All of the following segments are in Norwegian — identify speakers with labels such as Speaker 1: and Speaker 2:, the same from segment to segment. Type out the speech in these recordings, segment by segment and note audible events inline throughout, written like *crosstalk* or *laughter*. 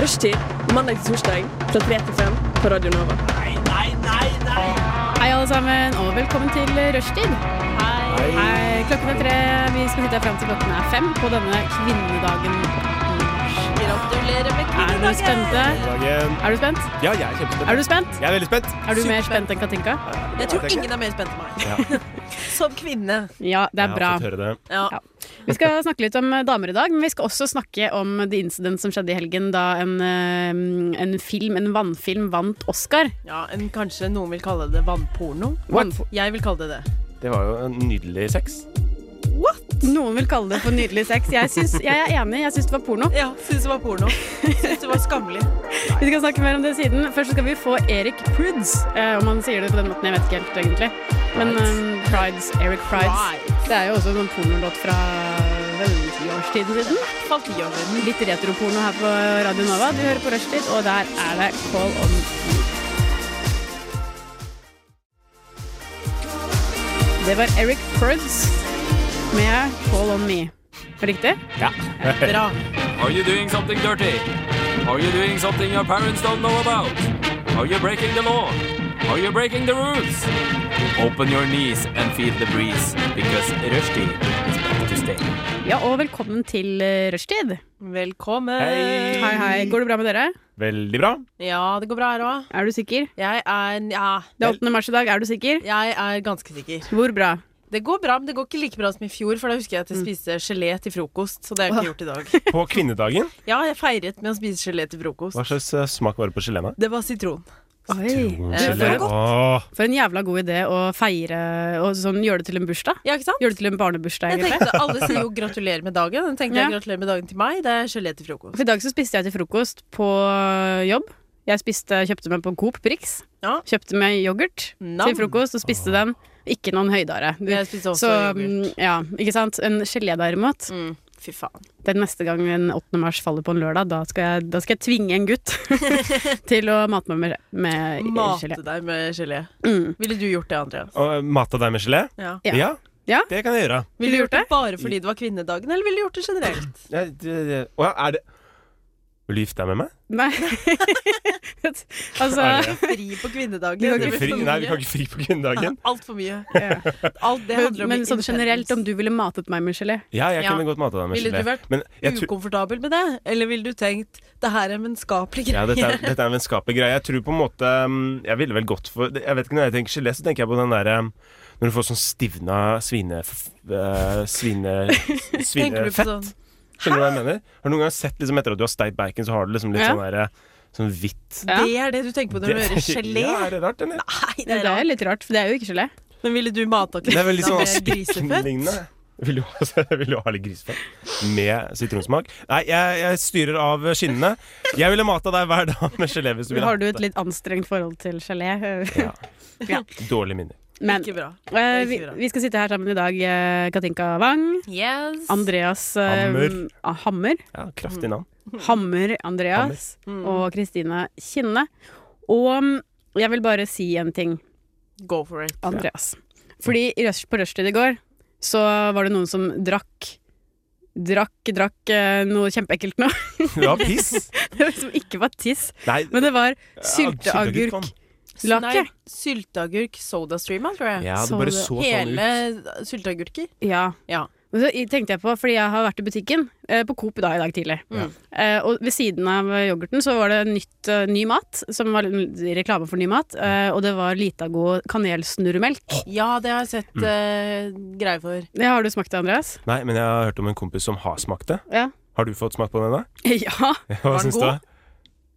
Speaker 1: Rushtid mandag til torsdag fra 3 til 5 på Radio Nova.
Speaker 2: Hei, alle sammen, og velkommen til Rushtid. Hei. Klokken er tre. Vi skal sitte her fram til klokken er fem på denne kvinnedagen.
Speaker 3: Gratulerer med
Speaker 2: Er du spente?
Speaker 4: Dagen.
Speaker 2: Er du spent?
Speaker 4: Ja, jeg er kjempespent.
Speaker 2: Er du spent?
Speaker 4: Jeg er veldig spent.
Speaker 2: Er du mer spent enn Katinka?
Speaker 3: Jeg tror ingen er mer spent enn meg. *laughs* Som kvinne.
Speaker 2: Ja, det
Speaker 4: Jeg
Speaker 2: er
Speaker 4: har
Speaker 2: bra.
Speaker 4: fått høre det.
Speaker 3: Ja.
Speaker 2: Ja. Vi skal snakke litt om eh, damer i dag, men vi skal også snakke om the incident som skjedde i helgen da en, eh, en film, en vannfilm, vant Oscar.
Speaker 3: ja en, kanskje noen vil kalle det vannporno.
Speaker 2: Vannfo-
Speaker 3: Jeg vil kalle det det.
Speaker 4: Det var jo en nydelig sex.
Speaker 2: Noen vil kalle det for nydelig sex. Jeg, syns, jeg er enig, jeg syns det var porno.
Speaker 3: Ja, syns det var porno. Syns det var skammelig.
Speaker 2: Vi skal snakke mer om det siden. Først skal vi få Erik Pruds, eh, om han sier det på den måten. Jeg vet ikke helt, egentlig. Men eh, Prides, Eric Prides.
Speaker 3: Prides.
Speaker 2: Det er jo også en sånn pornolåt fra vel, tiårstiden siden.
Speaker 3: Fall ti år siden.
Speaker 2: Litt retroporno her på Radio Nova. Du hører på Rushtid, og der er det Call on Me. Det var Eric Pruds med Call on Me. Riktig?
Speaker 4: Ja.
Speaker 3: Bra.
Speaker 5: Are you doing something dirty? Are you doing something your parents don't know about? Are you breaking the law? Are you breaking the rules? Open your knees and feel the breeze, because Rushdie is back to stay.
Speaker 2: Ja, og velkommen til eh, Rushtid.
Speaker 3: Velkommen.
Speaker 4: Hei.
Speaker 2: Hei, hei. Går det bra med dere?
Speaker 4: Veldig bra.
Speaker 3: Ja, det går bra her òg.
Speaker 2: Er du sikker?
Speaker 3: Jeg er ja,
Speaker 2: Det er 8. mars i dag, er du sikker?
Speaker 3: jeg er ganske sikker.
Speaker 2: Hvor bra?
Speaker 3: Det går bra, men det går ikke like bra som i fjor, for da husker jeg
Speaker 2: Mm.
Speaker 3: at jeg spiste gelé til frokost. Så det har jeg ikke gjort i dag.
Speaker 4: På kvinnedagen.
Speaker 3: Ja, jeg feiret med å spise gelé til frokost.
Speaker 4: Hva slags eh, smak var det på geléene?
Speaker 3: Det var sitron.
Speaker 2: Oi.
Speaker 3: det var
Speaker 4: Åh,
Speaker 2: For Eh, en jævla god idé å feire og sånn, gjøre det til en bursdag.
Speaker 3: Ja, ikke sant?
Speaker 2: Gjøre det til en barnebursdag,
Speaker 3: Jeg
Speaker 2: egentlig.
Speaker 3: tenkte, Alle sier jo 'gratulerer med dagen'. Jeg tenkte
Speaker 2: Ja.
Speaker 3: jeg gratulerer med dagen til meg. Det er gelé til frokost.
Speaker 2: For I dag så spiste jeg til frokost på jobb. Jeg spiste, kjøpte meg på Coop Prix.
Speaker 3: Ja.
Speaker 2: Kjøpte meg yoghurt
Speaker 3: Nam.
Speaker 2: til frokost og spiste den. Ikke noen høydare.
Speaker 3: Jeg spiste også yoghurt.
Speaker 2: så, mm, ja, ikke sant? En gelé derimot.
Speaker 3: Mm, fy faen.
Speaker 2: Den neste gang en 8. mars faller på en lørdag, da skal jeg, da skal jeg tvinge en gutt *laughs* til å mate meg med, med
Speaker 3: Mate
Speaker 2: gelé.
Speaker 3: deg med gelé.
Speaker 2: Mm.
Speaker 3: Ville du gjort det, Andreas?
Speaker 4: og mata deg med gelé?
Speaker 3: Ja.
Speaker 2: Ja. Ja.
Speaker 4: Det kan jeg gjøre.
Speaker 3: Ville du gjort det
Speaker 2: det?
Speaker 3: bare fordi det var kvinnedagen, eller ville du gjort det generelt?
Speaker 4: Jeg, det, det. Åh, ja, er det Vil du gifte deg med meg?
Speaker 2: Nei *laughs* Altså
Speaker 4: Er det-
Speaker 3: Fri på kvinnedagen.
Speaker 2: Vi kan
Speaker 3: det
Speaker 2: ikke
Speaker 3: blir
Speaker 4: Fri,
Speaker 3: for
Speaker 4: nei, vi
Speaker 3: mye.
Speaker 4: kan ikke fri på kvinnedagen.
Speaker 3: Alt for mye.
Speaker 2: ja.
Speaker 3: Alt det handler om
Speaker 2: Men sånn
Speaker 3: intens.
Speaker 2: generelt, om du ville matet meg med gelé?
Speaker 4: Ja, jeg
Speaker 3: Ja.
Speaker 4: kunne godt mata deg med
Speaker 3: Ville du
Speaker 4: gelé.
Speaker 3: vært
Speaker 4: Men jeg tror
Speaker 3: Ukomfortabel med det? Eller ville du tenkt det her er en vennskapelig
Speaker 4: ja,
Speaker 3: greie? *laughs*
Speaker 4: dette, er, dette er en vennskapelig greie. Jeg tror på en måte mm, Jeg ville vel gått for Jeg vet ikke Når jeg tenker gelé, så tenker jeg på den derre um, Når du får sånn stivna svine... f- eh,
Speaker 3: *laughs*
Speaker 4: svine...
Speaker 3: Tenker du på
Speaker 4: Svinefett.
Speaker 3: sånn
Speaker 4: Skjønner du hva jeg mener? Har du noen gang sett liksom etter at du har steikt bacon, så har du liksom litt
Speaker 2: Ja.
Speaker 4: sånn derre Sånn hvitt
Speaker 2: Ja.
Speaker 3: Det er det du tenker på når du hører gelé?
Speaker 4: *laughs* Ja, er det rart, eller?
Speaker 3: Nei, det
Speaker 2: Det
Speaker 3: er
Speaker 2: er
Speaker 3: rart.
Speaker 2: litt rart, for det er jo ikke gelé.
Speaker 3: Men ville du mata
Speaker 4: Det er vel litt
Speaker 3: Kristina med
Speaker 4: sånn
Speaker 3: grisefett?
Speaker 4: aspektlignende. Vil, du- jeg vil jo ha *laughs* litt grisefett med sitronsmak. Nei, jeg, jeg styrer av skinnene. Jeg ville mata deg hver dag med gelé hvis du ville.
Speaker 2: Har du et litt anstrengt forhold til gelé?
Speaker 4: Ja.
Speaker 2: Ja.
Speaker 4: Dårlige minner.
Speaker 2: Men
Speaker 3: Ikke bra.
Speaker 2: eh,
Speaker 3: ikke
Speaker 2: vi,
Speaker 3: bra.
Speaker 2: vi skal sitte her sammen i dag, eh, Katinka Wang,
Speaker 3: Yes.
Speaker 2: Andreas eh,
Speaker 4: Hammer.
Speaker 2: ah, Hammer,
Speaker 4: Ja,
Speaker 2: Mm.
Speaker 4: kraftig navn.
Speaker 2: Hammer Andreas
Speaker 3: Mm.
Speaker 2: og Kristine Kinne. Og mm, jeg vil bare si en ting,
Speaker 3: Go for it.
Speaker 2: Andreas. Fordi i rush, på rushtid i går så var det noen som drakk Drakk, drakk eh, noe kjempeekkelt nå,
Speaker 4: Du har
Speaker 2: *laughs*
Speaker 4: piss.
Speaker 2: som liksom ikke var tiss,
Speaker 4: Nei,
Speaker 2: men det var
Speaker 4: ja,
Speaker 2: sylteagurk.
Speaker 4: kom.
Speaker 2: Lake.
Speaker 3: Nei, Sylteagurk sodastreama, tror jeg.
Speaker 4: Ja,
Speaker 2: Så
Speaker 4: det bare
Speaker 2: det
Speaker 4: så sånn
Speaker 3: Hele
Speaker 4: ut.
Speaker 3: sylteagurker.
Speaker 2: Ja.
Speaker 3: Ja.
Speaker 2: Og så tenkte jeg på, fordi jeg har vært i butikken eh, på Coop da i dag tidlig.
Speaker 3: Mm.
Speaker 2: Eh, og ved siden av yoghurten så var det nytt, eh, ny mat, som var en reklame for ny mat. Eh, og det var Litago kanelsnurremelk.
Speaker 3: Ja, det har jeg
Speaker 4: Mm.
Speaker 3: sett eh, greier
Speaker 4: *laughs*
Speaker 3: for.
Speaker 2: Det har du smakt det, Andreas?
Speaker 4: Nei, men jeg har hørt om en kompis som har smakt det.
Speaker 2: Ja.
Speaker 4: Har du fått smakt på den, da? *laughs*
Speaker 2: ja.
Speaker 4: Hva
Speaker 3: den
Speaker 4: syns du?
Speaker 3: god?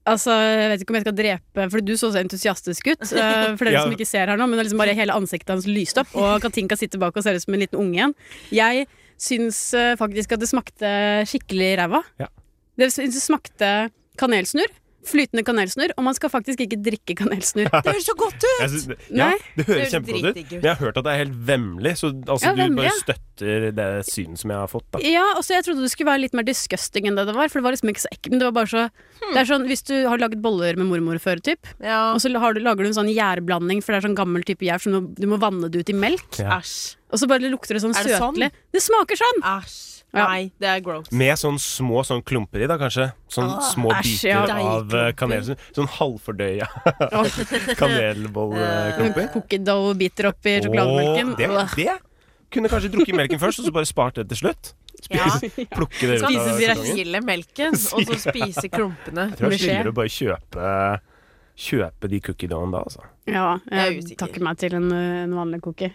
Speaker 2: Altså, jeg vet ikke om jeg skal drepe For du så så entusiastisk ut, eh, for dere
Speaker 4: Ja.
Speaker 2: som ikke ser her nå, men det er liksom bare hele ansiktet hans lyste opp, og Katinka sitter bak og ser ut som en liten unge igjen. Jeg syns eh, faktisk at det smakte skikkelig ræva.
Speaker 4: Ja.
Speaker 2: Det syns det smakte kanelsnurr. Flytende kanelsnurr, og man skal faktisk ikke drikke
Speaker 4: *laughs*
Speaker 2: kanelsnurr.
Speaker 3: Det høres så godt ut!
Speaker 4: Jeg synes, ja,
Speaker 2: Nei.
Speaker 4: det
Speaker 3: Det
Speaker 4: høres
Speaker 3: høres
Speaker 4: kjempegodt ut.
Speaker 3: dritdigg ut.
Speaker 4: Men jeg har hørt at det er helt vemmelig, så altså,
Speaker 2: Ja,
Speaker 4: du
Speaker 2: vemmelig,
Speaker 4: bare
Speaker 2: ja.
Speaker 4: støtter det synet som jeg har fått. Da.
Speaker 2: Ja, og så jeg trodde det skulle være litt mer disgusting enn det det var, for det var liksom ikke så ekkelt. Men det var bare så Det er sånn hvis du har laget boller med mormor før, typ,
Speaker 3: Ja,
Speaker 2: og så har du, lager du en sånn gjærblanding, for det er sånn gammel type gjær som du, du må vanne det ut i melk,
Speaker 4: Ja.
Speaker 3: æsj.
Speaker 2: og så bare lukter det sånn
Speaker 3: Er det sånn?
Speaker 2: søtlig. Det smaker sånn!
Speaker 3: Æsj.
Speaker 2: Ja.
Speaker 3: Nei, det er gross.
Speaker 4: Med sånn små sånn klumper i, da kanskje. Sånn små
Speaker 2: æsj,
Speaker 4: biter
Speaker 2: ja.
Speaker 4: av eh, kanel. Sånn, sånn halvfordøya *laughs* kanelbollklumper.
Speaker 2: *laughs* Cookie-dough biter oppi sjokolademelken.
Speaker 4: Åh, Det, det kunne kanskje drukket melken først, og så bare spart det til slutt.
Speaker 3: Ja.
Speaker 4: *laughs* Plukke det ut av
Speaker 3: Spises
Speaker 4: kartongen.
Speaker 3: hele
Speaker 4: *laughs*
Speaker 3: melken, og så spise klumpene.
Speaker 4: Jeg tror jeg
Speaker 2: med skje.
Speaker 4: skylder å bare kjøpe Kjøpe de cookie doughen da, altså.
Speaker 2: Ja,
Speaker 3: Jeg er
Speaker 2: jeg
Speaker 3: usikker.
Speaker 2: takker meg til en, en vanlig cookie.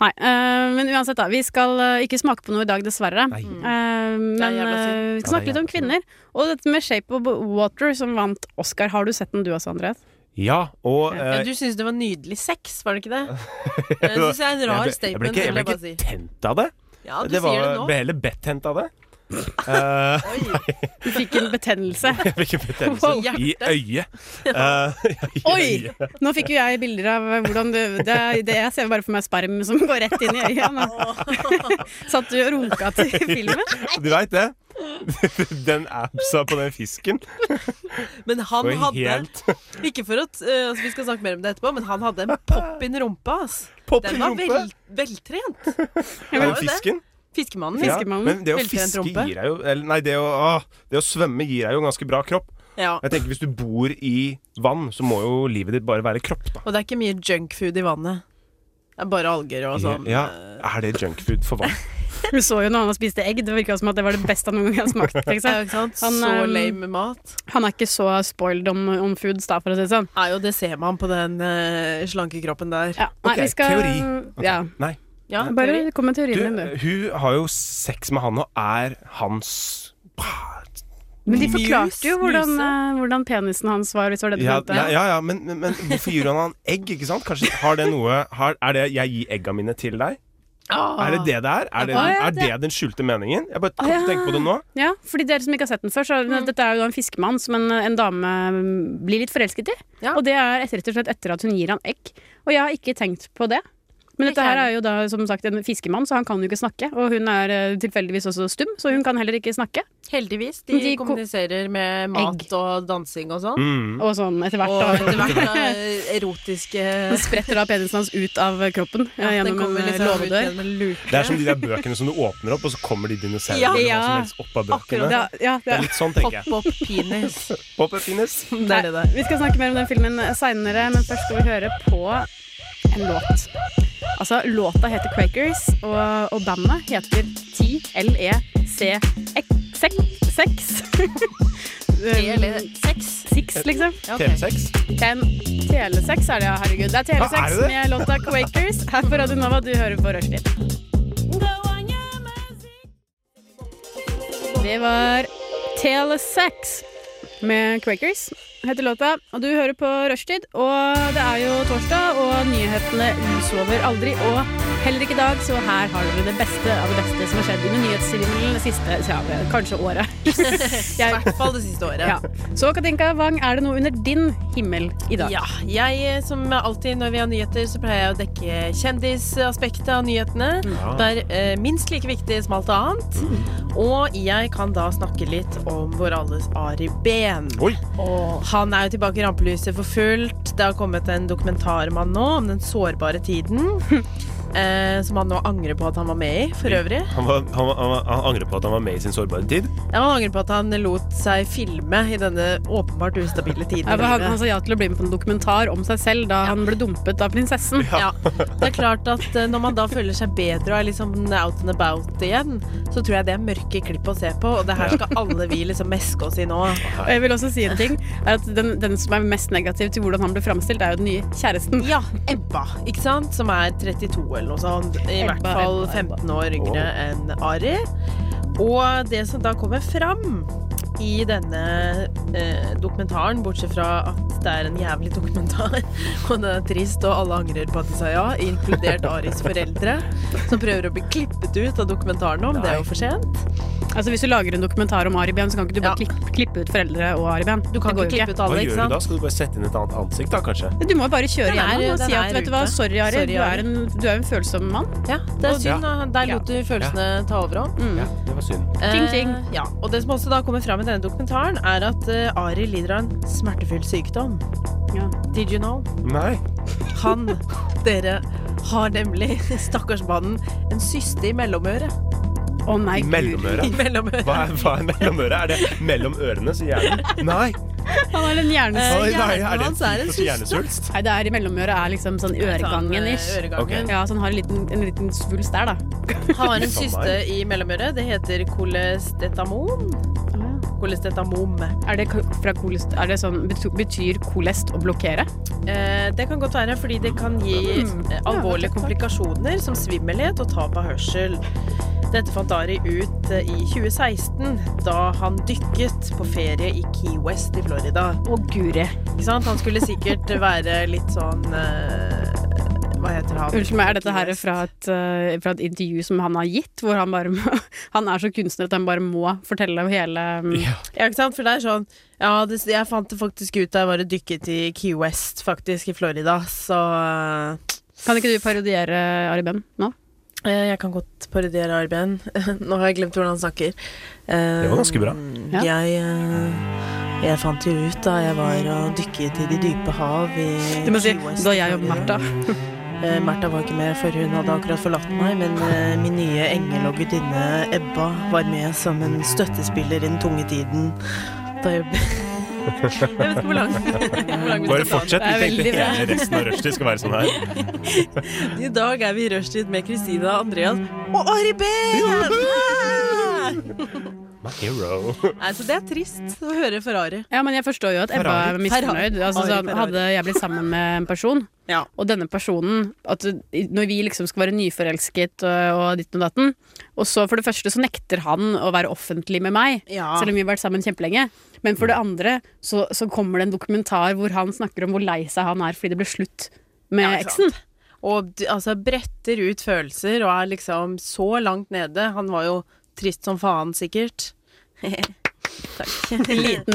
Speaker 2: Nei, eh, men uansett, da. Vi skal eh, ikke smake på noe i dag, dessverre.
Speaker 4: Nei.
Speaker 2: Eh,
Speaker 3: Det er
Speaker 2: men
Speaker 3: jævla synd.
Speaker 2: eh, vi skal
Speaker 4: Ja,
Speaker 2: snakke
Speaker 4: det er
Speaker 2: litt om kvinner. Og dette med Shape of Water som vant Oscar. Har du sett den du også, Andreas?
Speaker 4: Ja, og
Speaker 3: Ja,
Speaker 4: eh,
Speaker 3: du syntes det var nydelig sex, var det ikke
Speaker 4: *laughs*
Speaker 3: det? Det syns jeg er en rar
Speaker 4: eh, jeg, ble, jeg, ble
Speaker 3: statement.
Speaker 4: ikke, jeg
Speaker 3: vil
Speaker 4: ble
Speaker 3: jeg bare si.
Speaker 4: ikke tent av det.
Speaker 3: Ja, du
Speaker 4: det var,
Speaker 3: sier det nå.
Speaker 4: ble heller betent av det. Eh,
Speaker 2: Du fikk en betennelse.
Speaker 4: *laughs* jeg fikk en betennelse
Speaker 2: Wow.
Speaker 4: i øyet. Eh, *laughs* i
Speaker 2: Oi!
Speaker 4: øyet.
Speaker 2: Nå fikk jo jeg bilder av hvordan du det, det, Jeg ser bare for meg sperm som går rett inn i øyet. nå. *laughs* Satt du og runka til filmen?
Speaker 4: Du veit det? *laughs* Den appsa på den fisken.
Speaker 3: Men han
Speaker 4: Oi,
Speaker 3: hadde
Speaker 4: helt-
Speaker 3: *laughs* Ikke for at eh, altså, Vi skal snakke mer om det etterpå, men han hadde en pop in rumpa, ass.
Speaker 4: Pop i
Speaker 3: Den var
Speaker 4: rumpe.
Speaker 3: vel, veltrent.
Speaker 4: Den
Speaker 3: var jo det.
Speaker 4: fisken.
Speaker 3: Fiskemannen.
Speaker 2: Ja.
Speaker 3: Ja.
Speaker 2: Fiskemannen.
Speaker 4: men det å
Speaker 3: Velter en
Speaker 4: fiske
Speaker 3: trompe.
Speaker 4: gir deg jo eller, Nei, det å, ah, det å svømme gir deg jo en ganske bra kropp. Jeg tenker Hvis du bor i vann, så må jo livet ditt bare være kropp, da.
Speaker 3: Og det er ikke mye junkfood i vannet. Det er bare alger og sånn.
Speaker 4: Ja, Er det junkfood for vann?
Speaker 2: Du så jo når han spiste egg. Det virka som at det var det beste han noen gang hadde
Speaker 4: *laughs*
Speaker 2: smakt.
Speaker 3: Ja,
Speaker 2: Liksom.
Speaker 3: ikke sant?
Speaker 2: Han,
Speaker 3: så
Speaker 2: ehm,
Speaker 3: lame mat.
Speaker 2: Han er ikke så spoiled om, om foods, da, for å si det sånn.
Speaker 3: Nei, og det ser man på den eh, slanke kroppen der.
Speaker 2: Ja, nei,
Speaker 4: Ok,
Speaker 2: vi skal,
Speaker 4: teori. Ok,
Speaker 2: Ja,
Speaker 4: Nei.
Speaker 3: Ja,
Speaker 2: bare
Speaker 3: teori.
Speaker 2: kom med
Speaker 4: Du,
Speaker 2: teorien din, du.
Speaker 4: hun har jo sex med han og er hans
Speaker 2: Men de
Speaker 3: Muse,
Speaker 2: forklarte jo hvordan,
Speaker 3: muse.
Speaker 2: eh, hvordan penisen hans var, hvis det var det du
Speaker 4: Ja,
Speaker 2: mente.
Speaker 4: ja, ja, ja men, men, men hvorfor gir han han egg, ikke sant? Kanskje har det noe har, Er det 'jeg gir egga mine til deg'?
Speaker 3: Ah.
Speaker 4: Er det det det er? Er det,
Speaker 2: Å, ja,
Speaker 4: er
Speaker 2: det-
Speaker 4: det den skjulte meningen? Jeg bare
Speaker 2: Å, ja.
Speaker 4: tenker på det nå.
Speaker 2: Ja, fordi dere som ikke har sett den før, så dette er jo da en fiskemann som en, en dame mm, blir litt forelsket i.
Speaker 3: Ja.
Speaker 2: Og det er et- rett og slett etter at hun gir han egg. Og jeg har ikke tenkt på det. Men
Speaker 3: Ikke
Speaker 2: dette her
Speaker 3: heller.
Speaker 2: er jo da som sagt en fiskemann, så han kan jo ikke snakke. Og hun er eh, tilfeldigvis også stum, så hun kan heller ikke snakke.
Speaker 3: Heldigvis. De,
Speaker 2: Men de ko-
Speaker 3: kommuniserer med mat
Speaker 2: Egg.
Speaker 3: og dansing og sånn.
Speaker 4: Mm.
Speaker 2: Og sånn etter hvert.
Speaker 3: Og
Speaker 2: da-
Speaker 3: etter hvert eh, erotiske
Speaker 2: *laughs* Så spretter da penisen hans ut av kroppen eh,
Speaker 3: Ja, den
Speaker 2: gjennom en
Speaker 3: kommer
Speaker 2: eh,
Speaker 3: liksom ut
Speaker 2: låvedør.
Speaker 3: gjennom en luke.
Speaker 4: Det er som de der bøkene som du åpner opp, og så kommer de dinosaurene
Speaker 3: Ja.
Speaker 4: eller hva
Speaker 2: Ja.
Speaker 4: som helst opp av bøkene.
Speaker 3: Akkurat.
Speaker 2: Ja, ja,
Speaker 4: Det
Speaker 2: ja.
Speaker 4: er litt sånn, tenker jeg.
Speaker 3: Pop opp penis.
Speaker 4: Pop up penis.
Speaker 3: Det er det der.
Speaker 2: Vi skal snakke mer om den filmen seinere, men først skal vi høre på en låt. Altså, låta heter Quakers, og, og bandet heter E *laughs* TLEC6.
Speaker 3: E Sex.
Speaker 2: Six, liksom.
Speaker 3: Ja, ok.
Speaker 4: TV6.
Speaker 2: Ten. Telesex er det, ja. Herregud. Det er
Speaker 4: Hva, er
Speaker 2: Telesex
Speaker 4: det det?
Speaker 2: med låta Quakers her på Radio Nova. Du hører på Rushdie. Det var Telesex med Quakers, heter låta. Og du hører på Rushtid, og det er jo torsdag, og nyhetene usover aldri. Og heller ikke i dag, så her har dere det beste av det beste som har skjedd under nyhetsrevyen det siste ja, kanskje året.
Speaker 3: *laughs* I
Speaker 2: Jeg,
Speaker 3: hvert fall det siste året.
Speaker 2: ja. Så Katinka Wang, er det noe under din himmel i dag?
Speaker 3: Ja, jeg eh, som alltid når vi har nyheter, så pleier jeg å dekke kjendisaspektet av nyhetene.
Speaker 2: Mm.
Speaker 3: Det er eh, minst like viktig som alt annet. Og jeg kan da snakke litt om vår alles Ari Behn.
Speaker 4: Oi.
Speaker 3: Han er jo tilbake i rampelyset for fullt. Det har kommet en dokumentar om han nå, om den sårbare
Speaker 2: *laughs*
Speaker 3: tiden. eh, som han nå angrer på at han var med i, for øvrig.
Speaker 4: Han, var, han, var- han, var- han angrer på at han var med i sin sårbare tid.
Speaker 3: Ja, Han angrer på at han lot seg filme i denne åpenbart ustabile tiden.
Speaker 2: Ja,
Speaker 3: i
Speaker 2: for han,
Speaker 3: livet.
Speaker 2: han sa ja til å bli med på en dokumentar om seg selv da han ble dumpet av *laughs* prinsessen.
Speaker 3: Ja. Det er klart at eh, når man da føler seg bedre og er liksom out and about igjen, så tror jeg det er mørke klipp å se på, og det her skal alle vi liksom meske oss i nå.
Speaker 2: Og jeg vil også si en ting, er at den, den som er mest negativ til hvordan han ble framstilt, er jo den nye kjæresten.
Speaker 3: Ja, Ebba, ikke sant? Som er 32 eller noe sånt. I
Speaker 2: Ebba,
Speaker 3: hvert fall
Speaker 2: Ebba, Ebba.
Speaker 3: 15 år yngre
Speaker 4: Åh.
Speaker 3: enn Ari. Og det som da kommer fram i denne eh, dokumentaren, bortsett fra at det er en jævlig dokumentar, *laughs* og den er trist, og alle angrer på at de sa ja,
Speaker 4: *laughs*
Speaker 3: inkludert Aris foreldre, som prøver å bli klippet ut av dokumentaren om. Det er jo for sent.
Speaker 2: Altså Hvis du lager en dokumentar om Ariben, så kan ikke du bare
Speaker 3: Ja.
Speaker 2: klippe, klippe ut foreldre og Ariben.
Speaker 3: Du kan
Speaker 2: det
Speaker 3: ikke klippe ut
Speaker 4: Hva
Speaker 3: alle, ikke
Speaker 4: gjør du da?
Speaker 3: sant?
Speaker 4: Skal du bare sette inn et annet ansikt, da, kanskje?
Speaker 2: ut. Du må jo bare kjøre
Speaker 3: Den er-
Speaker 2: gjennom og
Speaker 3: den
Speaker 2: si
Speaker 3: er
Speaker 2: at vet du hva,
Speaker 3: ute.
Speaker 2: sorry Ari,
Speaker 3: Sorry,
Speaker 2: du, er
Speaker 3: Ari.
Speaker 2: en, du er en følsom mann.
Speaker 3: Ja, det er
Speaker 4: Og-
Speaker 3: synd. da. Der lot du følelsene ta overhånd.
Speaker 4: Ja, det var synd.
Speaker 2: Ting, ting.
Speaker 3: Eh, ja, og det som også da kommer fram i denne dokumentaren, er at eh, Ari lider av en smertefull sykdom.
Speaker 2: Ja.
Speaker 3: Did you know?
Speaker 4: Nei.
Speaker 3: Han, *laughs* dere, har nemlig, stakkars mannen, en syste i mellomøret.
Speaker 2: Å nei,
Speaker 4: I
Speaker 2: gud.
Speaker 4: mellomøret?
Speaker 3: I mellomøret.
Speaker 4: Hva er, hva er mellomøret? Er det mellom ørene, sier hjernen? Nei!
Speaker 2: Han har en hjerne...
Speaker 4: Nei,
Speaker 3: hjernen
Speaker 4: nei, er det en
Speaker 3: hans er en
Speaker 4: type hjernesvulst?
Speaker 2: Nei, det er i mellomøret er liksom sånn
Speaker 3: eh,
Speaker 2: øregangen-ish.
Speaker 4: Ok.
Speaker 2: Ja, så han har en liten, en liten svulst der, da.
Speaker 3: Han har en
Speaker 4: Samme
Speaker 3: syste i mellomøret. Det heter kolestetamon. Kolestetamom.
Speaker 2: Er det, ko- fra kolest, er det sånn, beto- betyr kolest å blokkere?
Speaker 3: Eh, det kan godt være, fordi det kan gi eh, alvorlige komplikasjoner som svimmelhet og tap av hørsel. Dette fant Ari ut eh, i 2016, da han dykket på ferie i Key West i Florida.
Speaker 2: Å, guri.
Speaker 3: Ikke sant? Han skulle sikkert *laughs* være litt sånn eh, Hva heter han?
Speaker 2: Unnskyld meg, er dette her
Speaker 3: Key West?
Speaker 2: fra et, eh, fra et intervju som han har gitt, hvor han bare må, *laughs* Han er så kunstner at han bare må fortelle hele mm,
Speaker 3: Ja, ikke sant? For det er sånn Ja, det, jeg fant det faktisk ut da jeg var og dykket i Key West, faktisk, i Florida, så
Speaker 2: Kan ikke du parodiere Ari Behn nå?
Speaker 3: eh, Jeg kan godt parodiere Arben. *laughs* Nå har jeg glemt hvordan han snakker. Eh,
Speaker 4: Det var ganske bra.
Speaker 2: Ja.
Speaker 3: Jeg, eh, jeg fant jo ut da jeg var og dykket i de dype hav i
Speaker 2: Du må si
Speaker 3: Key West
Speaker 2: Da
Speaker 3: i
Speaker 2: jeg og
Speaker 3: Florida».
Speaker 2: Martha
Speaker 3: Eh, Märtha var ikke med, for hun hadde akkurat forlatt meg, men eh, min nye engel og gudinne Ebba var med som en støttespiller i den tunge tiden. Da jeg *laughs* Jeg vet ikke hvor lang, *laughs* hvor lang vi skal
Speaker 4: Bare
Speaker 3: ta
Speaker 2: Det
Speaker 4: fortsett. Vi
Speaker 2: er
Speaker 4: tenkte
Speaker 2: veldig bra.
Speaker 4: hele resten av rushtid skal være sånn her.
Speaker 3: den. I dag er vi i rushtid med Kristina, Andreas og Ari Behn!
Speaker 4: My hero.
Speaker 3: Nei, så det er trist å høre for Ari.
Speaker 2: Ja, men jeg forstår jo at Ebba er
Speaker 4: Ferrari.
Speaker 2: misfornøyd. Altså,
Speaker 3: Ferrari,
Speaker 2: sånn,
Speaker 3: Ferrari.
Speaker 2: hadde jeg blitt sammen med en person,
Speaker 3: Ja.
Speaker 2: og denne personen at Når vi liksom skal være nyforelsket og, og ditten og datten, og så for det første så nekter han å være offentlig med meg.
Speaker 3: Ja.
Speaker 2: Selv om vi har vært sammen kjempelenge. Men for det
Speaker 3: Mm.
Speaker 2: andre så, så kommer det en dokumentar hvor han snakker om hvor lei seg han er fordi det ble slutt med
Speaker 3: Ja, ikke
Speaker 2: eksen.
Speaker 3: Og d- altså, bretter ut følelser og er liksom så langt nede. Han var jo trist som faen, sikkert.
Speaker 2: En liten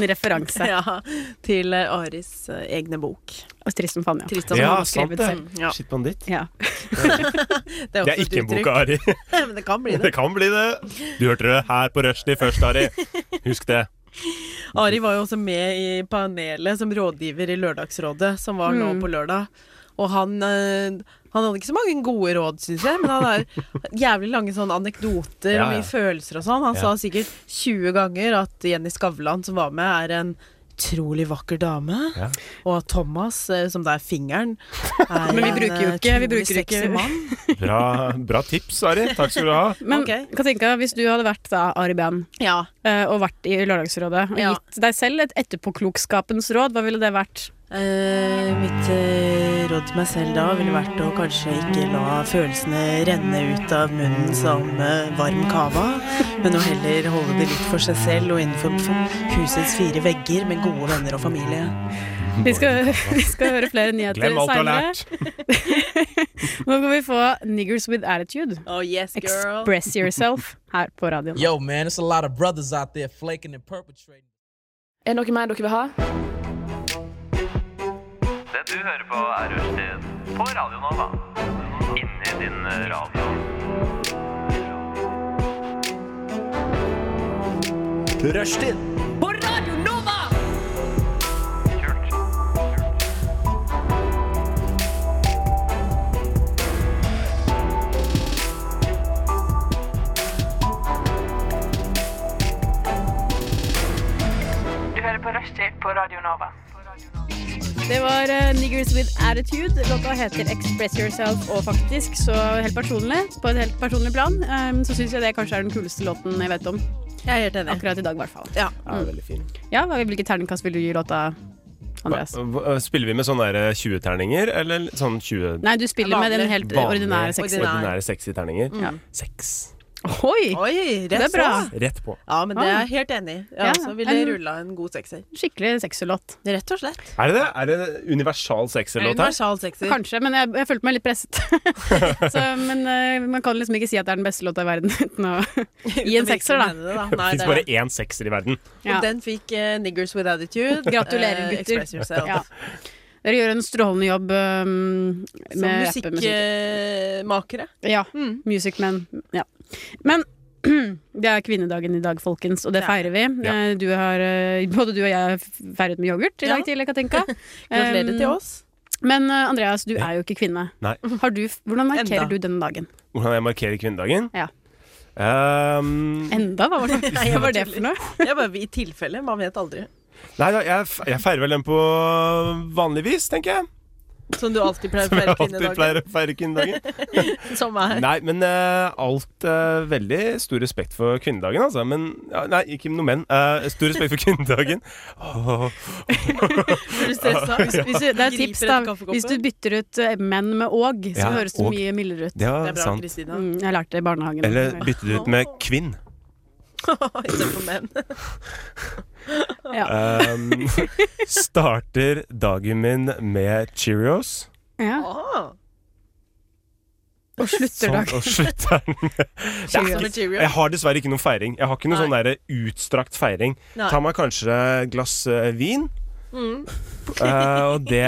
Speaker 3: *laughs*
Speaker 2: referanse.
Speaker 3: Ja, til eh, Aris eh, egne bok.
Speaker 2: Og trist som faen, ja.
Speaker 3: Trist som
Speaker 4: Ja,
Speaker 3: han har
Speaker 4: sant
Speaker 3: skrevet
Speaker 4: det.
Speaker 3: selv. Ja,
Speaker 4: Shit banditt.
Speaker 2: ja.
Speaker 3: det
Speaker 4: Det
Speaker 3: også
Speaker 4: er
Speaker 3: et
Speaker 4: ikke en
Speaker 3: uttrykk.
Speaker 4: bok av Ari.
Speaker 3: *laughs* Men det kan bli
Speaker 4: *laughs* Det
Speaker 3: det.
Speaker 4: kan bli det. Du hørte det her på rushtid først, Ari. Husk det.
Speaker 3: Ari var jo også med i panelet som rådgiver i Lørdagsrådet, som var nå
Speaker 2: Mm.
Speaker 3: på lørdag. Og han, eh, han hadde ikke så mange gode råd, syns jeg, men han har *laughs* jævlig lange sånne anekdoter
Speaker 4: Ja,
Speaker 3: og
Speaker 4: ja.
Speaker 3: mye følelser og sånn. Han
Speaker 4: Ja.
Speaker 3: sa sikkert 20 ganger at Jenny Skavlan, som var med, er en utrolig vakker dame.
Speaker 4: Ja.
Speaker 3: Og at Thomas, eh, som det er
Speaker 2: *laughs*
Speaker 3: fingeren, er
Speaker 2: Men vi
Speaker 3: en,
Speaker 2: bruker jo
Speaker 3: eh,
Speaker 2: ikke- vi
Speaker 3: utrolig
Speaker 2: bruker jo ikke-
Speaker 3: sexy mann.
Speaker 4: Bra, bra tips, Ari. Takk skal du ha.
Speaker 2: Men
Speaker 3: Ok.
Speaker 2: Katinka, hvis du hadde vært da Ari Behn
Speaker 3: Ja.
Speaker 2: eh, og vært i Lørdagsrådet og
Speaker 3: Ja.
Speaker 2: gitt deg selv et etterpåklokskapens råd, hva ville det vært?
Speaker 3: Eh, mitt eh, råd til meg selv da ville vært å kanskje ikke la følelsene renne ut av munnen som eh, varm cava, men å heller holde det litt for seg selv og innenfor f- husets fire vegger med gode venner og familie.
Speaker 2: Vi skal, *laughs* vi skal høre flere nyheter
Speaker 4: Glem alt du har
Speaker 2: seinere. *laughs*
Speaker 4: lært.
Speaker 2: Nå kan vi få Niggers with attitude.
Speaker 3: Oh yes,
Speaker 2: Express yourself her på radioen.
Speaker 6: Yo, man, it's a lot of brothers out there flaking and perpetrating.
Speaker 1: Er det noe mer dere vil ha?
Speaker 7: Det du hører på er Rushtid på Radio Nova. Inni din eh, radio. Rushtid på Radio Nova!
Speaker 8: Du hører på Rushtid på Radio Nova.
Speaker 2: Det var eh, Niggers with attitude. Låta heter Express yourself, og faktisk, så helt personlig, på et helt personlig plan, eh, så syns jeg det kanskje er den kuleste låten jeg vet om.
Speaker 3: Jeg er helt enig.
Speaker 2: Akkurat i dag, i hvert fall.
Speaker 3: Ja.
Speaker 4: Ja, veldig fin.
Speaker 2: Ja, hva- hvilket terningkast vil du gi låta, Andreas?
Speaker 4: Hva- hva- Spiller vi med sånne der 20-terninger, eller sånn 20
Speaker 2: Nei, du spiller med den helt
Speaker 4: vanlige,
Speaker 2: ordinære sexy.
Speaker 3: ordinære.
Speaker 4: ordinære sexy terninger?
Speaker 2: Ja.
Speaker 4: Seks.
Speaker 2: Oi!
Speaker 3: Oi,
Speaker 2: Det er bra. Ah.
Speaker 3: så.
Speaker 4: Rett på.
Speaker 3: Ja, men det er jeg helt enig. i.
Speaker 2: Ja,
Speaker 3: Ja, så ville
Speaker 2: en-
Speaker 3: jeg rulla en god sekser.
Speaker 2: Skikkelig sexy låt.
Speaker 3: Rett og slett.
Speaker 4: Er det det? Er det universal sexy-låt her?
Speaker 3: Universal sekser.
Speaker 2: Kanskje, men jeg, jeg følte meg litt presset. *laughs* så, men eh, man kan liksom ikke si at det er den beste låta i verden uten å gi
Speaker 3: Uten
Speaker 2: en
Speaker 3: å
Speaker 2: sekser, da.
Speaker 3: virkelig mene det, da.
Speaker 4: Det
Speaker 3: Nei,
Speaker 4: fins
Speaker 3: det er
Speaker 4: bare
Speaker 3: det.
Speaker 4: én sekser i verden.
Speaker 2: Ja.
Speaker 3: Og den fikk eh, Niggers with attitude.
Speaker 2: Gratulerer,
Speaker 3: Eh,
Speaker 2: gutter.
Speaker 3: Express yourself.
Speaker 2: Ja. Dere gjør en strålende jobb um,
Speaker 3: Som eh,
Speaker 2: med rappemusikk.
Speaker 3: musikkmakere.
Speaker 2: Ja.
Speaker 3: Mm.
Speaker 2: Music Men. Ja. Men *clears throat* det er kvinnedagen i dag, folkens, og det
Speaker 3: Det er
Speaker 2: feirer vi.
Speaker 4: Ja.
Speaker 2: Eh, Du har, eh, både du og jeg har feiret med yoghurt i
Speaker 3: Ja.
Speaker 2: dag tidlig, Katinka.
Speaker 3: *laughs* Gratulerer
Speaker 2: Um,
Speaker 3: til oss. *laughs*
Speaker 2: Men eh, Andreas, du er jo ikke kvinne.
Speaker 4: Nei.
Speaker 2: Har du, hvordan markerer
Speaker 3: Enda.
Speaker 2: du denne dagen?
Speaker 4: Hvordan jeg markerer kvinnedagen?
Speaker 2: Ja.
Speaker 4: Ehm,
Speaker 2: Enda?
Speaker 3: *laughs*
Speaker 2: Hva var det, hva var det for noe?
Speaker 3: Jeg bare, I tilfelle. Man vet aldri.
Speaker 4: nei da, jeg, f- jeg feirer vel den på vanlig vis, tenker jeg.
Speaker 3: Som du alltid pleier å feire
Speaker 4: Som jeg alltid
Speaker 3: kvinnedagen.
Speaker 4: pleier å feire
Speaker 3: *laughs*
Speaker 4: kvinnedagen.
Speaker 3: Som *laughs* er
Speaker 4: Nei, men eh, alt eh, Veldig stor respekt for kvinnedagen, altså. Men ja, Nei, ikke noe menn. Eh, stor respekt for
Speaker 3: *laughs*
Speaker 4: kvinnedagen. Åh.
Speaker 3: Blir du stressa?
Speaker 2: Hvis, hvis du, det er et
Speaker 3: Griper
Speaker 2: tips, da.
Speaker 3: etter kaffekoppen.
Speaker 2: Hvis du bytter ut eh, menn med og, så
Speaker 4: Ja,
Speaker 2: høres det
Speaker 4: og.
Speaker 2: mye mildere ut.
Speaker 4: Ja,
Speaker 3: Det er bra,
Speaker 4: sant.
Speaker 3: Kristina. *laughs*
Speaker 2: Mm, jeg lærte det i barnehagen.
Speaker 4: Eller bytte det ut med kvinn.
Speaker 3: Istedenfor menn.
Speaker 2: ja.
Speaker 4: Ehm, *laughs* starter dagen min med Cheerios.
Speaker 2: Ja.
Speaker 3: Ah,
Speaker 2: Og slutter
Speaker 4: Sånn,
Speaker 2: dagen.
Speaker 4: og slutter den med
Speaker 3: som
Speaker 2: Cheerios.
Speaker 3: en Cheerio.
Speaker 4: Jeg har dessverre ikke noen feiring. Jeg har ikke noen
Speaker 3: Nei.
Speaker 4: sånn der utstrakt feiring.
Speaker 3: Nei. Mm.
Speaker 4: Ta meg kanskje et glass eh, vin. Eh, og det,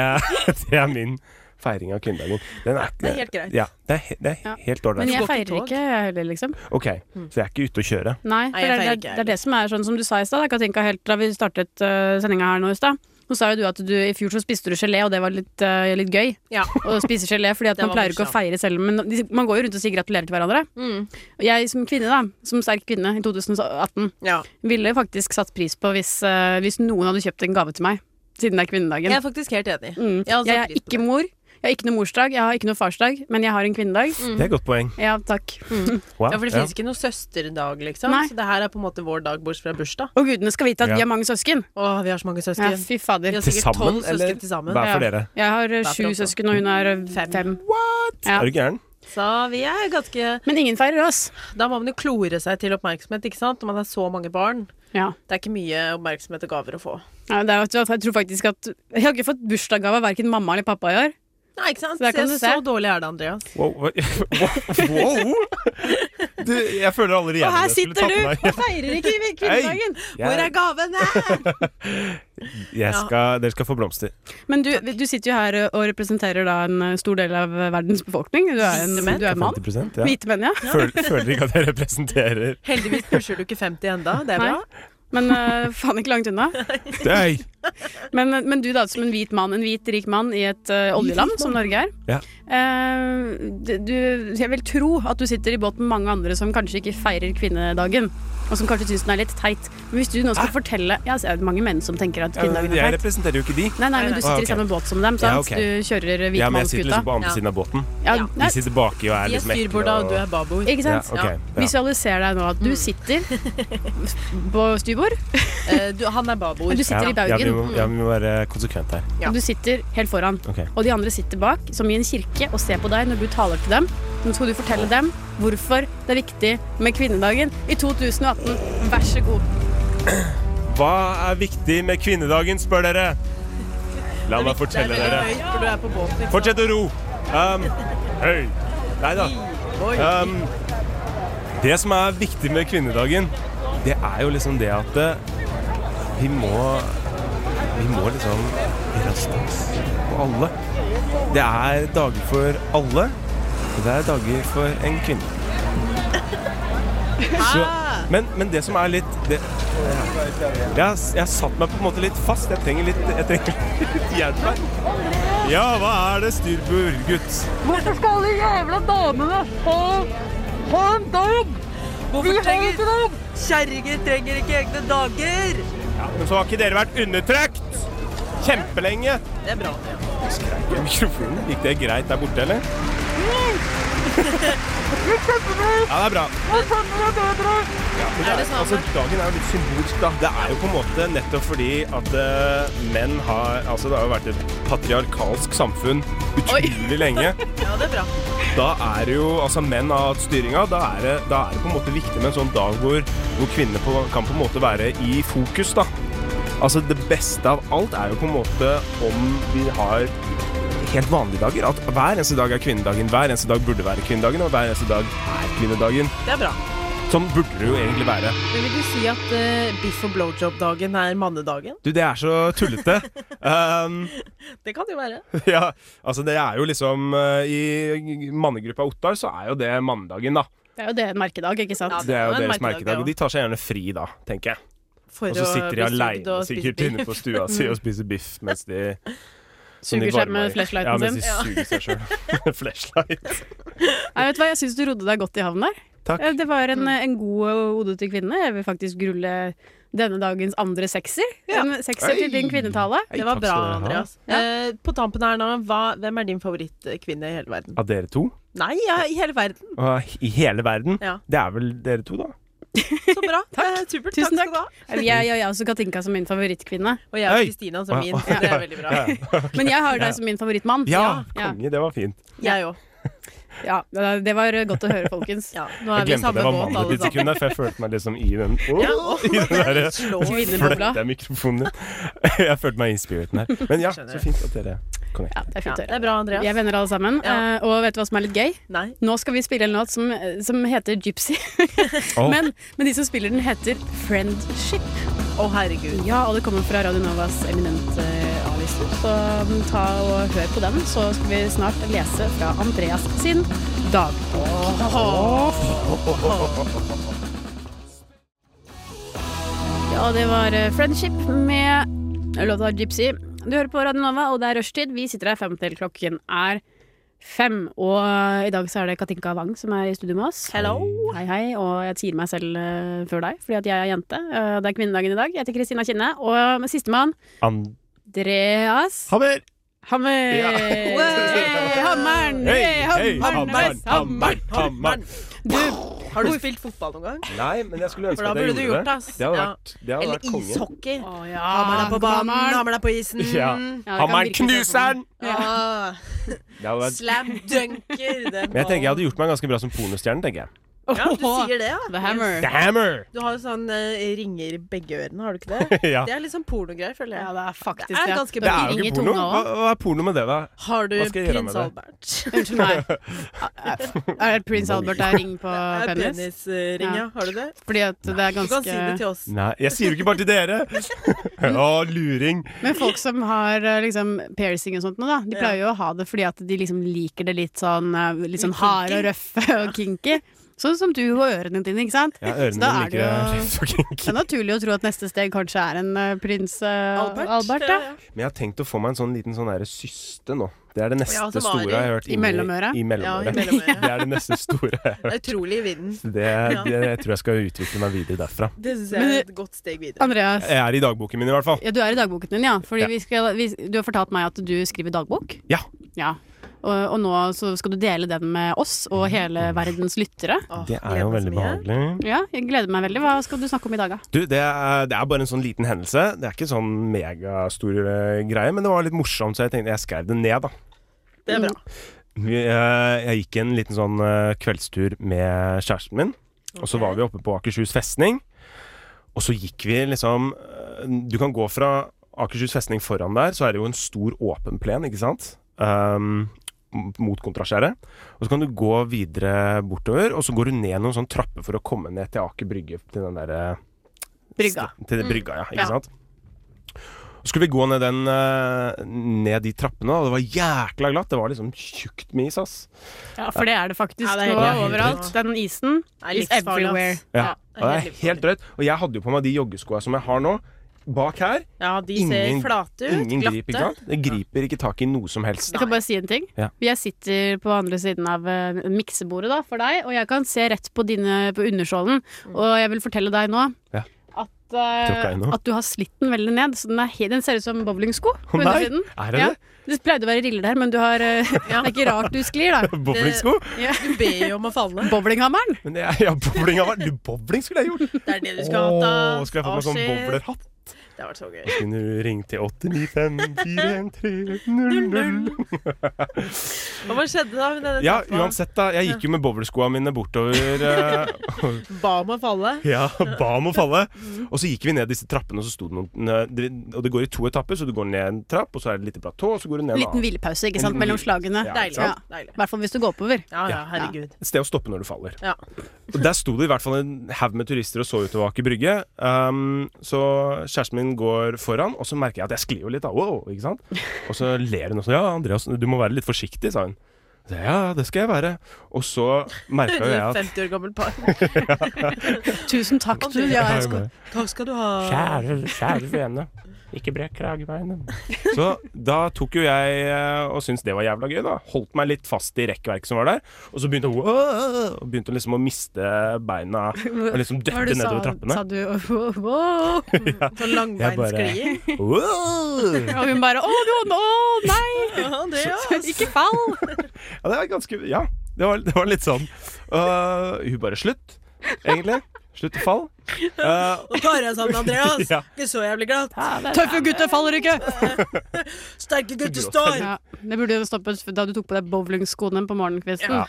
Speaker 4: det er *laughs* min feiring av kvinnedagen. Den er,
Speaker 3: Det er helt greit.
Speaker 4: Ja, det er, he- det er
Speaker 2: Ja.
Speaker 4: helt ålreit.
Speaker 2: Men jeg
Speaker 3: går ikke
Speaker 2: feirer
Speaker 3: tog.
Speaker 2: ikke, jeg heller, liksom.
Speaker 4: Ok,
Speaker 3: Mm.
Speaker 4: så jeg er ikke ute å kjøre.
Speaker 2: Nei,
Speaker 3: jeg
Speaker 2: for det,
Speaker 3: feirer ikke,
Speaker 2: er- det,
Speaker 3: jeg
Speaker 2: er- det er det som er sånn som du sa i stad, da, Katinka, helt da vi startet uh, sendinga her nå i stad. Så sa jo du at du i fjor så spiste du gelé, og det var litt, eh, litt gøy.
Speaker 3: Ja.
Speaker 2: *laughs* Å spise gelé, fordi at
Speaker 3: Det
Speaker 2: man
Speaker 3: var
Speaker 2: pleier ikke å
Speaker 3: morsomt. Mm.
Speaker 2: feire selv om men de- Man går jo rundt og sier gratulerer til hverandre. Og jeg som kvinne, da, som sterk kvinne i 2018,
Speaker 3: Ja.
Speaker 2: ville faktisk satt pris på hvis, eh, hvis noen hadde kjøpt en gave til meg, siden det er kvinnedagen.
Speaker 3: Jeg er faktisk helt enig.
Speaker 2: Mm.
Speaker 3: Jeg har også
Speaker 2: Jeg er
Speaker 3: pris på
Speaker 2: ikke
Speaker 3: det.
Speaker 2: mor. Jeg har ikke noe morsdag, jeg har ikke noe farsdag, men jeg har en kvinnedag.
Speaker 3: Mm.
Speaker 4: Det er et godt poeng.
Speaker 2: Ja, takk.
Speaker 4: Wow.
Speaker 3: Ja, for det
Speaker 4: ja.
Speaker 3: finnes ikke noe søsterdag, liksom.
Speaker 2: Nei.
Speaker 3: Så det her er på en måte vår dag, bortsett fra bursdag.
Speaker 2: *laughs* Og gudene skal vite at
Speaker 4: Ja.
Speaker 2: vi har mange søsken.
Speaker 3: Å, vi har så mange
Speaker 2: Ja,
Speaker 3: søsken. Vi
Speaker 2: fy fader.
Speaker 3: har
Speaker 4: Til
Speaker 3: sikkert
Speaker 4: sammen,
Speaker 3: tolv
Speaker 4: eller?
Speaker 3: søsken til sammen.
Speaker 4: Hver
Speaker 2: Ja.
Speaker 4: for dere.
Speaker 2: Jeg har eh,
Speaker 3: Hver for
Speaker 2: sju
Speaker 3: oss, da.
Speaker 2: søsken, og hun er eh,
Speaker 3: Fem.
Speaker 2: fem. Ja.
Speaker 4: Er du gæren?
Speaker 3: Så vi er ganske
Speaker 2: Men ingen feirer oss.
Speaker 3: Da må man jo klore seg til oppmerksomhet, ikke sant? Når man er så mange barn.
Speaker 2: Ja.
Speaker 3: Det er ikke mye oppmerksomhet og gaver å få.
Speaker 2: Ja, det er, jo- altså, jeg tror faktisk at Jeg har ikke fått bursdagsgave av verken mamma eller pappa i år.
Speaker 3: Nei, ikke sant?
Speaker 2: Så der kan
Speaker 3: Se,
Speaker 2: du se.
Speaker 3: Så dårlig er det, Andreas.
Speaker 4: Wow. hva- *laughs* wow. Du, jeg føler allerede
Speaker 2: Og her
Speaker 4: jeg skulle
Speaker 2: sitter
Speaker 4: tatt
Speaker 2: du
Speaker 4: med
Speaker 2: og feirer ikke kvinnedagen!
Speaker 3: Hvor er
Speaker 4: Jeg,
Speaker 3: gavene?
Speaker 4: jeg skal, dere skal få blomster.
Speaker 2: Men du, du sitter jo her eh, og representerer da en eh, stor del av verdens befolkning. Du er en
Speaker 3: Hvite menn.
Speaker 2: du er en mann.
Speaker 4: 50 ja.
Speaker 2: Hvite menn, ja.
Speaker 4: Føler, føler ikke at jeg representerer
Speaker 3: Heldigvis pusher du ikke 50 enda, det er
Speaker 2: Nei.
Speaker 3: bra.
Speaker 2: Men eh, faen ikke langt unna.
Speaker 4: Nei.
Speaker 2: Men, men du da, som en hvit mann, en hvit rik mann i et eh, oljeland som Norge er.
Speaker 4: Ja.
Speaker 2: Eh, d- du, jeg vil tro at du sitter i båt med mange andre som kanskje ikke feirer kvinnedagen. Og som kanskje syns den er litt teit. Men hvis du nå skal fortelle Ja, så er det mange menn som tenker at
Speaker 4: Ja, men
Speaker 2: kvinnedagen
Speaker 4: Ah! Eh, jeg
Speaker 2: er teit.
Speaker 4: representerer jo ikke de.
Speaker 2: Nei, nei, men du
Speaker 4: Ah,
Speaker 2: sitter
Speaker 4: ok.
Speaker 2: i samme båt som dem, sant?
Speaker 4: Ja, ok.
Speaker 2: Du kjører
Speaker 4: Ja, men jeg sitter
Speaker 2: hvitmannskuta.
Speaker 4: liksom på andre
Speaker 3: Ja.
Speaker 4: siden av båten.
Speaker 2: Ja,
Speaker 3: Ja.
Speaker 2: nei,
Speaker 4: De sitter baki og
Speaker 3: De
Speaker 4: er
Speaker 3: er
Speaker 4: liksom ekle.
Speaker 3: styrborda, og du er babord.
Speaker 2: ikke sant?
Speaker 4: Ja, Mm. ok,
Speaker 3: Ja.
Speaker 4: ja.
Speaker 2: Visualiser deg nå at du
Speaker 4: *laughs*
Speaker 2: sitter på styrbord,
Speaker 3: Eh, du, han er babord.
Speaker 2: og du sitter
Speaker 4: Ja,
Speaker 2: i
Speaker 4: ja, vi
Speaker 2: baugen.
Speaker 4: må, ja, vi må være konsekvent her.
Speaker 3: Ja.
Speaker 2: Og du sitter helt foran.
Speaker 4: Ok.
Speaker 2: Og de andre sitter bak, som i en kirke, og ser på deg når du taler til dem. Nå skal du fortelle dem hvorfor det er viktig med kvinnedagen i 2018. Vær så god.
Speaker 4: Hva er viktig med kvinnedagen, spør dere? La meg fortelle
Speaker 3: Det er
Speaker 4: dere.
Speaker 3: veldig høyt når du er på båten. ikke
Speaker 4: Fortsett å ro. Um, Høy. Nei da.
Speaker 3: sant? Oi.
Speaker 4: Um, det som er viktig med kvinnedagen, det er jo liksom det at eh, vi må Vi må liksom raste oss på alle. Det er dager for alle, og det er dager for en kvinne. Så, men, men det som er litt det, jeg, har- jeg har satt meg på en måte litt fast. Jeg trenger litt, jeg trenger litt *laughs* hjelp her. Ja, hva er det styr på, gutt?
Speaker 9: Hvorfor skal alle jævla damene ha, ha en dag? Vi
Speaker 3: Hvorfor
Speaker 9: har jo
Speaker 3: trenger
Speaker 9: ikke dag!
Speaker 3: kjerringer trenger ikke egne dager?
Speaker 4: Men så har ikke dere vært undertrykt kjempelenge.
Speaker 3: Det er bra. det.
Speaker 4: Skreik jeg i mikrofonen? Gikk det greit der borte, eller? Ja, det er bra.
Speaker 9: Jeg skjønner det bedre!
Speaker 4: Men det er, altså, dagen er jo litt symbolsk, da. Det er jo på en måte nettopp fordi at eh, menn har Altså, det har jo vært et patriarkalsk samfunn utrolig lenge.
Speaker 3: *laughs* Ja, det er bra.
Speaker 4: Da er det jo Altså, menn har hatt styringa. Da er det, da er det på en måte viktig med en sånn dag hvor, hvor kvinner på, kan på en måte være i fokus, da. Altså, det beste av alt er jo på en måte om vi har helt vanlige dager. At hver eneste dag er kvinnedagen. Hver eneste dag burde være kvinnedagen, og hver eneste dag er kvinnedagen.
Speaker 3: Det er bra.
Speaker 4: Sånn burde det jo egentlig være.
Speaker 3: Men vil du si at eh, biff og blowjob-dagen er mannedagen?
Speaker 4: Du, det er så
Speaker 3: *laughs*
Speaker 4: tullete. um,
Speaker 3: Det kan det jo være.
Speaker 4: ja, altså det er jo liksom eh, I mannegruppa Ottar så er jo det mandagen, da.
Speaker 2: Det er jo det en merkedag, ikke sant?
Speaker 3: Ja,
Speaker 4: Det er jo
Speaker 3: en
Speaker 4: deres
Speaker 3: merkedag,
Speaker 4: merkedag,
Speaker 3: ja.
Speaker 4: og de tar seg gjerne fri da, tenker jeg.
Speaker 3: For
Speaker 4: Og så
Speaker 3: å
Speaker 4: sitter de
Speaker 3: bli sugd
Speaker 4: aleine
Speaker 3: og spise
Speaker 4: sikkert
Speaker 3: biff.
Speaker 4: inne på stua si og spiser biff mens de som
Speaker 2: Suger
Speaker 4: de
Speaker 2: seg
Speaker 4: varmer
Speaker 2: med
Speaker 4: i.
Speaker 2: flashlighten
Speaker 4: ja, mens
Speaker 2: sin.
Speaker 4: de suger seg sjøl. *laughs* Flashlight.
Speaker 2: Nei, vet du hva, jeg syns du rodde deg godt i havn der.
Speaker 4: Takk.
Speaker 2: Eh, Det var en, en god eh, ode til kvinne. Jeg vil faktisk rulle denne dagens andre sekser.
Speaker 3: Ja.
Speaker 2: En sekser til din
Speaker 4: Ei.
Speaker 2: kvinnetale.
Speaker 3: Det var
Speaker 4: Takk
Speaker 3: bra,
Speaker 4: skal dere ha.
Speaker 3: Andreas. Eh, på tampen her nå, hva, hvem er din favorittkvinne i hele verden?
Speaker 4: Av dere to?
Speaker 3: Nei, ja, i hele verden.
Speaker 4: Og I hele verden?
Speaker 3: Ja.
Speaker 4: Det er vel dere to, da?
Speaker 3: Så *laughs* bra.
Speaker 2: Takk.
Speaker 3: Eh, supert.
Speaker 2: Tusen
Speaker 3: takk skal du ha.
Speaker 2: Jeg, jeg har også Katinka som min favorittkvinne.
Speaker 3: Og jeg og
Speaker 4: Hei.
Speaker 3: Kristina som
Speaker 4: Å,
Speaker 3: min,
Speaker 4: ja.
Speaker 3: så det er veldig bra.
Speaker 2: Men jeg har deg som min favorittmann.
Speaker 4: Ja,
Speaker 2: Ja.
Speaker 4: konge, det var fint.
Speaker 3: Jeg òg.
Speaker 2: Ja, det var godt å høre, folkens.
Speaker 3: *laughs* Ja, nå
Speaker 4: Jeg
Speaker 3: er vi i
Speaker 4: glemte
Speaker 3: samme
Speaker 4: det var
Speaker 3: båt,
Speaker 4: mannen
Speaker 3: alle
Speaker 4: ditt et sekund,
Speaker 3: sammen.
Speaker 4: der, for jeg følte meg liksom i den Åh,
Speaker 3: Ja, åh,
Speaker 4: I den
Speaker 3: *laughs*
Speaker 4: derre
Speaker 3: slår.
Speaker 2: Kvinnebobla.
Speaker 4: Flytter jeg mikrofonen din? *laughs* Jeg følte meg i spiriten her. Men ja,
Speaker 3: Skjønner.
Speaker 4: så fint at dere connecter.
Speaker 2: Ja, det er
Speaker 3: Ja,
Speaker 2: fint å
Speaker 3: det
Speaker 2: høre.
Speaker 3: er bra, Andreas.
Speaker 2: Vi er venner alle sammen.
Speaker 3: Ja.
Speaker 2: eh, Og vet du hva som er litt gøy?
Speaker 3: Nei.
Speaker 2: Nå skal vi spille en låt som, som heter Gypsy. *laughs*
Speaker 4: Åh,
Speaker 2: Men, men de som spiller den, heter Friendship.
Speaker 3: Å, herregud.
Speaker 2: Ja, og det kommer fra Radio Novas eminente A-lister. Så mm, ta og hør på den, så skal vi snart lese fra Andreas sin dagbok. Ja, det var eh, Friendship med låta Gypsy. Du hører på Radio Nova, og det er rushtid. Vi sitter her fem til klokken er fem. Og eh, i dag så er det Katinka Wang som er i studio med oss.
Speaker 3: Hello.
Speaker 2: Hei, hei. Og jeg sier meg selv eh, før deg, fordi at jeg er jente. Eh, det er kvinnedagen i dag. Jeg heter Kristina Kinne. Og sistemann,
Speaker 4: Andreas
Speaker 2: Andreas Hammer.
Speaker 4: Ja.
Speaker 2: Hey, hammeren!
Speaker 4: Hei,
Speaker 2: Hey,
Speaker 4: hei, hammeren,
Speaker 2: hammeren!
Speaker 4: hammeren, hammeren.
Speaker 2: Du,
Speaker 3: Har du spilt fotball noen gang?
Speaker 4: Nei, men jeg skulle
Speaker 3: For
Speaker 4: ønske
Speaker 3: da
Speaker 4: at jeg
Speaker 3: burde du
Speaker 4: gjorde
Speaker 3: gjort det.
Speaker 4: det.
Speaker 3: ass.
Speaker 4: Det hadde
Speaker 3: Ja.
Speaker 4: vært, det hadde vært
Speaker 3: Eller
Speaker 4: konge.
Speaker 3: ishockey.
Speaker 2: å ja.
Speaker 3: Hammer deg på banen,
Speaker 2: Hammeren.
Speaker 3: hammer deg på isen.
Speaker 4: Ja.
Speaker 2: Ja, det kan
Speaker 4: Hammeren
Speaker 2: virke sånn.
Speaker 4: knuser den!
Speaker 3: Ah,
Speaker 4: Det hadde vært
Speaker 3: slam dunker. Den
Speaker 4: men jeg tenker jeg hadde gjort meg ganske bra som pornostjerne, tenker jeg.
Speaker 3: Ja, du sier det, ja.
Speaker 2: The hammer.
Speaker 4: The hammer!
Speaker 3: Du har jo sånn eh, ringer i begge ørene, har du
Speaker 4: *laughs*
Speaker 3: ikke det?
Speaker 4: Ja.
Speaker 3: Det er litt sånn pornogreier, føler jeg.
Speaker 2: Ja, det er faktisk
Speaker 3: Det er ganske
Speaker 4: Det
Speaker 3: bra.
Speaker 4: er jo
Speaker 2: Pirring i
Speaker 4: ikke porno.
Speaker 2: tunga
Speaker 4: Hva,
Speaker 2: også.
Speaker 4: hva er porno med det, da?
Speaker 3: Har du
Speaker 4: Hva skal jeg gjøre
Speaker 3: prins
Speaker 4: med det?
Speaker 3: Albert?
Speaker 2: Unnskyld meg.
Speaker 4: *laughs*
Speaker 2: Er det prins Albert det er ring
Speaker 3: *laughs*
Speaker 2: på
Speaker 3: Er
Speaker 2: penis?
Speaker 3: Penisring, ja.
Speaker 2: Ja.
Speaker 3: Har du det?
Speaker 2: Fordi at det er
Speaker 3: Du kan si det
Speaker 2: ganske
Speaker 3: til oss.
Speaker 4: Nei, jeg sier jo ikke bare til dere! *laughs* Å, luring.
Speaker 2: Men folk som har eh, liksom piercing og sånt nå, da, de pleier jo å ha det fordi at de liksom liker det litt sånn, eh, litt sånn hard og røff og kinky. Sånn som du og ørene dine, ikke sant?
Speaker 4: Ja,
Speaker 2: Så
Speaker 4: ørene
Speaker 2: da
Speaker 4: mine
Speaker 2: er det
Speaker 4: liker det *laughs*
Speaker 2: jo-
Speaker 4: rett og kinky.
Speaker 2: *laughs* Det er naturlig å tro at neste steg kanskje er en eh, prins eh, Albert, da.
Speaker 3: Ja, ja.
Speaker 4: Men jeg har tenkt å få meg en sånn liten sånn derre syste nå. Det er det neste
Speaker 3: Ja, som
Speaker 4: store jeg har hørt.
Speaker 2: I
Speaker 4: inni-
Speaker 2: mellomøret?
Speaker 3: Ja,
Speaker 4: I
Speaker 3: i
Speaker 4: mellomøret. *laughs*
Speaker 3: mellomøret.
Speaker 4: det er det neste store jeg har
Speaker 3: Det
Speaker 4: hørt.
Speaker 3: er utrolig i vinden.
Speaker 4: Det, det, jeg tror jeg skal utvikle meg videre derfra.
Speaker 3: Det syns
Speaker 2: Men
Speaker 3: jeg er
Speaker 2: det-
Speaker 3: et godt steg videre.
Speaker 2: Andreas,
Speaker 4: Jeg er i dagboken min i hvert fall.
Speaker 2: ja, du er i dagboken din, ja. Fordi
Speaker 4: Ja.
Speaker 2: vi skal, vi, du har fortalt meg at du skriver dagbok.
Speaker 4: Ja.
Speaker 2: Ja. Og, og nå så skal du dele den med oss og hele verdens lyttere.
Speaker 3: Åh,
Speaker 4: Det er
Speaker 3: gleder meg
Speaker 4: jo
Speaker 3: så
Speaker 4: veldig
Speaker 3: mye.
Speaker 4: behagelig.
Speaker 2: Ja, jeg gleder meg veldig. Hva skal du snakke om i dag, da?
Speaker 4: Du, det er, det er bare en sånn liten hendelse. Det er ikke sånn megastor eh, greie, men det var litt morsomt, så jeg tenkte jeg skrev det ned, da.
Speaker 3: Det er bra.
Speaker 4: Vi, eh, jeg gikk en liten sånn eh, kveldstur med kjæresten min, og så var vi oppe på Akershus festning. Og så gikk vi liksom eh, Du kan gå fra Akershus festning foran der, så er det jo en stor åpen plen, ikke sant? Um, mot Kontrasjæret. Og så kan du gå videre bortover, og så går du ned noen sånne trapper for å komme ned til Aker Brygge, til den derre
Speaker 2: Brygga.
Speaker 4: st- Til det brygga, ja.
Speaker 2: Ja.
Speaker 4: Ikke sant? Så skulle vi gå ned, den, eh, ned de trappene, og det var jækla glatt. Det var liksom tjukt med is, ass.
Speaker 2: Ja, for det er det faktisk
Speaker 3: Ja, det er
Speaker 2: nå
Speaker 3: helt-
Speaker 2: overalt. Den isen
Speaker 3: Det er
Speaker 2: is
Speaker 3: livsfarlig,
Speaker 2: everywhere.
Speaker 3: ass.
Speaker 4: Ja,
Speaker 3: Ja,
Speaker 4: og det er helt
Speaker 3: livsfarlig.
Speaker 4: drøyt. Og jeg hadde jo på meg de joggeskoa som jeg har nå. Bak her.
Speaker 3: Ja, de ser
Speaker 4: Ingen-
Speaker 3: flate ut.
Speaker 4: Ingen
Speaker 3: glatte.
Speaker 4: grip, ikke sant? Det griper ikke tak i noe som helst.
Speaker 2: Jeg kan bare si en ting.
Speaker 4: Ja.
Speaker 2: Jeg sitter på andre siden av eh, miksebordet da, for deg, og jeg kan se rett på, dine, på underskålen. Og jeg vil fortelle deg nå
Speaker 4: Ja.
Speaker 2: at, eh,
Speaker 4: Tråkka jeg nå?
Speaker 2: at du har slitt den veldig ned. Så den, er he den ser ut som bowlingsko på
Speaker 4: *laughs* Å, nei!
Speaker 2: undersiden.
Speaker 4: Er det
Speaker 2: Ja. Det pleide å være riller der, men du har, *laughs* eh, det er ikke rart du sklir, da.
Speaker 4: det? *laughs* Bowlingsko?
Speaker 2: *laughs*
Speaker 3: Du ber jo om å *laughs* falle.
Speaker 2: Bowlinghammeren!
Speaker 4: Men jeg, ja, bowling har vært Du, bowling skulle jeg gjort!
Speaker 3: Det er det du skal ha. da.
Speaker 4: Åh, skulle jeg fått
Speaker 3: Å,
Speaker 4: meg sånn
Speaker 3: shit.
Speaker 4: bowlerhatt?
Speaker 3: Det har vært så gøy.
Speaker 4: Kunne du ringt til 895413000?
Speaker 3: Og hva skjedde da med denne
Speaker 4: Ja,
Speaker 3: trappa?
Speaker 4: uansett, da. Jeg gikk jo med bowlerskoa mine bortover. eh,
Speaker 3: Ba om å falle.
Speaker 4: Ja, ba om å falle. Og så gikk vi ned disse trappene, og så sto det noen eh, Og det går i to etapper, så du går ned en trapp, og så er det et lite platå, og så går du ned en
Speaker 2: Liten
Speaker 4: annen.
Speaker 2: hvilepause, ikke
Speaker 4: En
Speaker 2: sant,
Speaker 4: liten
Speaker 2: mellom
Speaker 4: hvil-
Speaker 2: slagene.
Speaker 4: Ja,
Speaker 3: Deilig.
Speaker 4: ikke sant?
Speaker 3: Ja, deilig.
Speaker 2: I hvert fall hvis du går oppover.
Speaker 3: ja, ja herregud.
Speaker 4: Et sted å stoppe når du faller.
Speaker 3: Ja.
Speaker 4: Og Der sto det i hvert fall en haug med turister og så utover Aker Brygge. Um, så kjæresten min går foran, og så merker jeg at jeg sklir jo litt. Da. Wow, ikke sant? Og så ler hun og sånn. Ja, Andreas, du må være litt forsiktig, sa hun. Så jeg, ja, det skal jeg være. Og så merka jo jeg at
Speaker 3: 50 år gammel par.
Speaker 2: Tusen takk. Du, ja, jeg skal...
Speaker 3: Takk skal du ha.
Speaker 4: Kjære, kjære vene, ikke brekk kragebeinet. Så da tok jo jeg eh, og syntes det var jævla gøy, da. Holdt meg litt fast i rekkverket som var der. Og så begynte hun «Åh!» og begynte liksom å miste beina
Speaker 2: *laughs*
Speaker 4: og liksom
Speaker 2: Hva var det sånn du
Speaker 4: dette nedover trappene.
Speaker 2: Sa, sa du *laughs* wow, wow.
Speaker 3: Sånn
Speaker 4: Jeg bare-
Speaker 3: langbeinskli.
Speaker 4: Wow!
Speaker 2: Og hun bare Å, du, å nei! *laughs*
Speaker 3: Ja, det, ja.
Speaker 2: Ikke fall!
Speaker 4: Ja, det var ganske Ja, det var, det var litt sånn. Uh, hun bare Slutt, egentlig. Slutt å
Speaker 2: *laughs*
Speaker 4: falle. Uh,
Speaker 3: Nå tar jeg sammen, sånn, Andreas.
Speaker 4: *laughs*
Speaker 2: altså-
Speaker 4: Ja.
Speaker 3: Ikke så jævlig glatt.
Speaker 2: Tøffe gutter faller ikke!
Speaker 3: Sterke gutter står.
Speaker 2: Ja, det burde jo stoppet da du tok på deg bowlingskoene på morgenkvisten.
Speaker 4: ja,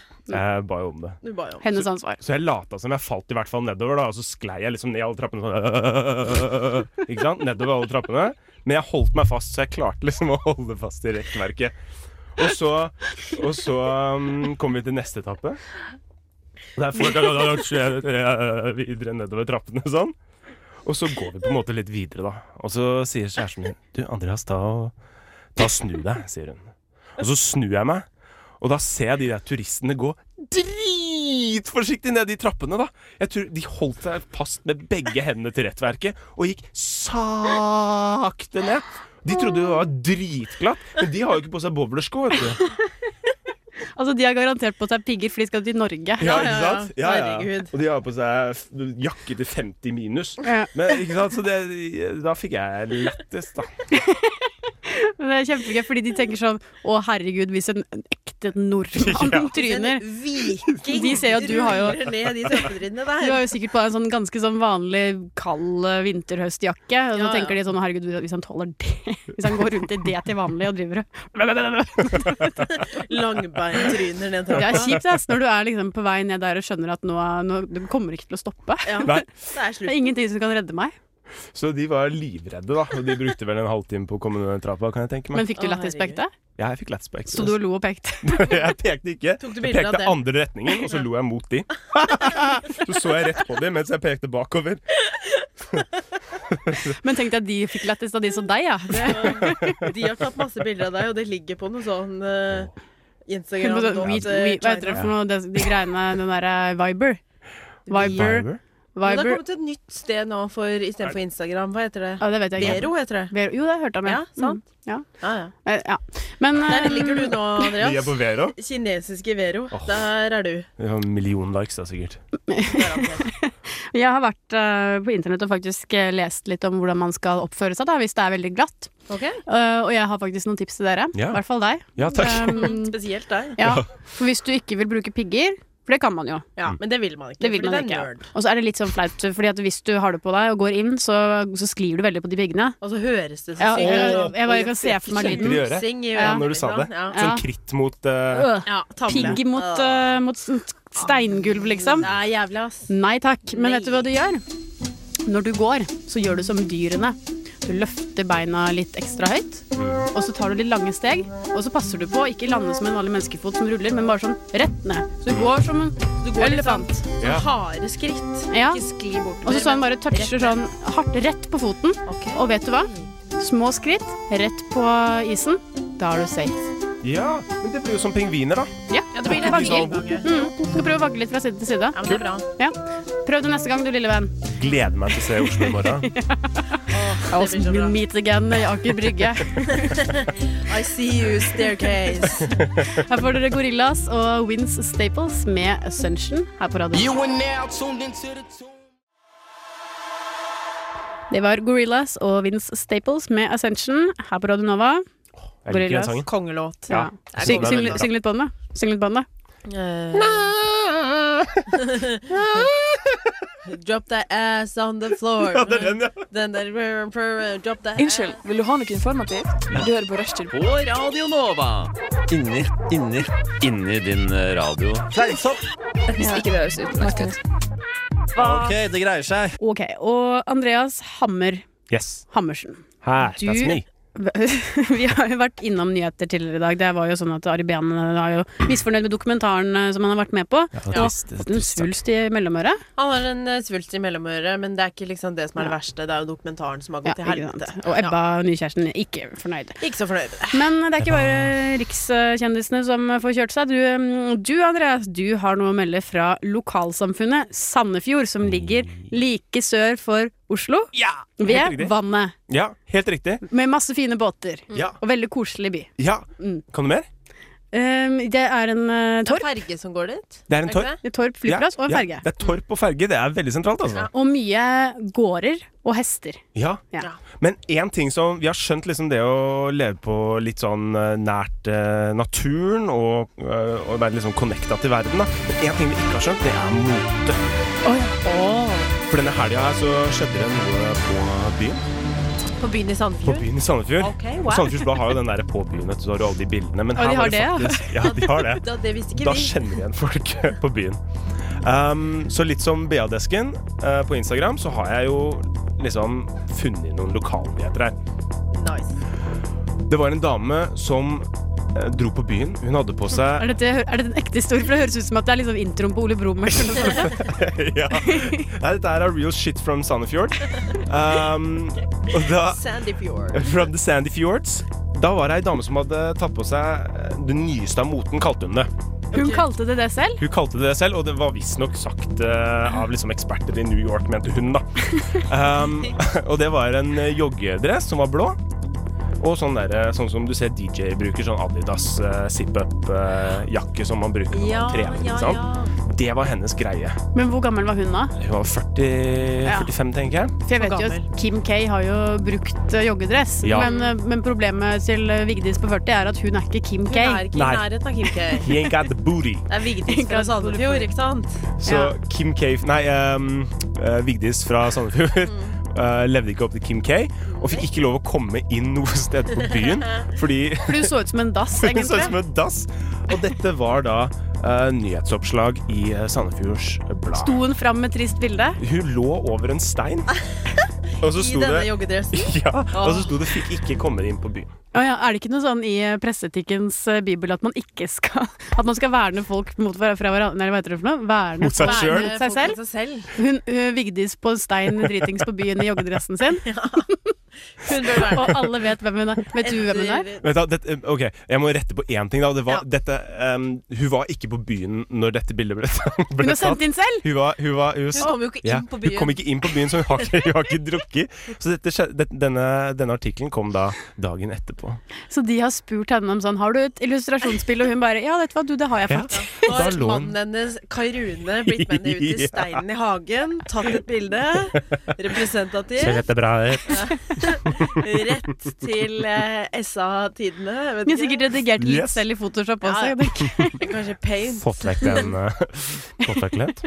Speaker 4: jeg ba jo om det.
Speaker 3: Du ba jo om.
Speaker 2: Hennes ansvar.
Speaker 4: Så jeg lata som jeg falt i hvert fall nedover, da, og så sklei jeg liksom ned alle trappene sånn *laughs* Ikke sant? Nedover alle trappene. Men jeg holdt meg fast, så jeg klarte liksom å holde fast i rekkverket. Og så, og så um, kom vi til neste etappe. Og Der folk har eh, videre nedover trappene og sånn. Og så går vi på en måte litt videre, da. Og så sier kjæresten min Du, Andreas, ta og ta og snu deg, sier hun. Og så snur jeg meg, og da ser jeg de der turistene gå dritforsiktig ned de trappene, da. Jeg tror De holdt seg fast med begge hendene til rettverket og gikk sakte ned. De trodde det var dritglatt, men de har jo ikke på seg bowlersko, vet du.
Speaker 2: Altså, De har garantert på seg pigger, for de skal til Norge.
Speaker 4: Ja,
Speaker 3: ja,
Speaker 4: ikke
Speaker 3: ja.
Speaker 4: sant? Ja, ja.
Speaker 3: Herregud.
Speaker 4: Og de har på seg f- jakke til 50 minus.
Speaker 2: Ja.
Speaker 4: Men ikke sant, så det, da fikk jeg lettest, da.
Speaker 2: Men Det er kjempegøy, fordi de tenker sånn Å, herregud, hvis en, en ekte nordmann
Speaker 4: *laughs* Ja.
Speaker 2: tryner
Speaker 3: En viking
Speaker 2: De ser jo at du har jo-
Speaker 3: ruller ned de trappetrinnene
Speaker 2: Du
Speaker 3: der.
Speaker 2: har jo sikkert på deg en sånn ganske sånn vanlig kald eh, vinterhøstjakke. Og så
Speaker 3: Ja, ja.
Speaker 2: tenker de sånn herregud, hvis han tåler det *laughs* Hvis han går rundt i det til vanlig og
Speaker 4: *laughs*
Speaker 2: driver og
Speaker 3: Langbeintryner ned
Speaker 2: *laughs* Det er
Speaker 3: trappa.
Speaker 2: kjipt ass, når du er liksom på vei ned der og skjønner at nå, nå du kommer ikke til å stoppe.
Speaker 3: Ja,
Speaker 4: Nei.
Speaker 3: det er
Speaker 2: Det
Speaker 3: slutt.
Speaker 2: er ingenting som kan redde meg.
Speaker 4: Så de var livredde, da. Og de brukte vel en halvtime på å komme ned den trappa, kan jeg tenke meg.
Speaker 2: Men fikk du
Speaker 3: Å,
Speaker 2: lættispekte?
Speaker 4: Ja, jeg fikk lettspekt.
Speaker 2: Så du og lo og pekte?
Speaker 4: *laughs* Jeg pekte ikke.
Speaker 3: Tok du
Speaker 4: Jeg
Speaker 3: bilder av
Speaker 4: pekte
Speaker 3: dem?
Speaker 4: andre retningen, og så lo jeg mot
Speaker 3: *laughs*
Speaker 4: de. Så så jeg rett på de mens jeg pekte bakover.
Speaker 2: Men tenkte jeg at de fikk lættis da de så
Speaker 3: *laughs*
Speaker 2: deg, ja. *laughs* Det,
Speaker 3: De har tatt masse bilder av deg, og det ligger på noe sånn eh, Instagram
Speaker 2: på sånn,
Speaker 3: dot,
Speaker 2: we,
Speaker 3: eh,
Speaker 2: we, hva heter det
Speaker 3: China.
Speaker 2: for noe, de, de greiene, den derre Viber? Viber,
Speaker 3: Men Det har
Speaker 2: Viber
Speaker 3: kommet et nytt sted nå for istedenfor Instagram. Hva heter det?
Speaker 2: Ja, det vet jeg ikke.
Speaker 3: Vero heter det.
Speaker 2: Vero. Jo, det hørte jeg om.
Speaker 3: Ja, sant?
Speaker 2: Mm, ja.
Speaker 3: Ja, ja.
Speaker 2: Eh, ja. Men
Speaker 3: Der
Speaker 2: eh,
Speaker 3: ligger du nå,
Speaker 4: Vi er
Speaker 3: Andreas.
Speaker 4: på Vero.
Speaker 3: Kinesiske Vero.
Speaker 4: Åh.
Speaker 3: Der er du.
Speaker 4: Vi har en million likes da, sikkert.
Speaker 3: garantert.
Speaker 2: Jeg har vært eh, på internett og faktisk eh, lest litt om hvordan man skal oppføre seg da, hvis det er veldig glatt.
Speaker 3: Ok?
Speaker 2: Eh, og jeg har faktisk noen tips til dere. I
Speaker 4: Ja.
Speaker 2: hvert fall
Speaker 3: *laughs*
Speaker 2: deg.
Speaker 4: Ja, *laughs* takk.
Speaker 2: Um,
Speaker 3: Spesielt deg.
Speaker 2: ja. For hvis du ikke vil bruke pigger, for det kan man jo,
Speaker 3: Ja,
Speaker 4: Mm.
Speaker 3: men det vil man ikke.
Speaker 2: Det vil
Speaker 3: fordi
Speaker 2: man
Speaker 3: det er
Speaker 2: ikke.
Speaker 3: nerd.
Speaker 2: og så er det litt sånn flaut, fordi at hvis du har det på deg og går inn, så, så sklir du veldig på de piggene.
Speaker 3: Og så høres det så
Speaker 2: Ja,
Speaker 3: sykt
Speaker 2: jeg,
Speaker 3: ut.
Speaker 2: jeg, bare kan se for meg
Speaker 4: Kjente
Speaker 2: lyden.
Speaker 4: de øret?
Speaker 3: Sing i
Speaker 4: Ja,
Speaker 3: øret. liksom.
Speaker 4: når du sa det.
Speaker 3: Ja.
Speaker 2: Ja.
Speaker 4: Sånn kritt mot eh,
Speaker 2: Øh,
Speaker 3: Ja, tavle.
Speaker 2: Pigg mot, eh, mot sånt steingulv, liksom.
Speaker 3: Det er jævlig, ass.
Speaker 2: Nei takk, men
Speaker 3: Nei.
Speaker 2: vet du hva du gjør? Når du går, så gjør du som dyrene. Du løfter beina litt ekstra høyt, og så tar du litt lange steg. Og så passer du på å ikke lande som en vanlig menneskefot som ruller, men bare sånn rett ned. Så du går som en
Speaker 3: Du går litt sånn,
Speaker 2: elefant.
Speaker 4: Ja.
Speaker 3: sånn harde skritt.
Speaker 2: Ja.
Speaker 3: Ikke skli bortover.
Speaker 2: Og så sånn
Speaker 3: men
Speaker 2: bare toucher
Speaker 3: rett
Speaker 2: sånn hardt rett på foten.
Speaker 3: ned. Ok.
Speaker 2: Og vet du hva? Små skritt rett på isen. Da er du safe.
Speaker 4: Ja, men det blir jo som pingviner, da.
Speaker 2: Ja,
Speaker 3: Ja, det blir litt
Speaker 2: Vagler.
Speaker 3: sånn. Ja,
Speaker 2: Mm, du skal prøve å vagle litt fra side til side.
Speaker 3: men det er bra.
Speaker 2: Ja. Prøv det neste gang, du lille venn.
Speaker 4: Gleder meg til å se Oslo i morgen.
Speaker 3: Åh, det blir så bra.
Speaker 2: Meet again i Aker Brygge.
Speaker 3: I see you,
Speaker 2: *laughs*
Speaker 3: staircase.
Speaker 2: Her får dere Gorillas og Wins Staples med Ascension her på radio.
Speaker 6: You are now tuned into the tune.
Speaker 2: Det var Gorillas og Wins Staples med Ascension her på Radio Nova.
Speaker 4: Jeg liker den
Speaker 2: Gorillas.
Speaker 4: sangen.
Speaker 3: Kongelåt.
Speaker 4: Ja.
Speaker 2: Syng, syng,
Speaker 4: den er veldig bra.
Speaker 2: syng litt på den, da. Syng litt på den, da.
Speaker 3: Eh, *laughs* Drop that ass on the floor.
Speaker 4: Ja, det er den, ja.
Speaker 3: Den der Drop that
Speaker 8: Unnskyld, vil du ha noe informativt? Du hører på Rushtid.
Speaker 5: På Radio Nova.
Speaker 10: Inni, inni.
Speaker 5: Inni din eh, radio.
Speaker 10: Fleipsopp!
Speaker 8: Hvis ikke det høres ut som Martin.
Speaker 10: Ok, det greier seg.
Speaker 2: Ok, og Andreas Hammer
Speaker 4: Yes.
Speaker 2: Hammersen. *laughs*
Speaker 4: Her,
Speaker 2: Du
Speaker 4: that's me.
Speaker 2: Vi har jo vært innom nyheter tidligere i dag. Det var jo sånn at Aribian var jo misfornøyd med dokumentaren eh, som han har vært med på.
Speaker 3: var
Speaker 2: og
Speaker 3: trist,
Speaker 2: fått en svulst i mellomøret.
Speaker 3: Han har en eh, svulst i mellomøret, men det er ikke liksom det som er det verste. Det er jo dokumentaren som har
Speaker 2: Ja,
Speaker 3: gått til
Speaker 2: ikke
Speaker 3: helvete.
Speaker 2: sant. Og Ebba, nykjæresten, ikke fornøyd.
Speaker 3: Ikke så fornøyd.
Speaker 2: Men det er ikke bare rikskjendisene som får kjørt seg. Du, mm, du Andreas, du har noe å melde fra lokalsamfunnet Sandefjord, som ligger like sør for Oslo.
Speaker 4: helt
Speaker 2: ved
Speaker 4: riktig.
Speaker 2: vannet.
Speaker 4: Ja, helt riktig.
Speaker 2: Med masse fine båter.
Speaker 4: Ja.
Speaker 2: Og veldig koselig by.
Speaker 4: Ja.
Speaker 2: Mm.
Speaker 4: Kan du mer?
Speaker 2: Um, det er en
Speaker 3: Det
Speaker 2: eh,
Speaker 3: er
Speaker 2: torp.
Speaker 3: ferge som går dit.
Speaker 4: Det er
Speaker 3: Er
Speaker 4: en
Speaker 3: ikke
Speaker 4: torp.
Speaker 2: En torp flyplass
Speaker 4: Ja,
Speaker 2: og en
Speaker 4: ja.
Speaker 2: ferge.
Speaker 4: Det er torp og ferge. Det er veldig sentralt, altså.
Speaker 2: Og mye gårder og hester.
Speaker 4: Ja.
Speaker 2: Ja.
Speaker 4: Men én ting som Vi har skjønt liksom det å leve på litt sånn eh, nært eh, naturen og, eh, og være litt sånn connecta til verden, da. Men én ting vi ikke har skjønt, det er mote. For denne helga her så skjedde det noe på byen.
Speaker 3: På byen i
Speaker 4: På
Speaker 3: Sandefjord.
Speaker 4: byen i Sandefjord.
Speaker 3: Ok, wow.
Speaker 4: Og Sandefjords Blad har jo den der på byen, vet du, så har du alle de bildene. Men
Speaker 2: Og de
Speaker 4: her
Speaker 2: har
Speaker 4: var det
Speaker 2: det, ja.
Speaker 4: faktisk Ja, de har det.
Speaker 3: Da, det visste ikke
Speaker 4: Da
Speaker 3: vi.
Speaker 4: kjenner vi igjen folk *laughs* på byen. Um, så litt som BA-desken eh, på Instagram, så har jeg jo liksom funnet noen lokalnyheter her.
Speaker 3: Nice.
Speaker 4: Det var en dame som eh, dro på byen. Hun hadde på seg
Speaker 2: Er dette, er dette en ekte historie? For det høres ut som at det er liksom introen på Ole Brumm.
Speaker 4: *laughs* ja. Nei, dette her er real shit from Sandefjord. Um, og da
Speaker 3: Sandefjord.
Speaker 4: From the Sandy Fjords. Da var det ei dame som hadde tatt på seg eh, det nyeste av moten, kalte hun det.
Speaker 2: Hun kalte det det selv.
Speaker 4: Hun kalte det det selv, og det var visstnok sagt eh, av liksom eksperter i New York, mente hun, da.
Speaker 3: *laughs*
Speaker 4: Um, *laughs* og det var en eh, joggedress som var blå. Og sånn, der, eh, sånn som du ser DJ bruker, sånn Adidas eh, zip-up-jakke som man bruker når
Speaker 3: Ja,
Speaker 4: man trener.
Speaker 3: ja,
Speaker 4: ikke
Speaker 3: ja.
Speaker 4: sant? Det var hennes greie.
Speaker 2: Men hvor gammel var hun da?
Speaker 4: Hun var 40,
Speaker 2: Ja.
Speaker 4: 45, tenker jeg.
Speaker 2: For jeg
Speaker 3: For
Speaker 2: vet jo at
Speaker 3: gammel.
Speaker 2: Kim K har jo brukt eh, joggedress,
Speaker 4: Ja.
Speaker 2: men, eh, men problemet til eh, Vigdis på 40 er at hun er ikke Kim
Speaker 3: Hun
Speaker 2: K.
Speaker 3: er ikke i
Speaker 4: Nei.
Speaker 3: nærheten av Kim K.
Speaker 4: He ain't got the
Speaker 3: *laughs*
Speaker 4: booty.
Speaker 3: Det er
Speaker 2: *laughs*
Speaker 3: Vigdis fra Sandefjord, ikke sant?
Speaker 4: Så
Speaker 2: Ja.
Speaker 4: Kim K Nei, ehm, eh, Vigdis fra Sandefjord
Speaker 3: Mm.
Speaker 4: *laughs* eh, levde ikke opp til Kim K. Og fikk ikke lov å komme inn noe sted på
Speaker 3: *laughs*
Speaker 4: byen fordi
Speaker 2: For hun så ut som en dass,
Speaker 4: *laughs* hun så ut som
Speaker 2: egentlig.
Speaker 4: en dass. Og dette var da eh, nyhetsoppslag i eh, Sandefjords Blad.
Speaker 2: Sto hun fram med trist bilde?
Speaker 4: Hun lå over en
Speaker 3: *laughs*
Speaker 4: stein, og så
Speaker 3: I
Speaker 4: sto
Speaker 3: denne
Speaker 4: det
Speaker 3: joggedressen.
Speaker 4: *laughs* ja, og så sto det 'fikk ikke komme inn på byen'.
Speaker 2: Å ja, er det ikke noe sånn i eh, presseetikkens eh, bibel at man ikke skal *laughs* At man skal verne folk mot hver- fra hverandre Eller hva heter det for noe? Verne
Speaker 4: Mot seg
Speaker 2: folk
Speaker 4: selv.
Speaker 2: mot seg selv.
Speaker 3: Eh, Folk mot seg selv. *laughs*
Speaker 2: Hun eh, Vigdis på en stein dritings på byen i joggedressen sin,
Speaker 3: *laughs* Hun bør være
Speaker 2: og alle vet hvem hun er. Vet *laughs* du hvem hun er?
Speaker 3: Etter-
Speaker 4: Vet du, hva, dette, ok, Jeg må rette på én ting. da det var,
Speaker 3: Ja.
Speaker 4: dette, ehm, Hun var ikke på byen når dette bildet ble, ble
Speaker 2: Hun har
Speaker 4: tatt.
Speaker 2: sendt inn selv!
Speaker 4: Hun, var, hun, var, hun,
Speaker 3: Hun kom jo ikke
Speaker 4: Ja,
Speaker 3: inn på
Speaker 4: Hun kom
Speaker 3: byen.
Speaker 4: ikke inn på byen, så hun har ikke, hun har ikke drukket. Så dette, skje- det- denne, denne artikkelen kom da dagen etterpå.
Speaker 2: Så de har spurt henne om sånn Har du et illustrasjonsbilde? Og hun bare Ja, vet du hva, du, det har jeg
Speaker 4: Ja.
Speaker 2: fått.
Speaker 3: Og
Speaker 4: Da lå
Speaker 3: mannen hennes, Kai Rune, blitt med henne ut i
Speaker 4: *laughs* Ja.
Speaker 3: steinen i hagen, tatt et bilde,
Speaker 4: *laughs*
Speaker 3: representativ,
Speaker 4: dette bra ut?
Speaker 3: rett til eh, SA-tidene. jeg vet
Speaker 2: Hun
Speaker 3: ikke.
Speaker 2: har sikkert redigert litt
Speaker 4: Yes.
Speaker 2: selv i Photoshop
Speaker 3: Ja,
Speaker 2: også.
Speaker 3: ja.
Speaker 2: jeg tenker.
Speaker 3: Kanskje paint.
Speaker 4: Fått vekk
Speaker 3: *laughs*
Speaker 4: den eh, Fått vekk litt.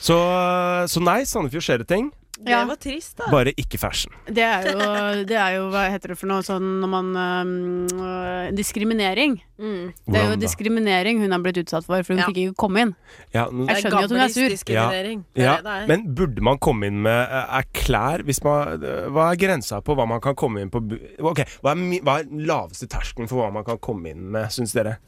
Speaker 4: Så, eh, så nei, Sandefjord skjer det ting.
Speaker 3: Det
Speaker 2: Ja.
Speaker 3: var trist, da.
Speaker 4: Bare ikke fashion.
Speaker 2: Det er jo, det er jo hva heter det for noe sånn når man øhm, øh, Diskriminering. Det er jo
Speaker 4: Hvordan da?
Speaker 2: diskriminering hun har blitt utsatt for, for hun
Speaker 3: Ja.
Speaker 2: fikk ikke komme inn.
Speaker 4: Ja, nå-
Speaker 2: Jeg skjønner jo at hun er sur.
Speaker 3: Gammeldisdiskriminering. Det er
Speaker 4: ja,
Speaker 3: det det er.
Speaker 4: men burde man komme inn med eh, er klær hvis man, eh, Hva er grensa på hva man kan komme inn på bu- Ok, hva er, mi- hva er den laveste terskelen for hva man kan komme inn med, syns dere?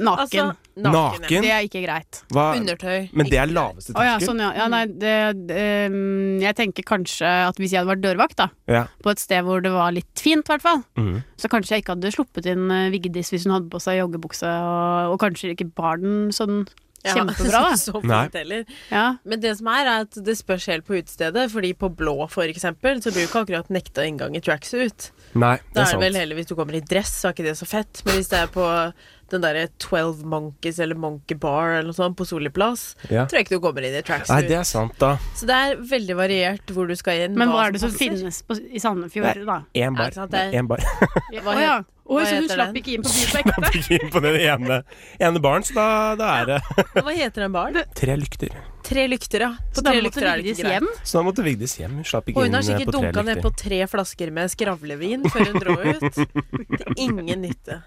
Speaker 2: Naken.
Speaker 3: Altså, nakne.
Speaker 2: det er ikke greit.
Speaker 4: Hva,
Speaker 3: Undertøy.
Speaker 4: men det er laveste
Speaker 2: Å ja,
Speaker 4: terskel?
Speaker 2: sånn ja. ja nei, det, øhm, jeg tenker kanskje at hvis jeg hadde vært dørvakt, da,
Speaker 4: Ja.
Speaker 2: på et sted hvor det var litt fint, i hvert fall,
Speaker 4: Mhm.
Speaker 2: så kanskje jeg ikke hadde sluppet inn eh, Vigdis hvis hun hadde på seg joggebukse, og, og kanskje ikke bar den sånn
Speaker 3: Ja,
Speaker 2: kjempebra, da.
Speaker 3: *laughs* Så
Speaker 4: Nei.
Speaker 3: fint heller.
Speaker 2: Ja.
Speaker 3: Men det som er, er at det spørs helt på utestedet. Fordi på blå, for eksempel, så blir du ikke akkurat nekta inngang i tracksuit.
Speaker 4: Nei, det
Speaker 3: Da er
Speaker 4: er
Speaker 3: det
Speaker 4: sant.
Speaker 3: vel heller hvis du kommer i dress, så er ikke det så fett. Men hvis det er på den derre Twelve Monkeys eller Monkey Bar eller noe sånt på Soli plass,
Speaker 4: Ja.
Speaker 3: tror jeg ikke du kommer inn i
Speaker 4: Nei,
Speaker 3: tracksuit.
Speaker 4: det er sant, da.
Speaker 3: Så det er veldig variert hvor du skal inn.
Speaker 2: Men hva er det som
Speaker 3: passer.
Speaker 2: finnes på, i
Speaker 4: Nei.
Speaker 2: Sandefjord, da?
Speaker 3: Ja,
Speaker 4: Én bar.
Speaker 3: ikke sant, det er-
Speaker 4: En bar. *laughs*
Speaker 2: Å ja.
Speaker 3: het-
Speaker 2: Oi,
Speaker 3: hva
Speaker 2: så hun
Speaker 3: heter
Speaker 2: slapp
Speaker 3: den?
Speaker 2: ikke inn på byen på ekte?
Speaker 3: *laughs*
Speaker 4: Ikke inn på den ene, ene baren, så da, da er det *laughs*
Speaker 3: Hva heter den baren?
Speaker 4: tre lykter.
Speaker 3: Tre lykter, ja. På
Speaker 2: Så da
Speaker 3: tre
Speaker 2: måtte
Speaker 3: lykter er det
Speaker 2: Vigdis
Speaker 3: ikke greit.
Speaker 2: hjem?
Speaker 4: Så da måtte Vigdis hjem. Hun slapp ikke
Speaker 3: Og hun
Speaker 4: inn
Speaker 3: har
Speaker 4: eh,
Speaker 3: sikkert
Speaker 4: på tre
Speaker 3: dunka ned på
Speaker 4: lykter.
Speaker 3: tre flasker med skravlevin før hun dro *laughs* ut. Til ingen nytte.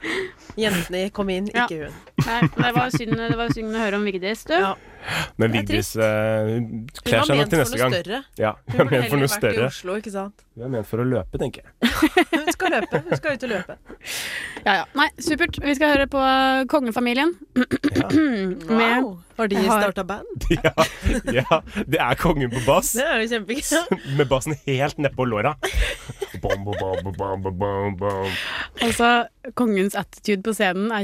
Speaker 3: Jentene kom inn,
Speaker 2: Ja.
Speaker 3: ikke hun.
Speaker 2: Nei, det var synd, det var synd å høre om Vigdis, du.
Speaker 3: Ja.
Speaker 4: Men Vigdis eh, hun
Speaker 3: Hun
Speaker 4: kler
Speaker 3: var
Speaker 4: seg nok
Speaker 3: ment
Speaker 4: til
Speaker 3: for
Speaker 4: neste
Speaker 3: noe
Speaker 4: gang.
Speaker 3: større.
Speaker 4: Ja,
Speaker 3: Hun
Speaker 4: hun er
Speaker 3: burde
Speaker 4: ment for
Speaker 3: heller
Speaker 4: noe
Speaker 3: vært i
Speaker 4: større.
Speaker 3: Oslo, ikke sant?
Speaker 4: Hun er ment for å løpe, tenker jeg. *laughs*
Speaker 3: Hun skal løpe. Hun skal ut og løpe.
Speaker 2: Ja, ja. Nei, supert. Vi skal høre på eh, kongefamilien. *clears throat* Med
Speaker 3: Wow. Har de
Speaker 2: Jeg har-
Speaker 3: starta band?
Speaker 4: Ja, ja, det er kongen på bass.
Speaker 3: Det er jo kjempegøy.
Speaker 4: *laughs* Med bassen helt nedpå låra. Bom, bom, bom, bom, bom, bom, bom.
Speaker 2: Altså, kongens attitude på scenen er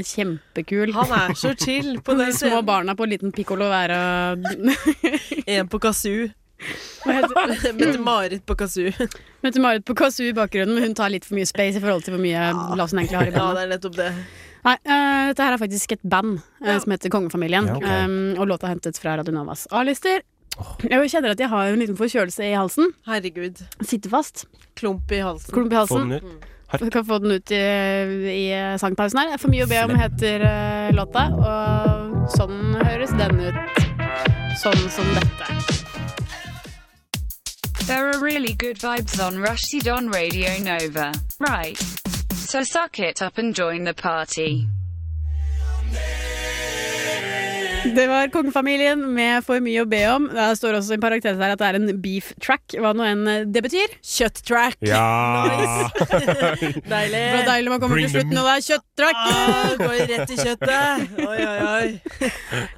Speaker 3: *laughs*
Speaker 2: kjempekul.
Speaker 3: Han er så chill på *laughs*
Speaker 2: De
Speaker 3: den
Speaker 2: små
Speaker 3: scenen.
Speaker 2: barna på en liten pikkolo være *laughs*
Speaker 3: En på kazoo. *laughs* Mette-Marit på kazoo.
Speaker 2: Mette-Marit på KSU i bakgrunnen, men hun tar litt for mye space i forhold til hvor mye Lavsen egentlig har i
Speaker 3: Ja,
Speaker 2: bandet.
Speaker 3: det er nettopp det.
Speaker 2: Nei, eh, dette her er faktisk et band eh, som heter Kongefamilien,
Speaker 4: Ja, ok.
Speaker 2: eh, og låta er hentet fra Radio Novas A-lister. Jeg kjenner at jeg har en liten forkjølelse i halsen.
Speaker 3: Herregud.
Speaker 2: Sitter fast.
Speaker 3: Klump i halsen.
Speaker 2: Klump i
Speaker 4: Få
Speaker 2: halsen.
Speaker 4: den ut.
Speaker 3: Mm.
Speaker 2: Du kan få den ut i, i eh, sangpausen her. Det er For mye å be om heter eh, låta, og sånn høres den ut. Sånn som dette.
Speaker 11: There are really good vibes on Rushdie on Radio Nova. Right. So suck it up and join the party.
Speaker 2: Det var Kongefamilien med For mye å be om. Det står også i parentes her at det er en beef track, hva nå enn eh, det betyr.
Speaker 3: Kjøtttrack.
Speaker 4: Ja! *laughs*
Speaker 3: Deilig.
Speaker 2: Det var deilig man kommer
Speaker 4: Bring
Speaker 2: til
Speaker 4: the
Speaker 2: slutten, og det er kjøtttrack!
Speaker 3: Ah, går rett i kjøttet. Oi, oi, oi.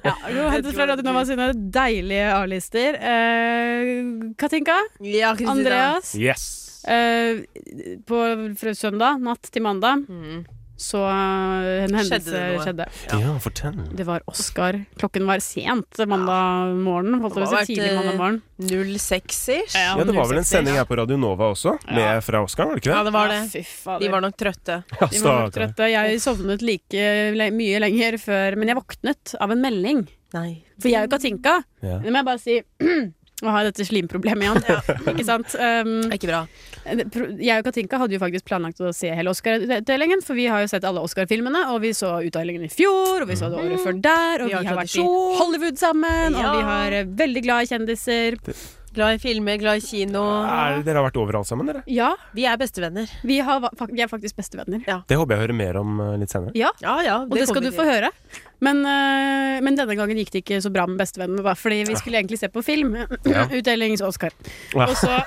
Speaker 2: Ja, vi må hente fra Radio Nova sine deilige A-lister. Eh, Katinka,
Speaker 3: Ja, Kristina.
Speaker 2: Andreas
Speaker 4: Yes.
Speaker 2: eh, På fra søndag natt til mandag
Speaker 3: Mm.
Speaker 2: så eh, en hendelse
Speaker 3: Skjedde det noe?
Speaker 2: skjedde.
Speaker 4: Ja, fortell.
Speaker 2: Det var Oscar. Klokken var sent mandag morgen. Holdt
Speaker 3: Det
Speaker 2: jeg på
Speaker 3: har
Speaker 2: å si
Speaker 3: vært,
Speaker 2: tidlig mandag morgen.
Speaker 3: Null sexy-ish.
Speaker 4: Ja, det var vel en
Speaker 2: 06.
Speaker 4: sending her på Radio Nova også, med fra Oskar, var det ikke
Speaker 3: Ja,
Speaker 4: det?
Speaker 3: det var det.
Speaker 2: Fy
Speaker 3: De
Speaker 2: fader.
Speaker 3: var nok trøtte.
Speaker 4: Ja,
Speaker 2: De var nok
Speaker 4: stakkar.
Speaker 2: trøtte. Jeg sovnet like le mye lenger før Men jeg våknet av en melding.
Speaker 3: Nei.
Speaker 2: For jeg og Katinka
Speaker 4: Ja.
Speaker 2: Det må jeg bare si. *clears throat* Nå har jeg dette slimproblemet igjen. *laughs* Ikke sant?
Speaker 3: Det
Speaker 2: Um,
Speaker 3: er ikke bra.
Speaker 2: det- pro- jeg og Katinka hadde jo faktisk planlagt å se hele Oscar-utdelingen, for vi har jo sett alle Oscar-filmene, og vi så utdelingen i fjor, og vi så det året før der, og
Speaker 3: Vi
Speaker 2: vi
Speaker 3: har
Speaker 2: har, vært i
Speaker 3: tradisjon.
Speaker 2: Hollywood sammen, og
Speaker 3: Ja.
Speaker 2: vi har eh, veldig glad i kjendiser.
Speaker 3: Glad i filmer, glad i kino.
Speaker 4: Er, dere har vært overalt sammen, dere?
Speaker 2: Ja,
Speaker 3: Vi er bestevenner.
Speaker 2: vi, har, va- fak- vi er faktisk bestevenner.
Speaker 4: Det håper jeg hører mer om eh, litt senere.
Speaker 3: Ja, ja.
Speaker 2: Og det skal du få høre. Men, øh, men denne gangen gikk det ikke så bra med bestevennene, da, fordi vi skulle egentlig se på film. *clears throat*
Speaker 4: Ja.
Speaker 2: Utdelings-Oscar.
Speaker 4: Ja.
Speaker 2: Og
Speaker 3: *laughs*
Speaker 2: så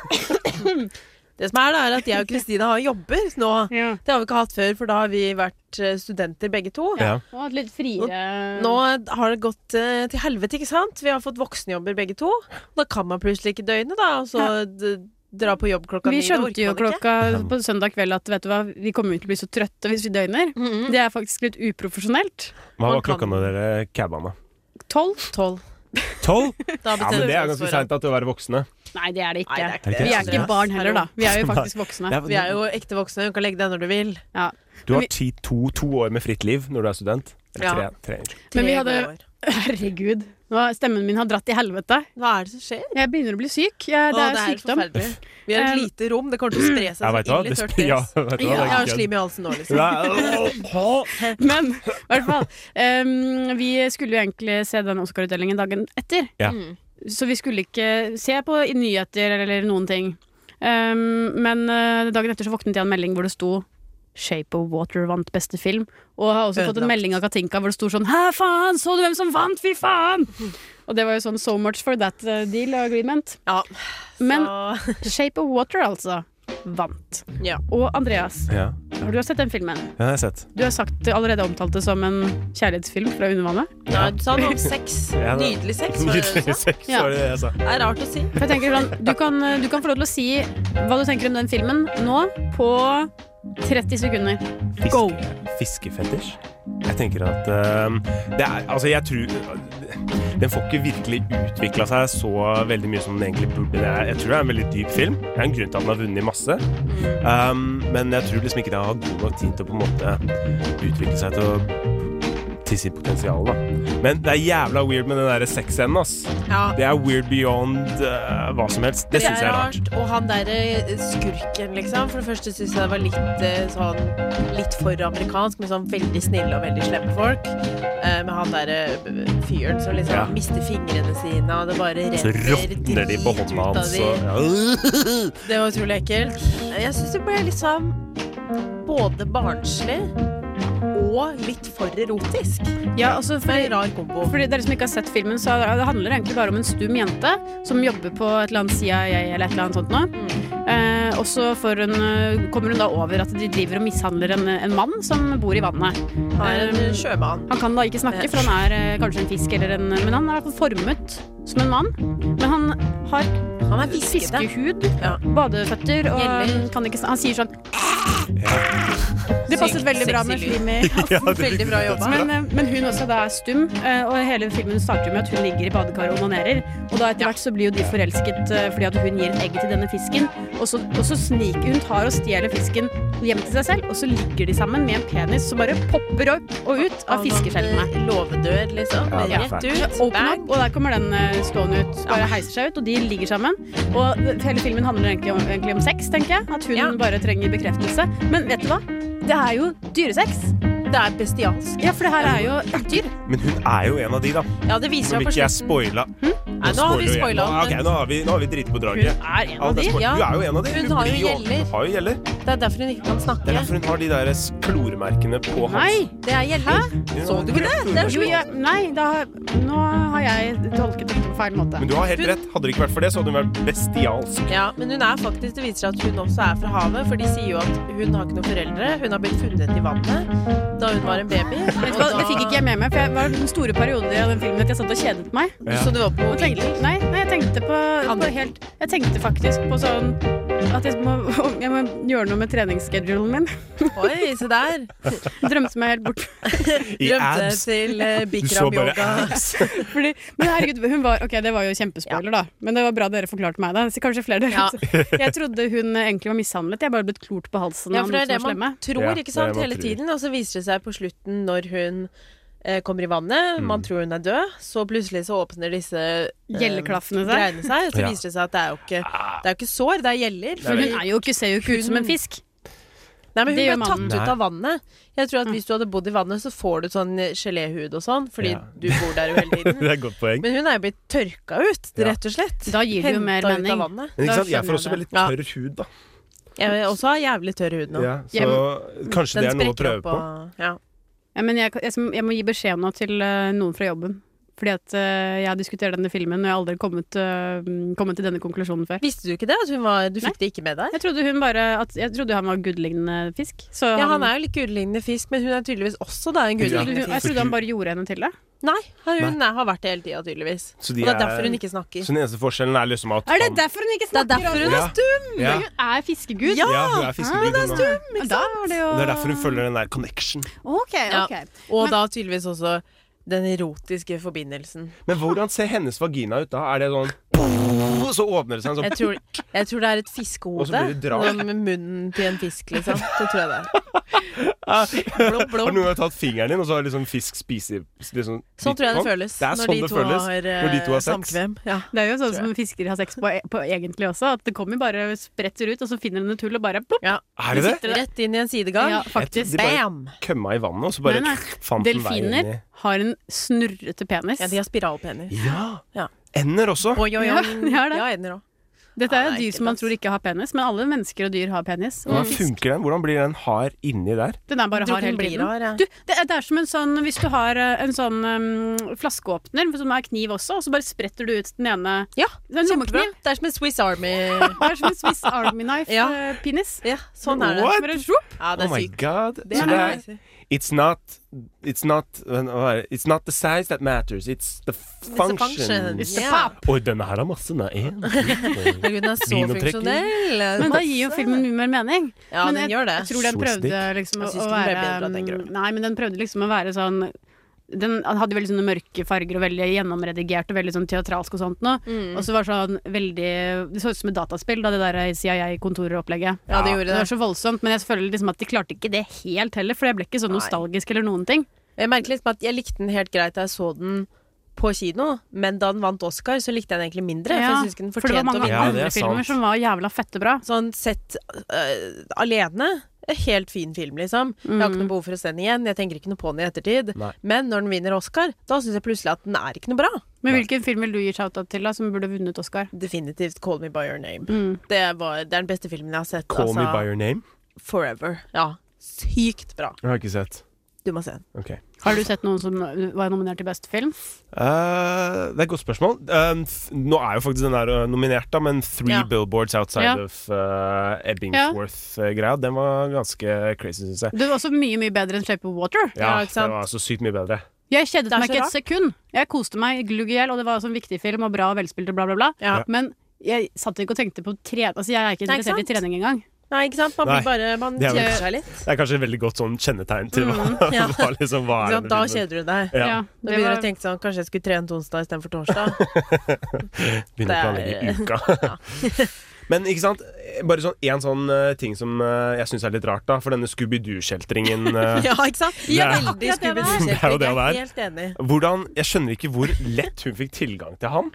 Speaker 3: Det som er, da, er at jeg og Kristina har jobber nå.
Speaker 2: ja.
Speaker 3: Det har vi ikke hatt før, for da har vi vært eh, studenter begge to.
Speaker 4: Ja.
Speaker 2: Og hatt litt friere
Speaker 3: Nå har det gått eh, til helvete, ikke sant? Vi har fått voksenjobber begge to. Da kan man plutselig ikke døgnet, da. Og så d- dra på jobb klokka
Speaker 2: Vi
Speaker 3: ni. det
Speaker 2: skjønte
Speaker 3: orker
Speaker 2: jo
Speaker 3: man ikke.
Speaker 2: klokka på søndag kveld at vet du hva, vi kommer jo til å bli så trøtte hvis vi døgner.
Speaker 3: Mhm.
Speaker 2: Det er faktisk litt uprofesjonelt.
Speaker 4: Hva
Speaker 3: Man
Speaker 4: var klokka
Speaker 3: kan-
Speaker 4: når dere cabba med?
Speaker 2: Tolv?
Speaker 3: Tolv. *laughs*
Speaker 4: Tolv?
Speaker 3: Da
Speaker 4: Ja, men
Speaker 3: bestemmer vi
Speaker 4: det er
Speaker 3: oss
Speaker 4: ganske
Speaker 3: for at-
Speaker 4: seint til å være voksne.
Speaker 2: Nei, det er det
Speaker 3: Nei,
Speaker 2: ikke.
Speaker 3: det er ikke
Speaker 2: vi er
Speaker 4: det.
Speaker 2: ikke barn heller, da. Vi er jo faktisk voksne.
Speaker 3: Vi er jo ekte voksne, du kan legge deg når du vil.
Speaker 2: Ja.
Speaker 4: Du
Speaker 2: Men
Speaker 4: har ti, to, to år med fritt liv når du er student.
Speaker 3: Ja.
Speaker 4: Eller tre, tre. unnskyld.
Speaker 2: Men vi
Speaker 3: Tre
Speaker 2: hadde-
Speaker 3: gode år.
Speaker 2: Herregud. Nå, stemmen min har dratt i helvete.
Speaker 3: Hva er det som skjer?
Speaker 2: Jeg begynner å bli syk. Jeg,
Speaker 3: Å,
Speaker 2: det er sykdom.
Speaker 3: forferdelig. Vi har et
Speaker 2: Um,
Speaker 3: lite rom, det kommer til å spre
Speaker 4: Ja,
Speaker 3: seg
Speaker 4: vet du hva?
Speaker 3: som ild i
Speaker 4: Det
Speaker 3: tørt
Speaker 4: sp- ja,
Speaker 3: dress.
Speaker 4: vet du
Speaker 3: Jeg
Speaker 4: hva? Det er
Speaker 3: har
Speaker 4: ikke kødd.
Speaker 3: slim i halsen nå, *laughs* liksom.
Speaker 4: Nei,
Speaker 2: Men i hvert fall. ehm, vi skulle jo egentlig se den Oscar-utdelingen dagen etter.
Speaker 4: Ja.
Speaker 3: Mm.
Speaker 2: Så vi skulle ikke se på i nyheter eller noen ting. Ehm, men eh, dagen etter så våknet jeg av en melding hvor det sto 'Shape of Water vant beste film'. Og har også fått en
Speaker 3: Ødelagt.
Speaker 2: melding av Katinka hvor det sto sånn 'Hæ, faen! Så du hvem som vant? Fy faen!' Og det var jo sånn 'so much for that eh, deal agreement'.
Speaker 3: Ja,
Speaker 2: Men
Speaker 3: så,
Speaker 2: *laughs* 'Shape of Water', altså, vant.
Speaker 3: Ja.
Speaker 2: Og Andreas,
Speaker 4: Ja,
Speaker 2: har du sett den filmen?
Speaker 4: den har jeg sett.
Speaker 2: Du har sagt, allerede omtalt det som en kjærlighetsfilm fra undervannet.
Speaker 3: ja, du sa noe om sex.
Speaker 4: Ja, det-
Speaker 3: Nydelig sex, var det det du
Speaker 4: Nydelig
Speaker 3: sa?
Speaker 4: sex,
Speaker 2: Ja.
Speaker 4: var det det jeg sa.
Speaker 3: Det er rart å si.
Speaker 2: For jeg tenker sånn, du kan, du kan få lov til å si hva du tenker om den filmen nå på 30 sekunder. Go!
Speaker 4: Fiskefetisj? Jeg tenker at ehm, det er Altså, jeg tror Den får ikke virkelig utvikla seg så veldig mye som den egentlig burde. Det er, jeg tror det er en veldig dyp film. Det er en grunn til at den har vunnet masse. Ehm, men jeg tror liksom ikke den har god nok tid til å på en måte utvikle seg til å til sitt potensial, da. Men det er jævla weird med den derre sexscenen, ass.
Speaker 3: Ja.
Speaker 4: Det er weird beyond eh, hva som helst. Det syns jeg er rart.
Speaker 3: Og han derre eh, skurken, liksom. For det første syns jeg det var litt eh, sånn Litt for amerikansk, med sånn veldig snille og veldig slemme folk. Eh, Med han derre eh, fyren som liksom
Speaker 4: Ja.
Speaker 3: mister fingrene sine, og det bare
Speaker 4: Så
Speaker 3: renner
Speaker 4: råtner de på
Speaker 3: drit ut
Speaker 4: hånda
Speaker 3: av
Speaker 4: hans
Speaker 3: de.
Speaker 4: og
Speaker 3: Det var utrolig ekkelt. Jeg syns det ble liksom både sånn barnslig og litt for erotisk.
Speaker 2: Ja, altså for,
Speaker 3: rar kombo.
Speaker 2: For dere som ikke har sett filmen, så det handler egentlig bare om en stum jente som jobber på et eller annet CIA eller et eller annet sånt nå. Eh, og så får hun, eh, kommer hun da over at de driver og mishandler en, en mann som bor i vannet. Eh,
Speaker 3: Han er en sjømann.
Speaker 2: Han kan da ikke snakke, for han er eh, kanskje en fisk eller en Men han er i hvert fall formet som en mann. Men han har fiskehud, badeføtter og kan ikke snakke. Han sier sånn Det passet
Speaker 3: Sykt
Speaker 2: veldig bra med
Speaker 3: sexy lyd.
Speaker 2: Flimi.
Speaker 3: *laughs* Ja, det Veldig bra jobba.
Speaker 2: Men, eh, men hun også da er stum, eh, og hele filmen starter med at hun ligger i badekaret og onanerer. Og da etter hvert så blir jo de forelsket eh, fordi at hun gir et egg til denne fisken. Og så, og så sniker hun tar og stjeler fisken hjem til seg selv, og så ligger de sammen med en penis som bare popper opp og ut av fiskeskjellene.
Speaker 3: Låvedør, liksom.
Speaker 2: Ja,
Speaker 3: Rett
Speaker 2: rett
Speaker 3: ut.
Speaker 2: ut. Åpne opp, og der kommer den eh, stående ut. Bare heiser seg ut, og de ligger sammen. Og hele filmen handler egentlig om, egentlig om sex, tenker jeg. At hun bare trenger bekreftelse. Men vet du hva? Det er jo dyresex.
Speaker 3: Det er bestialsk.
Speaker 2: Ja, for det her er jo et dyr.
Speaker 4: *laughs* Men hun er jo en av de, da.
Speaker 3: Ja, det viser seg
Speaker 4: Nå vil
Speaker 3: på
Speaker 4: ikke jeg
Speaker 3: slutten.
Speaker 4: spoile.
Speaker 3: Hm? Nei, nå har vi spoila
Speaker 4: Nå,
Speaker 3: den.
Speaker 4: ok, nå har vi, nå har vi driti på draget.
Speaker 3: Hun er en av
Speaker 4: Alt
Speaker 3: de,
Speaker 4: spoil-
Speaker 3: ja.
Speaker 4: Hun er jo en av de.
Speaker 3: Hun har jo
Speaker 4: blir
Speaker 3: gjeller.
Speaker 4: Hun har jo gjeller.
Speaker 3: Det er derfor hun ikke kan
Speaker 4: Det er
Speaker 3: snakke.
Speaker 4: derfor hun har de der kloremerkene på halsen.
Speaker 3: det er gjeller. Så du ikke det? Det er
Speaker 2: Jo, ja, nei, da, nå har jeg tolket det på feil måte.
Speaker 4: Men du har helt rett. Hadde det ikke vært for det, så hadde hun vært bestialsk.
Speaker 3: Ja, men hun er faktisk, det viser seg at hun også er fra havet, for de sier jo at hun har ikke noen foreldre. Hun har blitt funnet i vannet da hun var en baby.
Speaker 2: Vet du hva, Det fikk ikke jeg med meg, for jeg var den store perioden i den filmen at jeg satt og kjedet meg.
Speaker 3: Ja. Så du var på
Speaker 2: Og tenkte, nei, nei, jeg tenkte på, på helt Jeg tenkte faktisk på sånn at jeg må, *laughs* jeg må gjøre noe med treningsschedulen
Speaker 3: *laughs*
Speaker 2: min.
Speaker 3: Oi, se der.
Speaker 2: Drømte meg helt bort. *laughs*
Speaker 3: I Drømte abs. til, eh, Bikram Du så bare yoga. abs.
Speaker 2: Fordi, men herregud, hun var Ok, det var jo kjempespoiler, da. Men det var bra dere forklarte meg det. Så Kanskje flere dere *laughs* Jeg trodde hun egentlig var mishandlet. Jeg er bare blitt klort på halsen.
Speaker 3: Ja,
Speaker 2: av
Speaker 3: for det
Speaker 2: noen
Speaker 3: er det
Speaker 2: som var
Speaker 3: man
Speaker 2: slemme.
Speaker 3: tror, ikke sant, hele tiden. Og så viser det seg på slutten, når hun eh, kommer i
Speaker 4: Mm.
Speaker 3: vannet, man tror hun er død, så plutselig så åpner disse eh,
Speaker 2: Gjelleklaffene seg.
Speaker 3: greiene seg. Så
Speaker 2: Ja.
Speaker 3: viser det seg at det er jo ikke,
Speaker 4: Ah.
Speaker 3: det er jo ikke sår, det er gjeller.
Speaker 2: For hun er jo ikke, ser jo ikke ut som en fisk.
Speaker 3: Nei, men
Speaker 2: Det gjør
Speaker 3: hun ble tatt
Speaker 2: mannen.
Speaker 3: ut av vannet. Jeg tror at Hvis du hadde bodd i vannet, så får du sånn geléhud og sånn, fordi du bor der jo hele
Speaker 4: *laughs*
Speaker 3: tiden.
Speaker 4: *laughs* Det er et godt poeng.
Speaker 3: Men hun er jo blitt tørka ut,
Speaker 4: Ja.
Speaker 3: rett og slett.
Speaker 2: Da gir det jo mer
Speaker 3: Hentet ut av
Speaker 2: mening.
Speaker 3: vannet.
Speaker 4: Men ikke sant, jeg får også veldig tørr hud, da.
Speaker 3: Jeg vil også ha jævlig tørr hud nå.
Speaker 4: Ja, så kanskje det er noe å prøve på.
Speaker 3: Ja.
Speaker 2: Ja, men jeg, jeg, jeg må gi beskjed nå til eh, noen fra jobben. Fordi at eh, jeg har diskutert denne filmen, og jeg har aldri kommet, eh, kommet til denne konklusjonen før.
Speaker 3: Visste du ikke det? At hun var, du fikk det ikke med deg?
Speaker 2: Jeg trodde, hun bare, at, jeg trodde han var gudlignende fisk. Så
Speaker 3: Ja, han er jo litt gudelignende fisk, men hun er tydeligvis også da en
Speaker 2: jeg trodde,
Speaker 3: gudelignende
Speaker 2: hun, jeg
Speaker 3: fisk.
Speaker 2: trodde han bare gjorde henne til det.
Speaker 3: Nei, har hun har vært det hele tida, tydeligvis.
Speaker 4: Så
Speaker 3: og det er derfor hun ikke snakker.
Speaker 4: Så den eneste forskjellen er liksom at
Speaker 2: Er det derfor hun ikke snakker?
Speaker 3: Det er derfor hun
Speaker 4: Ja.
Speaker 3: er stum!
Speaker 4: Ja.
Speaker 2: Hun er fiskegud.
Speaker 4: Ja, hun er fiskegud,
Speaker 2: Ah, det er
Speaker 4: hun er.
Speaker 2: stum, ikke sant? Da er det jo...
Speaker 4: Det er derfor hun følger den der connection.
Speaker 2: Ok,
Speaker 3: Ja.
Speaker 2: ok.
Speaker 3: Og da tydeligvis også den erotiske forbindelsen.
Speaker 4: Men hvordan ser hennes vagina ut da? Er det sånn Så åpner det seg en sånn
Speaker 3: Jeg tror, jeg tror det er et fiskehode.
Speaker 4: Og så blir det drag.
Speaker 3: noe Med munnen til en fisk, liksom. Det tror jeg det er. *laughs* blomp, blomp.
Speaker 4: Ah, Har noen tatt fingeren din, og så har liksom fisk spiser liksom,
Speaker 3: Sånn tror jeg det
Speaker 4: bitt på?
Speaker 3: føles
Speaker 4: Det er
Speaker 3: når
Speaker 4: sånn
Speaker 3: de
Speaker 4: det
Speaker 3: to
Speaker 4: føles
Speaker 3: har, eh,
Speaker 4: når de to har sex.
Speaker 3: samkvem. Ja.
Speaker 2: Det er jo sånn som fiskere har sex på, på egentlig også. At det kommer bare spretter ut, og så finner hun et hull og bare plopp.
Speaker 4: Er det det?
Speaker 2: sitter der.
Speaker 3: Rett inn i en sidegang.
Speaker 2: Ja, faktisk.
Speaker 4: De bare kømma i vannet, og så bare
Speaker 2: Nei, nei.
Speaker 4: fant den veien inn
Speaker 2: Delfiner
Speaker 4: i
Speaker 2: har en snurrete penis.
Speaker 3: Ja, de har spiralpenis.
Speaker 4: Ja!
Speaker 3: Ja.
Speaker 4: Ender også.
Speaker 3: Oi, oi, oi.
Speaker 2: Ja, de har det.
Speaker 3: Ja, ender også.
Speaker 2: Dette
Speaker 3: Ja,
Speaker 2: er jo
Speaker 3: det er
Speaker 2: dyr som man tror ikke har penis, men alle mennesker og dyr har penis. Og
Speaker 4: Hvordan
Speaker 2: fisk-
Speaker 4: funker den? Hvordan blir den hard inni der?
Speaker 2: Den er bare
Speaker 3: Tror
Speaker 2: hard
Speaker 3: den
Speaker 2: hele
Speaker 3: blir
Speaker 2: tiden.
Speaker 3: hard, ja.
Speaker 2: Du, det, er, det er som en sånn hvis du har eh, en sånn um, flaskeåpner som er kniv også, og så bare spretter du ut den ene
Speaker 3: Ja,
Speaker 2: Det er en
Speaker 3: kjempebra.
Speaker 2: lommekniv.
Speaker 3: Det er som en Swiss Army
Speaker 2: Det er som en Swiss Army
Speaker 3: *laughs* Ja.
Speaker 2: Knife-penis.
Speaker 3: Ja, sånn er det.
Speaker 4: What?
Speaker 2: Bare sjopp!
Speaker 3: Ja, det
Speaker 4: Oh
Speaker 3: er
Speaker 4: my
Speaker 3: sykt.
Speaker 4: god.
Speaker 3: Det
Speaker 4: Så
Speaker 3: er
Speaker 4: det er
Speaker 3: crazy.
Speaker 4: It's not It's not hva er det? It's not the size that matters, it's the function.
Speaker 3: function, It's the yeah.
Speaker 2: pop.
Speaker 4: Oi, denne her har masse nei.
Speaker 3: *laughs*
Speaker 4: en, to,
Speaker 3: Hun er så
Speaker 4: Vinoptrekking.
Speaker 3: funksjonell. eh,
Speaker 2: Men da gir jo filmen mye mer mening.
Speaker 3: Ja, den
Speaker 2: men jeg,
Speaker 3: gjør det.
Speaker 2: Jeg tror den
Speaker 4: Swiss dick.
Speaker 2: prøvde liksom å,
Speaker 3: Jeg synes
Speaker 2: å
Speaker 3: den ble
Speaker 2: være
Speaker 3: bedre av den grønne.
Speaker 2: Nei, men den prøvde liksom å være sånn den hadde veldig sånne mørke farger og veldig gjennomredigert og veldig sånn teatralsk og sånt noe.
Speaker 3: Mm.
Speaker 2: Og så var sånn veldig Det så ut som et dataspill, da det der CIA-kontoropplegget.
Speaker 3: Ja, det gjorde
Speaker 2: Det var
Speaker 3: det.
Speaker 2: så voldsomt, men jeg føler liksom at de klarte ikke det helt heller, for jeg ble ikke så nostalgisk eller noen ting.
Speaker 3: Jeg merker liksom at jeg likte den helt greit da jeg så den på kino, men da den vant Oscar, så likte jeg den egentlig mindre. For jeg synes ikke den
Speaker 2: for det var
Speaker 3: fortjente å
Speaker 2: mange
Speaker 4: Ja,
Speaker 3: vinne.
Speaker 4: det er
Speaker 2: andre filmer
Speaker 4: sant.
Speaker 2: som var jævla fette bra.
Speaker 3: Sånn sett øh, alene en helt fin film, liksom. Jeg
Speaker 2: Mm.
Speaker 3: har ikke noe behov for å se den igjen. Jeg tenker ikke noe på den i ettertid.
Speaker 4: Nei.
Speaker 3: Men når den vinner Oscar, da syns jeg plutselig at den er ikke noe bra.
Speaker 2: Men hvilken film vil du gi shout-out til, da, som burde vunnet Oscar? Mm.
Speaker 3: Definitivt 'Call Me By Your Name'. Det, var, det er den beste filmen jeg har sett.
Speaker 4: Call me
Speaker 3: altså,
Speaker 4: by your name.
Speaker 3: Forever. Ja. Sykt bra.
Speaker 4: Jeg har ikke sett.
Speaker 3: Du må se den.
Speaker 4: Ok.
Speaker 2: Har du sett noen som var nominert til beste film?
Speaker 4: Eh, det er et godt spørsmål. Eh, f- nå er jo faktisk den der eh, nominert, da, men Three
Speaker 2: Ja.
Speaker 4: Billboards Outside
Speaker 2: Ja.
Speaker 4: of eh, Ebbingsworth-greia, den var ganske crazy, syns jeg.
Speaker 2: Du var også mye mye bedre enn Shape of Water.
Speaker 4: Ja, det var så sykt mye bedre.
Speaker 2: Jeg kjedet
Speaker 3: Det er
Speaker 2: meg
Speaker 3: så
Speaker 2: ikke
Speaker 3: rart.
Speaker 2: et sekund. Jeg koste meg glugg i hjel, og det var også en viktig film og bra og velspilt og bla, bla, bla.
Speaker 4: Ja.
Speaker 2: Men jeg satt ikke og tenkte på tre... Altså, jeg er ikke
Speaker 3: Nei, ikke
Speaker 2: interessert i
Speaker 3: sant?
Speaker 2: trening engang.
Speaker 3: Nei, ikke sant? Man
Speaker 4: Nei.
Speaker 3: blir bare Man
Speaker 4: Det er vel-
Speaker 3: kjeder seg litt.
Speaker 4: Det er kanskje et veldig godt sånn kjennetegn til hva,
Speaker 3: Mm, ja.
Speaker 4: *laughs* hva liksom hva
Speaker 3: Ikke
Speaker 4: er
Speaker 3: sant? Da kjeder du deg.
Speaker 4: Ja. Ja,
Speaker 3: Da
Speaker 2: det
Speaker 3: begynner du
Speaker 2: var-
Speaker 3: å tenke sånn Kanskje jeg skulle trene onsdag istedenfor torsdag.
Speaker 4: Begynner å planlegge
Speaker 3: Det *laughs*
Speaker 4: uka. *laughs* Men ikke sant, bare sånn én sånn eh, ting som eh, jeg syns er litt rart, da. For denne Scooby-Doo-kjeltringen. eh,
Speaker 3: *laughs* *laughs* ja, ikke sant?
Speaker 4: Ja, det er
Speaker 3: veldig
Speaker 4: akkurat det det er. *laughs*
Speaker 3: skummelt.
Speaker 4: Det er jo det
Speaker 3: Jeg
Speaker 4: det
Speaker 3: er
Speaker 4: er.
Speaker 3: helt enig.
Speaker 4: Hvordan, Jeg skjønner ikke hvor lett hun fikk tilgang til han.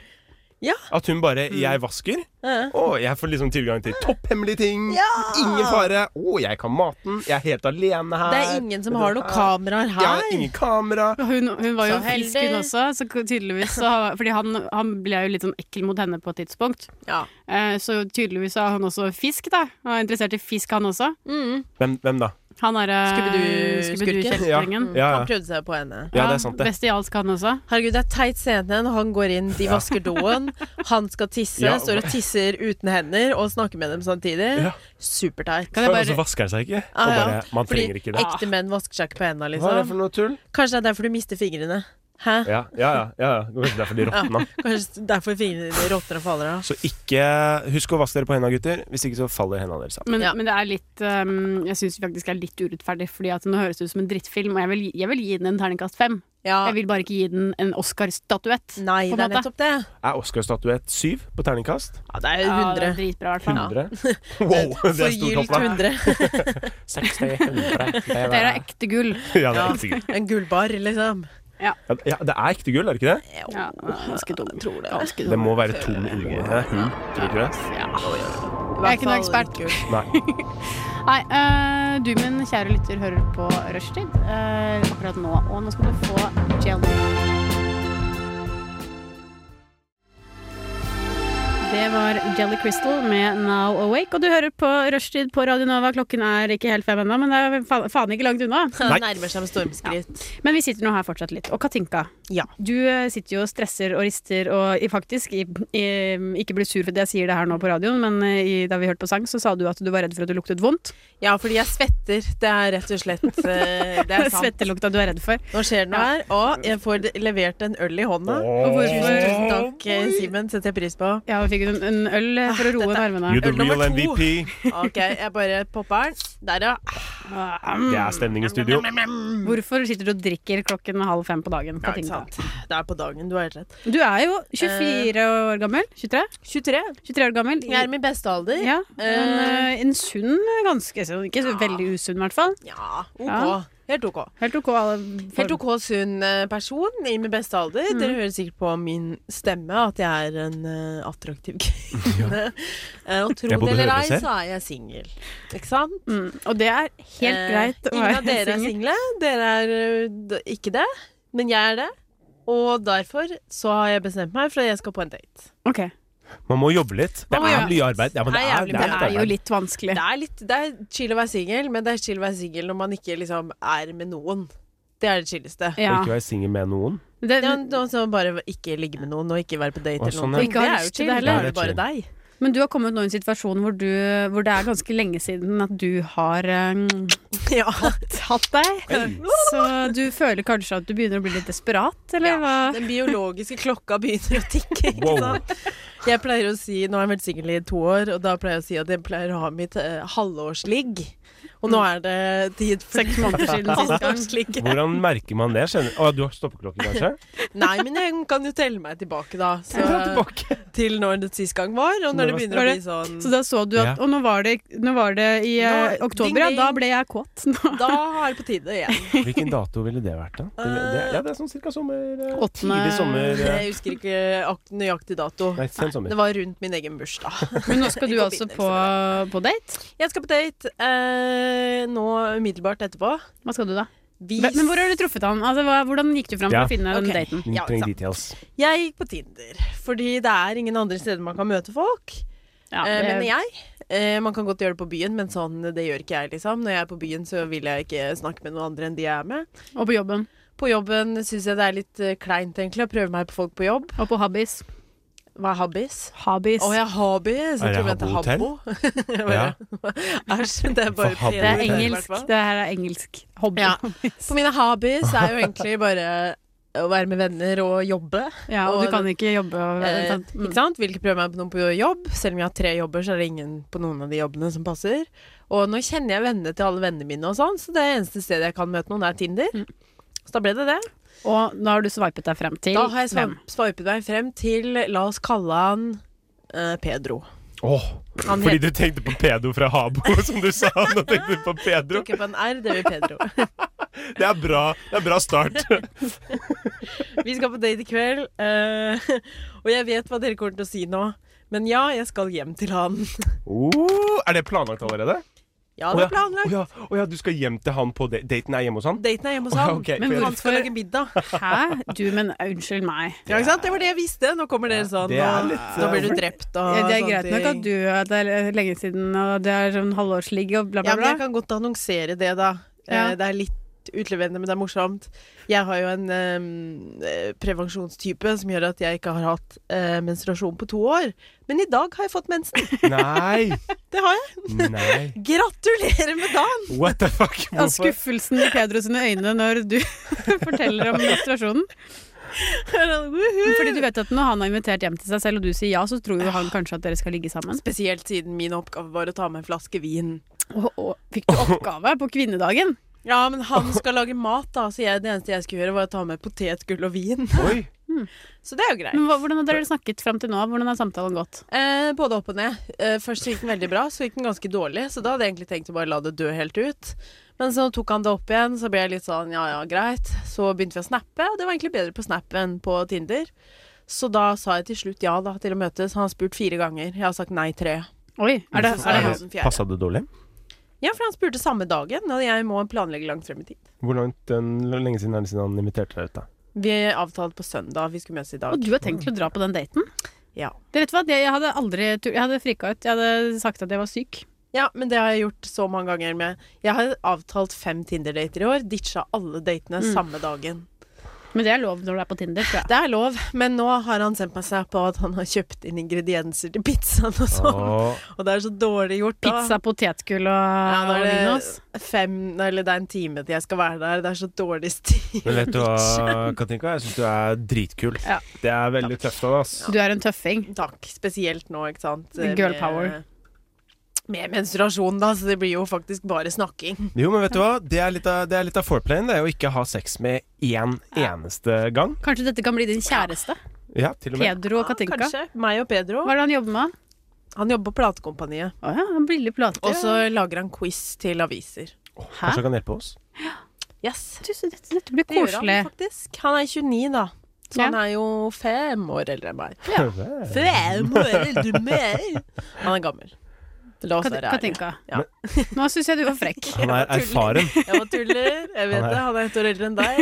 Speaker 3: Ja. Mm.
Speaker 4: At hun bare 'Jeg vasker'.
Speaker 3: Ja.
Speaker 4: Og jeg får liksom tilgang til topphemmelige ting. Ingen fare. Å, jeg kan maten. Jeg er helt alene her.
Speaker 3: Det er ingen som
Speaker 4: Vet du
Speaker 3: har noen
Speaker 4: hva?
Speaker 3: kameraer
Speaker 4: Ja,
Speaker 3: her.
Speaker 4: ingen kamera.
Speaker 2: Hun, hun var jo
Speaker 3: Så
Speaker 2: frisk,
Speaker 3: heldig.
Speaker 2: hun også. Så tydeligvis så, Fordi han, han ble jo litt sånn ekkel mot henne på et tidspunkt.
Speaker 3: Ja.
Speaker 2: Eh, så tydeligvis er han også fisk, da. Han er interessert i fisk, han også.
Speaker 4: Hvem, hvem da?
Speaker 2: Han er eh,
Speaker 3: Scooby-Doo-skurken.
Speaker 2: Scooby-Doo-kjeltringen.
Speaker 4: Ja,
Speaker 3: Han
Speaker 4: ja.
Speaker 3: prøvde seg på henne.
Speaker 4: ja, det er sant, det.
Speaker 2: Bestialsk, han også.
Speaker 3: Herregud, det er teit scene når han går inn, de vasker doen, han skal tisse,
Speaker 4: Ja.
Speaker 3: står og tisser uten hender og snakker med dem samtidig.
Speaker 4: Ja.
Speaker 3: Superteit.
Speaker 2: Kan jeg
Speaker 4: Og så
Speaker 2: bare
Speaker 4: vasker han seg ikke.
Speaker 3: Ah,
Speaker 4: og
Speaker 3: ja.
Speaker 4: bare, man
Speaker 3: Fordi
Speaker 4: trenger ikke det.
Speaker 3: ekte menn vasker seg ikke på hendene,
Speaker 4: Hva er det
Speaker 3: liksom.
Speaker 4: for noe tull?
Speaker 3: Kanskje det er derfor du mister fingrene. Hæ?
Speaker 4: Ja, ja, ja. ja, ja. Det var kanskje derfor de råtna.
Speaker 3: Kanskje derfor fingrene dine råtner og faller av.
Speaker 4: Så ikke Husk å vaske dere på hendene, gutter. Hvis ikke så faller hendene deres av.
Speaker 2: men,
Speaker 3: Ja.
Speaker 2: men det er litt um, Jeg syns faktisk det er litt urettferdig, fordi at den høres ut som en drittfilm, og jeg vil, jeg vil gi den en terningkast fem.
Speaker 3: Ja.
Speaker 2: Jeg vil bare ikke gi den en Oscar-statuett.
Speaker 3: Nei,
Speaker 2: på en
Speaker 3: det er
Speaker 2: måte.
Speaker 3: nettopp det.
Speaker 4: Er Oscar-statuett syv på terningkast?
Speaker 3: Ja, det er
Speaker 2: Ja, *laughs* det er
Speaker 3: 100.
Speaker 2: dritbra, i hvert fall.
Speaker 4: 100? *laughs* Wow, det er
Speaker 3: Forgylt
Speaker 4: stort hopp. *laughs*
Speaker 3: 100.
Speaker 4: 60, 100
Speaker 2: Det er ekte gull.
Speaker 4: *laughs* Ja, det er ekte gull.
Speaker 3: En gullbar, liksom.
Speaker 4: Ja, det- Ja, det er ekte gull, er det ikke det?
Speaker 2: Ja, det er ganske dumt.
Speaker 3: Tror det.
Speaker 2: Ganske
Speaker 4: Det
Speaker 2: dumt.
Speaker 4: må være tom unge. Det er hull, tror du ikke det?
Speaker 2: Ja.
Speaker 3: I
Speaker 2: Jeg er
Speaker 3: hvert
Speaker 2: ikke noe
Speaker 3: fall
Speaker 2: ekspert.
Speaker 3: *laughs* gull.
Speaker 4: Nei.
Speaker 2: Nei, eh, du min kjære lytter hører på Rushtid eh, akkurat nå, og nå skal du få Jelly. Det var Jelly Crystal med Now Awake, og du hører på Rushtid på Radio Nova. Klokken er ikke helt fem ennå, men det er fa- faen ikke langt unna.
Speaker 3: Det nærmer seg med stormskritt.
Speaker 2: Men vi sitter nå her fortsatt litt. Og Katinka,
Speaker 3: Ja.
Speaker 2: du eh, sitter jo og stresser og rister og i- faktisk i, i, Ikke bli sur for at jeg sier det her nå på radioen, men eh, i, da vi hørte på sang, så sa du at du var redd for at du luktet vondt.
Speaker 3: Ja, fordi jeg svetter. Det er rett og slett eh, *laughs* Det
Speaker 2: *laughs*
Speaker 3: er sant.
Speaker 2: Svettelukta du er redd for.
Speaker 3: Nå skjer det noe her, og jeg får levert en øl i hånda.
Speaker 4: Åh.
Speaker 3: Tusen, tusen takk, eh, Simen. Setter jeg pris på.
Speaker 2: Ja, fikk hun en øl eh, for å
Speaker 3: Ah,
Speaker 2: roe ned armene?
Speaker 4: You're the
Speaker 3: Øl nummer
Speaker 4: real
Speaker 3: to.
Speaker 4: MVP.
Speaker 3: OK, jeg bare popper den. Der, ja.
Speaker 4: Det er stemning i studio.
Speaker 2: Ah, mm. Hvorfor sitter du og drikker klokken halv fem på
Speaker 3: Ja,
Speaker 2: dagen?
Speaker 3: ikke
Speaker 2: Katinka?
Speaker 3: sant. Det er på dagen. Du har helt rett.
Speaker 2: Du er jo 24 år gammel. 23?
Speaker 3: 23.
Speaker 2: 23 år gammel.
Speaker 3: Eh. Jeg er i min beste alder.
Speaker 2: ja, en,
Speaker 3: Eh.
Speaker 2: eh, en sunn, ganske sunn. Ikke så veldig usunn, i hvert fall.
Speaker 3: Ja, OK.
Speaker 2: Ja.
Speaker 3: Helt OK.
Speaker 2: Helt OK. alle
Speaker 3: Helt
Speaker 2: form.
Speaker 3: OK sunn eh, person i min beste alder. Dere hører sikkert på min stemme at jeg er en eh, attraktiv kvinne. Eh, og tro det
Speaker 4: Jeg både
Speaker 3: eller
Speaker 4: hører
Speaker 3: ei,
Speaker 4: og ser.
Speaker 3: så er jeg singel. Ikke sant?
Speaker 2: Mm, og det er helt
Speaker 3: Eh,
Speaker 2: greit. å
Speaker 3: Ingen
Speaker 2: være
Speaker 3: av dere er
Speaker 2: single.
Speaker 3: single. Dere er eh, d- ikke det, men jeg er det. Og derfor så har jeg bestemt meg for at jeg skal på en date.
Speaker 2: Ok.
Speaker 4: Man må jobbe litt. Det
Speaker 3: Man må
Speaker 4: er
Speaker 3: jobbe
Speaker 4: mye arbeid. Ja, men det
Speaker 3: Det er
Speaker 4: er,
Speaker 3: jævlig
Speaker 4: det
Speaker 2: Det
Speaker 4: er
Speaker 2: er
Speaker 4: litt
Speaker 2: jo
Speaker 4: arbeid.
Speaker 2: litt vanskelig.
Speaker 3: Det er, litt, det er chill å være singel, men det er chill å være singel når man ikke liksom er med noen. Det er det chilleste.
Speaker 2: Ja.
Speaker 4: Å ikke være singel med noen.
Speaker 2: Det,
Speaker 3: Det er noen som bare ikke ligge med noen og ikke være på date
Speaker 4: Å,
Speaker 3: eller
Speaker 4: sånn,
Speaker 3: noe.
Speaker 4: ja.
Speaker 2: Ikke ha
Speaker 3: Det er jo
Speaker 2: lyst til
Speaker 3: chill.
Speaker 2: det
Speaker 3: Det
Speaker 2: heller.
Speaker 3: er det bare deg.
Speaker 2: men du har kommet nå i en situasjon hvor, du, hvor det er ganske lenge siden at du har eh, *laughs*
Speaker 3: Ja.
Speaker 2: tatt deg. Så du føler kanskje at du begynner å bli litt desperat, eller hva?
Speaker 3: *laughs* Den biologiske klokka begynner å tikke. Ikke
Speaker 4: Wow.
Speaker 3: sant? Jeg pleier å si, Nå har jeg vært singel i to år, og da pleier jeg å si at jeg pleier å ha mitt eh, halvårsligg. Og nå er det tid for
Speaker 2: Seks måneder siden sist gang.
Speaker 3: halvårsligg.
Speaker 4: Hvordan merker man det? Kjenner- Å, du har stoppeklokke, kanskje?
Speaker 3: Nei, men jeg kan jo telle meg tilbake,
Speaker 2: *laughs*
Speaker 3: da. Så, til når det sist gang var, og når det begynner å
Speaker 2: Var
Speaker 3: bli sånn
Speaker 2: Så da så du at
Speaker 4: Ja.
Speaker 2: Og nå var det, nå var det i eh,
Speaker 3: Nå- ding,
Speaker 2: oktober, ja. Da
Speaker 3: ding.
Speaker 2: ble jeg kåt. Nå-
Speaker 3: Da er det på tide igjen.
Speaker 4: Hvilken dato ville det vært, da? Det, det, ja, det er sånn cirka sommer eh,
Speaker 2: Åttende-
Speaker 4: Tidlig sommer eh,
Speaker 3: Jeg husker ikke ak nøyaktig dato.
Speaker 4: Nei, sen sommer.
Speaker 3: Det var rundt min egen bursdag.
Speaker 2: *laughs* Men nå
Speaker 3: I
Speaker 2: skal du altså
Speaker 3: forbindelse
Speaker 2: på, på date?
Speaker 3: Jeg skal på date eh, nå umiddelbart etterpå.
Speaker 2: Hva skal du da?
Speaker 3: Vi
Speaker 2: Men men hvor har du truffet han? Altså, hva, hvordan gikk du fram
Speaker 4: Ja.
Speaker 2: for å finne
Speaker 3: Ok.
Speaker 2: den daten?
Speaker 4: Vi
Speaker 3: Ja,
Speaker 4: trenger
Speaker 3: sant.
Speaker 4: details.
Speaker 3: Jeg gikk på Tinder, fordi det er ingen andre steder man kan møte folk.
Speaker 2: Ja,
Speaker 3: eh,
Speaker 2: det-
Speaker 3: mener jeg. Eh, man kan godt gjøre det på byen, men sånn, det gjør ikke jeg, liksom. Når jeg er på byen, så vil jeg ikke snakke med noen andre enn de jeg er med.
Speaker 2: Og på jobben?
Speaker 3: På jobben syns jeg det er litt eh, kleint, egentlig, å prøve meg på folk på jobb.
Speaker 2: Og på Habis.
Speaker 3: Hva er Habis?
Speaker 2: Habis.
Speaker 3: Å ja, Habis.
Speaker 2: Er
Speaker 3: Jeg tror
Speaker 2: det
Speaker 3: vi heter
Speaker 2: Habbo-hotell?
Speaker 3: Habbo. *laughs* Jeg bare- *laughs* Æsj. Det er bare
Speaker 2: Det er engelsk. Det her er engelsk. Hobby.
Speaker 3: Ja. For mine habis er jo egentlig bare å være med venner og jobbe.
Speaker 2: *laughs* Ja, og du kan ikke jobbe og være-
Speaker 3: eh,
Speaker 2: sant? Mm.
Speaker 3: Ikke sant? Vil ikke prøve meg på noen på jobb. Selv om jeg har tre jobber, så er det ingen på noen av de jobbene som passer. Og nå kjenner jeg vennene til alle vennene mine, og sånn, så det eneste stedet jeg kan møte noen, er Tinder.
Speaker 2: Mm.
Speaker 3: Så da ble det det.
Speaker 2: Og da har du swipet deg frem til
Speaker 3: Da har jeg
Speaker 2: hvem?
Speaker 3: swipe- swipet meg frem til La oss kalle han eh, Pedro.
Speaker 4: Åh,
Speaker 3: Han heter-
Speaker 4: fordi du tenkte på pedo fra Habo, *laughs* som du sa. Nå tenkte du på Pedro.
Speaker 3: Ikke på en R, det blir
Speaker 4: *laughs*
Speaker 3: Pedro.
Speaker 4: Det er bra, det er
Speaker 3: *laughs*
Speaker 4: bra start.
Speaker 3: Vi skal på date i kveld, eh, *laughs* og jeg vet hva dere kommer til å si nå. Men ja, jeg skal hjem til han.
Speaker 4: Oh, er det planlagt allerede?
Speaker 3: Ja, det er
Speaker 4: Å
Speaker 3: planlagt.
Speaker 4: Å ja, å ja, du skal hjem til han på date. Daten er hjemme hos han?
Speaker 3: Daten er hjemme hos
Speaker 4: Å ja,
Speaker 3: han,
Speaker 4: ok, for
Speaker 3: men
Speaker 4: jeg-
Speaker 3: han skal lage middag.
Speaker 2: Hæ? Du, men unnskyld meg.
Speaker 3: Ja, ikke sant? Det var det jeg visste. Nå kommer dere sånn,
Speaker 4: det er
Speaker 3: og
Speaker 4: litt,
Speaker 3: da blir
Speaker 4: eh,
Speaker 3: du drept og
Speaker 2: Ja, sånn det er
Speaker 3: sånne
Speaker 2: greit nok
Speaker 3: ting.
Speaker 2: at du at det er lenge siden, og det er sånn halvårsligg og bla,
Speaker 3: Ja,
Speaker 2: bla,
Speaker 3: men
Speaker 2: bla.
Speaker 3: jeg kan godt annonsere det, da.
Speaker 2: Ja.
Speaker 3: Eh, Det er litt utleverende, men det er morsomt. Jeg har jo en ehm, eh, prevensjonstype som gjør at jeg ikke har hatt eh, menstruasjon på to år. Men i dag har jeg fått mensen.
Speaker 4: Nei.
Speaker 3: Det har jeg.
Speaker 4: Nei.
Speaker 3: Gratulerer med dagen!
Speaker 4: What the fuck?
Speaker 3: *laughs*
Speaker 2: Ja,
Speaker 4: Hvorfor?
Speaker 2: skuffelsen i Pedro sine øyne når du *laughs* forteller om menstruasjonen.
Speaker 3: *laughs*
Speaker 2: Fordi du vet at når han har invitert hjem til seg selv, og du sier ja, så tror jo han kanskje at dere skal ligge sammen.
Speaker 3: Spesielt siden min oppgave var å ta med en flaske vin.
Speaker 2: fikk du oppgave på kvinnedagen?
Speaker 3: Ja, men han skal lage mat, da, så jeg, det eneste jeg skulle gjøre, var å ta med potetgull og vin.
Speaker 4: Oi.
Speaker 3: Så det er jo greit.
Speaker 2: Men hva, hvordan har dere snakket fram til nå? Hvordan har samtalen gått?
Speaker 3: Eh, både opp og ned. Eh, først så gikk den veldig bra, så gikk den ganske dårlig. Så da hadde jeg egentlig tenkt å bare la det dø helt ut. Men så tok han det opp igjen, så ble jeg litt sånn ja ja, greit. Så begynte vi å snappe, og det var egentlig bedre på Snap enn på Tinder. Så da sa jeg til slutt ja da, til å møtes. Han har spurt fire ganger. Jeg har sagt nei tre.
Speaker 2: Oi, er det, er det
Speaker 3: han som fjerde?
Speaker 4: Passa det dårlig?
Speaker 3: Ja, for han spurte samme dagen, og jeg må planlegge langt frem i tid.
Speaker 4: Hvor langt, en- hvor lenge siden er det siden han inviterte deg ut, da?
Speaker 3: Vi avtalte på søndag, vi skulle møtes i dag.
Speaker 2: Og du har tenkt til å dra på den daten?
Speaker 3: Ja.
Speaker 2: Det, vet du hva, det, jeg hadde aldri tur- Jeg hadde frika ut. Jeg hadde sagt at jeg var syk.
Speaker 3: Ja, men det har jeg gjort så mange ganger med Jeg har avtalt fem Tinder-dater i år. Ditcha alle datene
Speaker 2: Mm.
Speaker 3: samme dagen.
Speaker 2: Men det er lov når du er på Tinder, tror jeg.
Speaker 3: Det er lov, men nå har han sendt meg snap av at han har kjøpt inn ingredienser til pizzaen og sånn.
Speaker 2: Åh.
Speaker 3: Og det er så dårlig gjort, da.
Speaker 2: Pizza, potetgull og
Speaker 3: Ja, nå er
Speaker 2: vin, ass.
Speaker 3: det fem nei, Eller det er en time til jeg skal være der. Det er så dårlig stil.
Speaker 4: Men vet
Speaker 3: *laughs*
Speaker 4: du hva, Katinka? Jeg syns du er dritkul.
Speaker 3: Ja.
Speaker 4: Det er veldig tøft av deg, ass.
Speaker 2: Du er en tøffing.
Speaker 3: Takk. Spesielt nå, ikke sant.
Speaker 2: Girl power.
Speaker 3: Med menstruasjon, da, så det blir jo faktisk bare snakking.
Speaker 4: Jo, men vet du hva? Det er litt av, det er litt av foreplayen, det er å ikke ha sex med én eneste gang.
Speaker 2: Kanskje dette kan bli din kjæreste?
Speaker 4: Ja, til og med.
Speaker 2: Pedro og Katinka?
Speaker 3: Kanskje. Meg og Pedro.
Speaker 2: Hva er det han jobber med?
Speaker 3: Han jobber på platekompaniet.
Speaker 2: Å ja, han briller plater.
Speaker 3: Og så lager han quiz til aviser.
Speaker 4: Kanskje han kan hjelpe oss?
Speaker 3: Yes.
Speaker 2: dette, blir
Speaker 3: Det gjør
Speaker 2: koselig.
Speaker 3: han faktisk. Han er 29, da. Så han er jo fem år eldre enn meg.
Speaker 4: *laughs*
Speaker 2: Ja.
Speaker 3: Fem år eldre enn meg! Han er gammel. La oss
Speaker 2: Kat-
Speaker 3: være ærlige.
Speaker 2: Katinka, nå syns jeg du var
Speaker 3: *laughs*
Speaker 2: frekk.
Speaker 4: Han er erfaren.
Speaker 3: Jeg var tuller. Jeg vet
Speaker 4: Han er-
Speaker 3: det. Han er ett år eldre enn deg.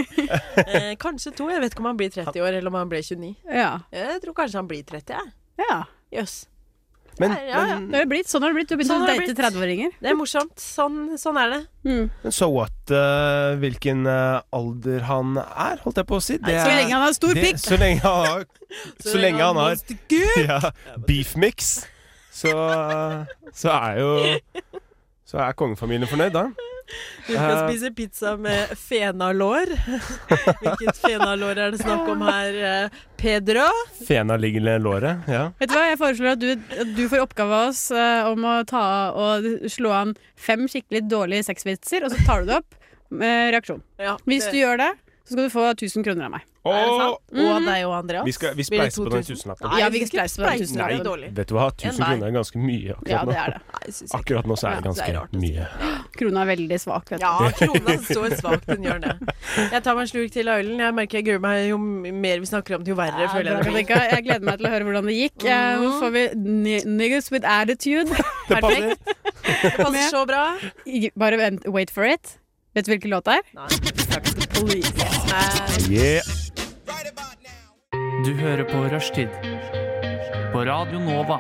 Speaker 3: Eh, kanskje to. Jeg vet ikke om han blir 30 år, eller om han ble 29.
Speaker 2: Ja.
Speaker 3: Jeg tror kanskje han blir 30, jeg.
Speaker 2: Ja.
Speaker 3: Jøs.
Speaker 4: Men,
Speaker 3: Ja, ja, ja.
Speaker 4: men
Speaker 2: Det har det blitt, sånn har det blitt. Du har begynt
Speaker 3: Sånn
Speaker 2: å
Speaker 3: har det
Speaker 2: date
Speaker 3: blitt.
Speaker 2: 30-åringer.
Speaker 3: Det er morsomt. Sånn, sånn er det.
Speaker 4: Men so what eh, hvilken eh, alder han er, holdt jeg på å si. Det
Speaker 2: så
Speaker 4: er-
Speaker 2: lenge han har stor
Speaker 4: det-
Speaker 2: pikk.
Speaker 4: Så lenge han har, så lenge han har
Speaker 3: monster gud.
Speaker 4: *laughs* ja, beef mix, så, eh, så er jo Så er kongefamilien fornøyd, da.
Speaker 3: Du skal
Speaker 4: Eh.
Speaker 3: spise pizza med
Speaker 4: *laughs*
Speaker 3: fenalår. Hvilket fenalår er det snakk om her, eh, Pedro?
Speaker 4: Fena ligger i låret. Ja.
Speaker 2: Vet du hva, Jeg foreslår at du, at du får oppgave av oss eh, om å ta og slå an fem skikkelig dårlige sexvitser, og så tar du det opp med reaksjon.
Speaker 3: Ja,
Speaker 2: Hvis du gjør det, så skal du få 1000 kroner av meg.
Speaker 3: Er det
Speaker 4: Og
Speaker 3: sant? Og deg og Andreas.
Speaker 4: vi, skal, vi
Speaker 3: Blir det
Speaker 4: spleiser på den
Speaker 3: 2000?
Speaker 4: tusenlappen.
Speaker 3: Nei,
Speaker 2: Mhm. Ja, vi
Speaker 3: skal
Speaker 2: spleiser på den
Speaker 3: spleise,
Speaker 2: tusenlappen.
Speaker 3: det er dårlig.
Speaker 4: Vet du hva, 1000
Speaker 3: En vei.
Speaker 4: kroner er ganske mye
Speaker 2: Ja,
Speaker 4: akkurat
Speaker 2: det er
Speaker 4: nå.
Speaker 2: det.
Speaker 3: Nei, jeg synes ikke.
Speaker 4: *laughs* Akkurat nå så er
Speaker 3: Ja, det
Speaker 4: det
Speaker 3: er rart
Speaker 4: ganske
Speaker 3: å si. *laughs*
Speaker 4: mye.
Speaker 2: Krona er veldig svak, vet du.
Speaker 3: Ja, krona står svakt, den gjør det. Jeg tar meg en slurk til av ølen. Jeg merker jeg gruer meg jo mer vi snakker om det, jo verre
Speaker 2: Ja,
Speaker 3: føler
Speaker 2: bra,
Speaker 3: jeg det blir.
Speaker 2: Katinka. Jeg gleder meg til å høre hvordan det gikk. Eh, Nå får vi ni- Niggas with attitude. Perfekt.
Speaker 3: Det passer så bra.
Speaker 2: I- Bare vent, wait for it. Vet du hvilken låt det er?
Speaker 4: Yeah.
Speaker 12: Du hører på Rushtid på Radio Nova.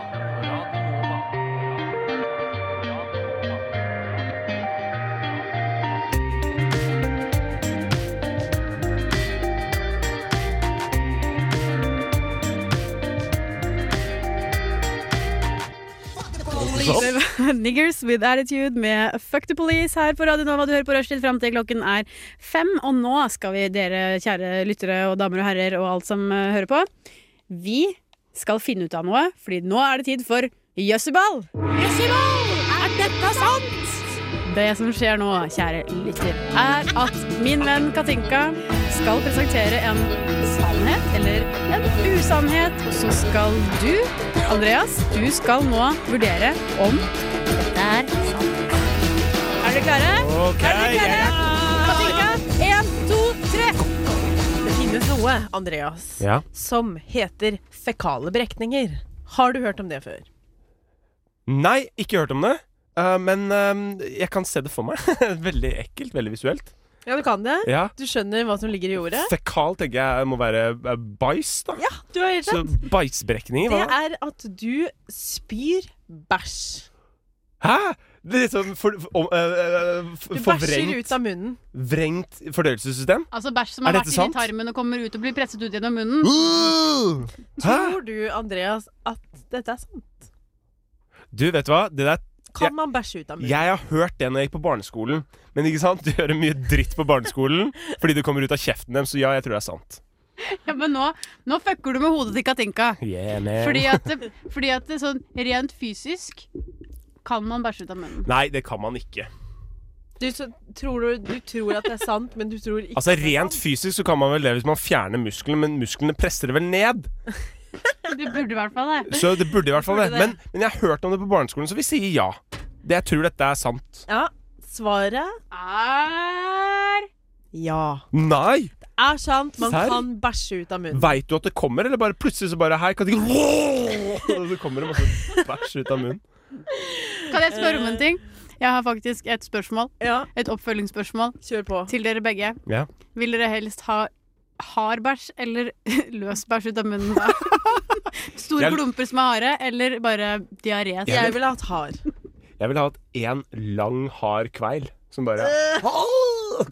Speaker 2: Det var *laughs* Niggers with attitude med Fuck the Police her på Radio Nova. Du hører på Rushtid fram til klokken er fem. Og nå skal vi, dere kjære lyttere og damer og herrer og alt som eh, hører på, vi skal finne ut av noe, fordi nå er det tid for Jøsseball! Er dette sant? Det som skjer nå, kjære lytter, er at min venn Katinka skal presentere en sannhet eller en usannhet. Og så skal du, Andreas, du skal nå vurdere om dette er sant. Er dere klare?
Speaker 3: Ok,
Speaker 2: er dere klare? Katinka, én, to, tre.
Speaker 3: Det finnes noe, Andreas,
Speaker 4: Ja.
Speaker 3: som heter fekale berekninger. Har du hørt om det før?
Speaker 4: Nei, ikke hørt om det. Eh, men eh, jeg kan se det for meg. *laughs* veldig ekkelt, veldig visuelt.
Speaker 3: Ja, du kan det.
Speaker 4: Ja.
Speaker 3: Du skjønner hva som ligger i ordet.
Speaker 4: Fekal tenker jeg må være eh, bæsj, da.
Speaker 3: Ja, du har helt
Speaker 4: Så
Speaker 3: rett.
Speaker 4: bæsjbrekninger,
Speaker 3: Det
Speaker 4: hva da?
Speaker 3: er at du spyr bæsj.
Speaker 4: Hæ?! Det er litt sånn for, for, om- eh, eh, f-
Speaker 3: Du bæsjer
Speaker 4: forvrengt
Speaker 3: ut av munnen.
Speaker 4: Vrengt fordøyelsessystem?
Speaker 2: Altså bæsj som
Speaker 4: Er
Speaker 2: har
Speaker 4: dette
Speaker 2: vært
Speaker 4: sant?
Speaker 2: inni tarmen og kommer ut og blir presset ut gjennom munnen.
Speaker 4: Hæ?
Speaker 3: Tror du, Andreas, at dette er sant?
Speaker 4: Du, vet du hva? Det der
Speaker 3: Kan man bæsje ut av munnen?
Speaker 4: Jeg har hørt det når jeg gikk på barneskolen. Men ikke sant, du hører mye dritt på barneskolen fordi du kommer ut av kjeften dem, så ja, jeg tror det er sant.
Speaker 2: Ja, men nå, nå fucker du med hodet til Katinka.
Speaker 4: Yeah, man.
Speaker 2: Fordi at, det- fordi at det sånn rent fysisk kan man bæsje ut av munnen.
Speaker 4: Nei, det kan man ikke.
Speaker 3: Du, så, tror du, du tror at det er sant, men du tror ikke
Speaker 4: Altså
Speaker 3: at det er
Speaker 4: Rent fysisk så kan man vel det hvis man fjerner musklene, men musklene presser det vel ned.
Speaker 2: Det burde i hvert fall det.
Speaker 4: Så det burde i hvert fall det.
Speaker 3: Burde det.
Speaker 4: Men, men jeg har hørt om det på barneskolen, så vi sier ja. Det, jeg tror dette er sant.
Speaker 3: sant. Ja, svaret
Speaker 2: Er
Speaker 3: ja.
Speaker 4: Nei!
Speaker 3: er sant. Man
Speaker 4: Serr?
Speaker 3: kan bæsje ut av munnen.
Speaker 4: Veit du at det kommer, eller bare plutselig så bare Hei, kan du ikke *laughs* Og så kommer det masse bæsj ut av munnen.
Speaker 2: Kan jeg spørre om en ting? Jeg har faktisk et spørsmål.
Speaker 3: Ja,
Speaker 2: Et oppfølgingsspørsmål
Speaker 3: kjør på.
Speaker 2: til dere begge.
Speaker 4: Ja.
Speaker 2: Vil dere helst ha hard bæsj eller *laughs* løs bæsj ut av munnen? *laughs* da? Store
Speaker 4: Jeg-
Speaker 2: klumper som er harde, eller bare diaré?
Speaker 3: Jeg ville hatt hard.
Speaker 4: Jeg ville hatt én lang, hard kveil som
Speaker 3: *laughs*
Speaker 4: bare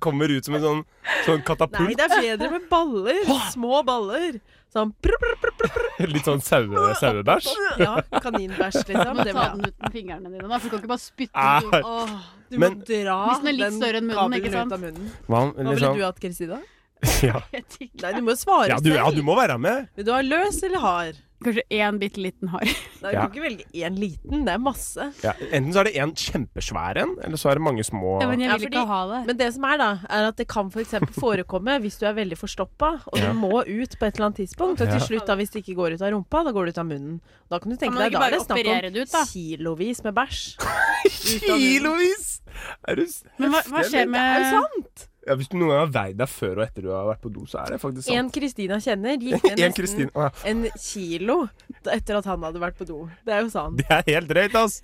Speaker 4: kommer ut som en sånn, sånn
Speaker 3: Nei,
Speaker 4: katapult.
Speaker 3: det er bedre med baller. Små baller. Sånn prr, prr, prr, prr,
Speaker 4: Litt sånn saue, sauebæsj.
Speaker 3: prr. Ja,
Speaker 2: *laughs*
Speaker 3: kaninbæsj,
Speaker 2: Du
Speaker 3: liksom.
Speaker 2: må
Speaker 3: Det
Speaker 2: ta
Speaker 3: var
Speaker 2: den uten fingrene dine. Da, for du kan ikke bare spytte
Speaker 4: Ah.
Speaker 2: den ut.
Speaker 3: Åh, du
Speaker 4: Men-
Speaker 3: må dra
Speaker 2: Hvis den er litt større enn munnen, ikke
Speaker 3: kabelen
Speaker 2: sant?
Speaker 3: ut av munnen.
Speaker 4: Hva, liksom-
Speaker 3: Hva ville du hatt, Kristina?
Speaker 4: *laughs* ja.
Speaker 2: Jeg tenker-
Speaker 3: Nei, du må jo svare
Speaker 4: sånn- Ja, du, ja, du
Speaker 3: selv.
Speaker 4: må være med.
Speaker 3: Vil du ha løs eller hard?
Speaker 2: Kanskje én bitte liten hard.
Speaker 3: Nei, du
Speaker 4: Ja.
Speaker 3: kan ikke velge én liten. Det er masse.
Speaker 4: Ja, enten så er det en kjempesvær en, eller så er det mange små
Speaker 2: Ja, men jeg
Speaker 3: Ja,
Speaker 2: vil
Speaker 3: fordi-
Speaker 2: ikke ha det.
Speaker 3: Men det som er, da, er at det kan f.eks. forekomme hvis du er veldig forstoppa, og
Speaker 4: Ja.
Speaker 3: du må ut på et eller annet tidspunkt. Og til
Speaker 4: Ja.
Speaker 3: slutt, da, hvis det ikke går ut av rumpa, da går det ut av munnen. Da kan du
Speaker 2: Kan
Speaker 3: tenke
Speaker 2: man
Speaker 3: deg, da er
Speaker 2: ikke bare
Speaker 3: det snakk
Speaker 2: operere det ut, da?
Speaker 3: om kilovis med bæsj. ut av munnen.
Speaker 4: Kilovis! Er du s-
Speaker 2: Men hva, hva
Speaker 4: heftig,
Speaker 2: skjer
Speaker 4: eller?
Speaker 3: Er det
Speaker 2: med
Speaker 3: sant?
Speaker 4: ja, Hvis du noen gang har veid deg før og etter du har vært på do, så er det faktisk sant.
Speaker 3: En Kristina kjenner gikk ned
Speaker 4: *laughs* En
Speaker 3: nesten
Speaker 4: Kristin. Å, ja.
Speaker 3: en kilo da- etter at han hadde vært på do. Det er jo sånn. sant.
Speaker 4: Det er helt drøyt, ass.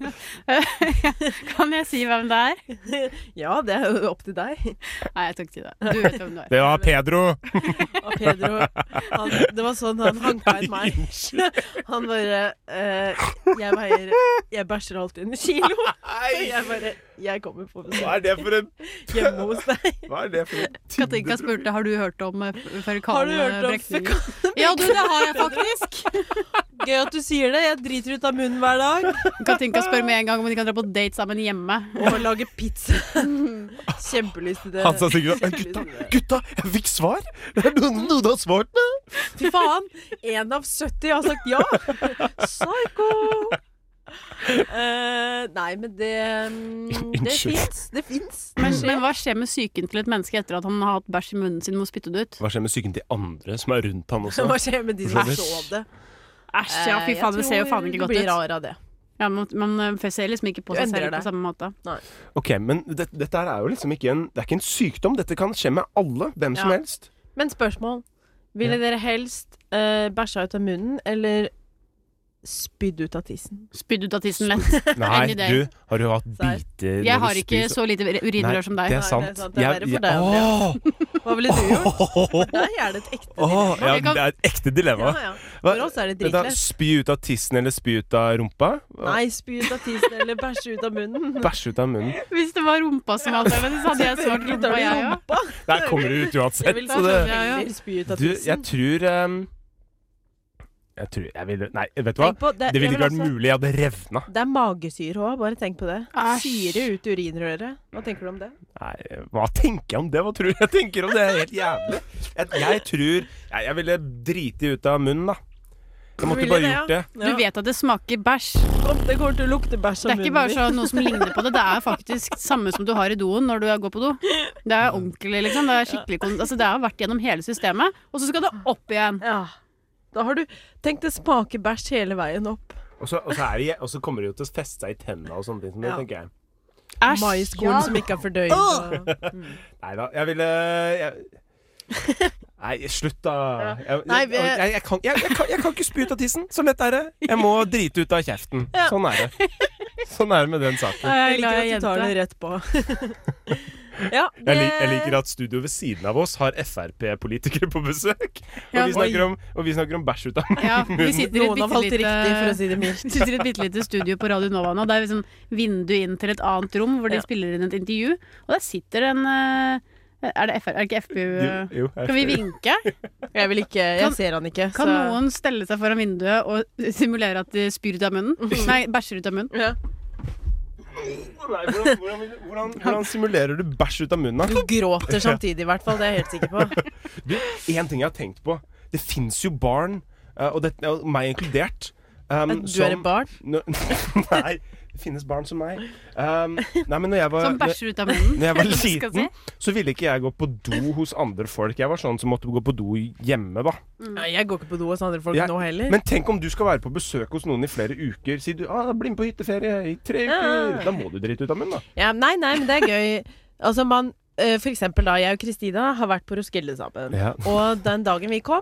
Speaker 2: Kan jeg si hvem det er?
Speaker 3: Ja, det er jo opp til deg.
Speaker 2: Nei, jeg tok ikke det. Du vet hvem du er.
Speaker 4: Det var Pedro.
Speaker 3: *laughs* Og Pedro han, Det var sånn han hanka inn meg. Han bare eh, Jeg veier Jeg bæsjer alltid en kilo. Og
Speaker 4: Nei,
Speaker 3: jeg bare Jeg kommer på
Speaker 4: hva
Speaker 3: besøk
Speaker 4: er det for en
Speaker 3: hjemme hos deg.
Speaker 4: Hva er det for en
Speaker 2: Katinka spurte har du hørt om eh, f-
Speaker 3: Har
Speaker 2: ferkale
Speaker 3: du hørt om
Speaker 2: brekninger?
Speaker 3: fekal...
Speaker 2: Ja, du, det har jeg faktisk.
Speaker 3: Gøy at du sier det. Jeg driter ut av munnen hver dag.
Speaker 2: Katinka spør med en gang om de kan dra på date sammen hjemme.
Speaker 3: Og lager
Speaker 8: *laughs*
Speaker 3: pizza. Kjempelyst til det.
Speaker 4: Han sa sikkert sånn Gutta, gutta, jeg fikk svar! *laughs* Det er noen, noen har svart meg!
Speaker 3: Fy faen! Én av 70 har sagt ja! Psycho! Eh, nei, men det mm, Det
Speaker 4: Unnskyld.
Speaker 3: fins. Det fins.
Speaker 2: Men, men hva skjer med psyken til et menneske etter at han har hatt bæsj i munnen sin og må spytte det ut?
Speaker 4: Hva skjer med psyken til andre som er rundt han *laughs* også?
Speaker 3: Hva skjer med de som
Speaker 4: Æsj.
Speaker 3: så det?
Speaker 2: Æsj, ja, fy
Speaker 3: Eh,
Speaker 2: faen, det ser jo
Speaker 3: jeg
Speaker 2: faen ikke
Speaker 3: tror
Speaker 2: godt
Speaker 3: Du blir
Speaker 2: ut.
Speaker 3: rar av det.
Speaker 2: Ja, man, man eh, ser liksom ikke på
Speaker 3: Du
Speaker 2: seg
Speaker 3: endrer
Speaker 2: selv på
Speaker 3: deg.
Speaker 2: samme måte.
Speaker 4: Ok, men det, dette her er jo liksom ikke en Det er ikke en sykdom. Dette kan skje med alle. Hvem som
Speaker 3: Ja.
Speaker 4: helst.
Speaker 3: Men spørsmål. Ville dere helst eh, bæsja ut av munnen eller spydd ut av tissen?
Speaker 2: Spydd ut av tissen lett.
Speaker 4: Nei,
Speaker 2: Enig i det.
Speaker 4: du, har du hatt
Speaker 3: Serr.
Speaker 4: biter når
Speaker 2: Jeg
Speaker 4: du
Speaker 2: har ikke
Speaker 4: spiser?
Speaker 2: så lite
Speaker 4: Nei,
Speaker 2: urinrør som deg.
Speaker 4: Det er sant.
Speaker 3: sant. Det er verre for deg, Hva ville du gjort?
Speaker 4: Åh!
Speaker 3: Der er *laughs* det et ekte
Speaker 4: Åh,
Speaker 3: dilemma.
Speaker 4: ja,
Speaker 2: Vi kan-
Speaker 4: det er et ekte dilemma.
Speaker 3: Ja, ja. For oss er det
Speaker 4: Vent da,
Speaker 3: dritlett.
Speaker 4: Spy ut av tissen eller spy ut av rumpa?
Speaker 3: Nei, spy ut av tissen eller bæsje ut av *laughs* munnen.
Speaker 4: Bæsje ut av munnen.
Speaker 2: *laughs* Hvis det var rumpa som alternativ, så hadde jeg svart
Speaker 3: Selvfølgelig tar
Speaker 2: rumpa,
Speaker 3: du
Speaker 2: jeg òg.
Speaker 3: rumpa.
Speaker 4: Der kommer du ut
Speaker 3: Jeg
Speaker 4: uansett.
Speaker 3: vil
Speaker 4: Så det,
Speaker 3: heller spy ut av
Speaker 4: du, jeg
Speaker 3: tissen.
Speaker 4: tror ehm, Jeg tror jeg ville Nei, vet du hva?
Speaker 3: Tenk eh, på
Speaker 4: det,
Speaker 3: det- jeg
Speaker 4: ville ikke
Speaker 3: vil
Speaker 4: vært
Speaker 3: også-
Speaker 4: mulig. Jeg hadde revna.
Speaker 3: Det er magesyre òg, bare tenk på det.
Speaker 2: Æsj.
Speaker 3: Syre ut urinrøret. Hva tenker du om det?
Speaker 4: Nei, hva tenker jeg om det? Hva tror du jeg tenker om det? Det er helt jævlig. Jeg, jeg tror jeg, jeg ville driti ut av munnen, da. Jeg måtte bare gjort det.
Speaker 2: Du vet at det smaker bæsj.
Speaker 3: Det kommer til å lukte bæsj
Speaker 2: Det er ikke bare sånn noe som ligner på det, det er faktisk samme som du har i doen når du går på do. Det er ordentlig, liksom. Det er skikkelig kon- Altså, det har vært gjennom hele systemet, og så skal det opp igjen.
Speaker 3: Da har du Tenk, det smaker bæsj hele veien opp.
Speaker 4: Og så, og så, er det, og så kommer det jo til å feste seg i tenna og sånne ting. som det,
Speaker 3: Ja.
Speaker 4: tenker jeg.
Speaker 2: Æsj.
Speaker 3: Maiskorn
Speaker 4: ja.
Speaker 3: som ikke er fordøyd. og-
Speaker 4: Nei da, jeg ville
Speaker 3: *laughs*
Speaker 4: jeg... Nei, slutt, da. Jeg,
Speaker 3: Nei,
Speaker 4: jeg,
Speaker 3: vi-
Speaker 4: jeg, jeg, kan, jeg, jeg, kan, jeg kan ikke spy ut av tissen. Så lett er det. Jeg må drite ut av kjeften.
Speaker 3: Ja.
Speaker 4: Sånn er det. Sånn er det med den saken.
Speaker 3: Jeg
Speaker 2: er
Speaker 3: liker
Speaker 2: glad
Speaker 3: at du
Speaker 2: jeg
Speaker 3: tar
Speaker 2: jente.
Speaker 3: det rett på. *laughs* ja, det,
Speaker 4: Jeg, lik, jeg liker at studioet ved siden av oss har Frp-politikere på besøk. Og
Speaker 2: Ja.
Speaker 4: vi snakker om, og vi snakker om bæsj ut av
Speaker 2: Ja, vi
Speaker 4: munnen.
Speaker 2: sitter i et
Speaker 3: Noen har valgt
Speaker 2: bittelite-
Speaker 3: riktig, for å si det mildt.
Speaker 2: *laughs* Vi sitter i et bitte lite studio på Radio Nova nå. Det er liksom vindu inn til et annet rom hvor de
Speaker 3: Ja.
Speaker 2: spiller inn et intervju, og der sitter en eh, Er det, FR, er det ikke FPU? eh?
Speaker 4: Jo, jo,
Speaker 2: Skal vi
Speaker 4: FPU.
Speaker 3: *laughs*
Speaker 2: vinke?
Speaker 3: jeg vil ikke Jeg
Speaker 2: Kan-
Speaker 3: ser han ikke.
Speaker 2: Kan
Speaker 3: så-
Speaker 2: noen stelle seg foran vinduet og *laughs* simulere at de spyr ut av munnen?
Speaker 3: *laughs*
Speaker 2: Nei, bæsjer ut av munnen.
Speaker 3: ja.
Speaker 4: Nei, hvordan, hvordan, hvordan, hvordan simulerer du bæsj ut av munnen? da?
Speaker 3: Du gråter samtidig, i hvert fall. Det er jeg helt sikker på. *laughs*
Speaker 4: Du, én ting jeg har tenkt på. Det fins jo barn, eh, og, det, og meg inkludert um,
Speaker 3: Du er et barn?
Speaker 4: Nå- *laughs* Nei. Det finnes barn som meg. Um, nei, men når jeg var,
Speaker 2: Som Sånn
Speaker 4: når,
Speaker 2: bæsjer ut av munnen.
Speaker 4: når jeg
Speaker 2: *laughs*
Speaker 4: var
Speaker 2: Hva skal jeg
Speaker 4: liten, så ville ikke jeg gå på do hos andre folk. Jeg var sånn som måtte gå på do hjemme, da.
Speaker 3: Nei, jeg går ikke på do hos andre folk
Speaker 4: Jeg-
Speaker 3: nå heller.
Speaker 4: Men tenk om du skal være på besøk hos noen i flere uker. Si du ah, 'bli med på hytteferie i tre uker'. Da må du drite ut av munnen, da.
Speaker 3: Ja, nei, nei, men det er gøy. Altså, man eh, For eksempel, da. Jeg og Kristina har vært på Roskilde sammen.
Speaker 4: Ja.
Speaker 3: Og den dagen vi kom,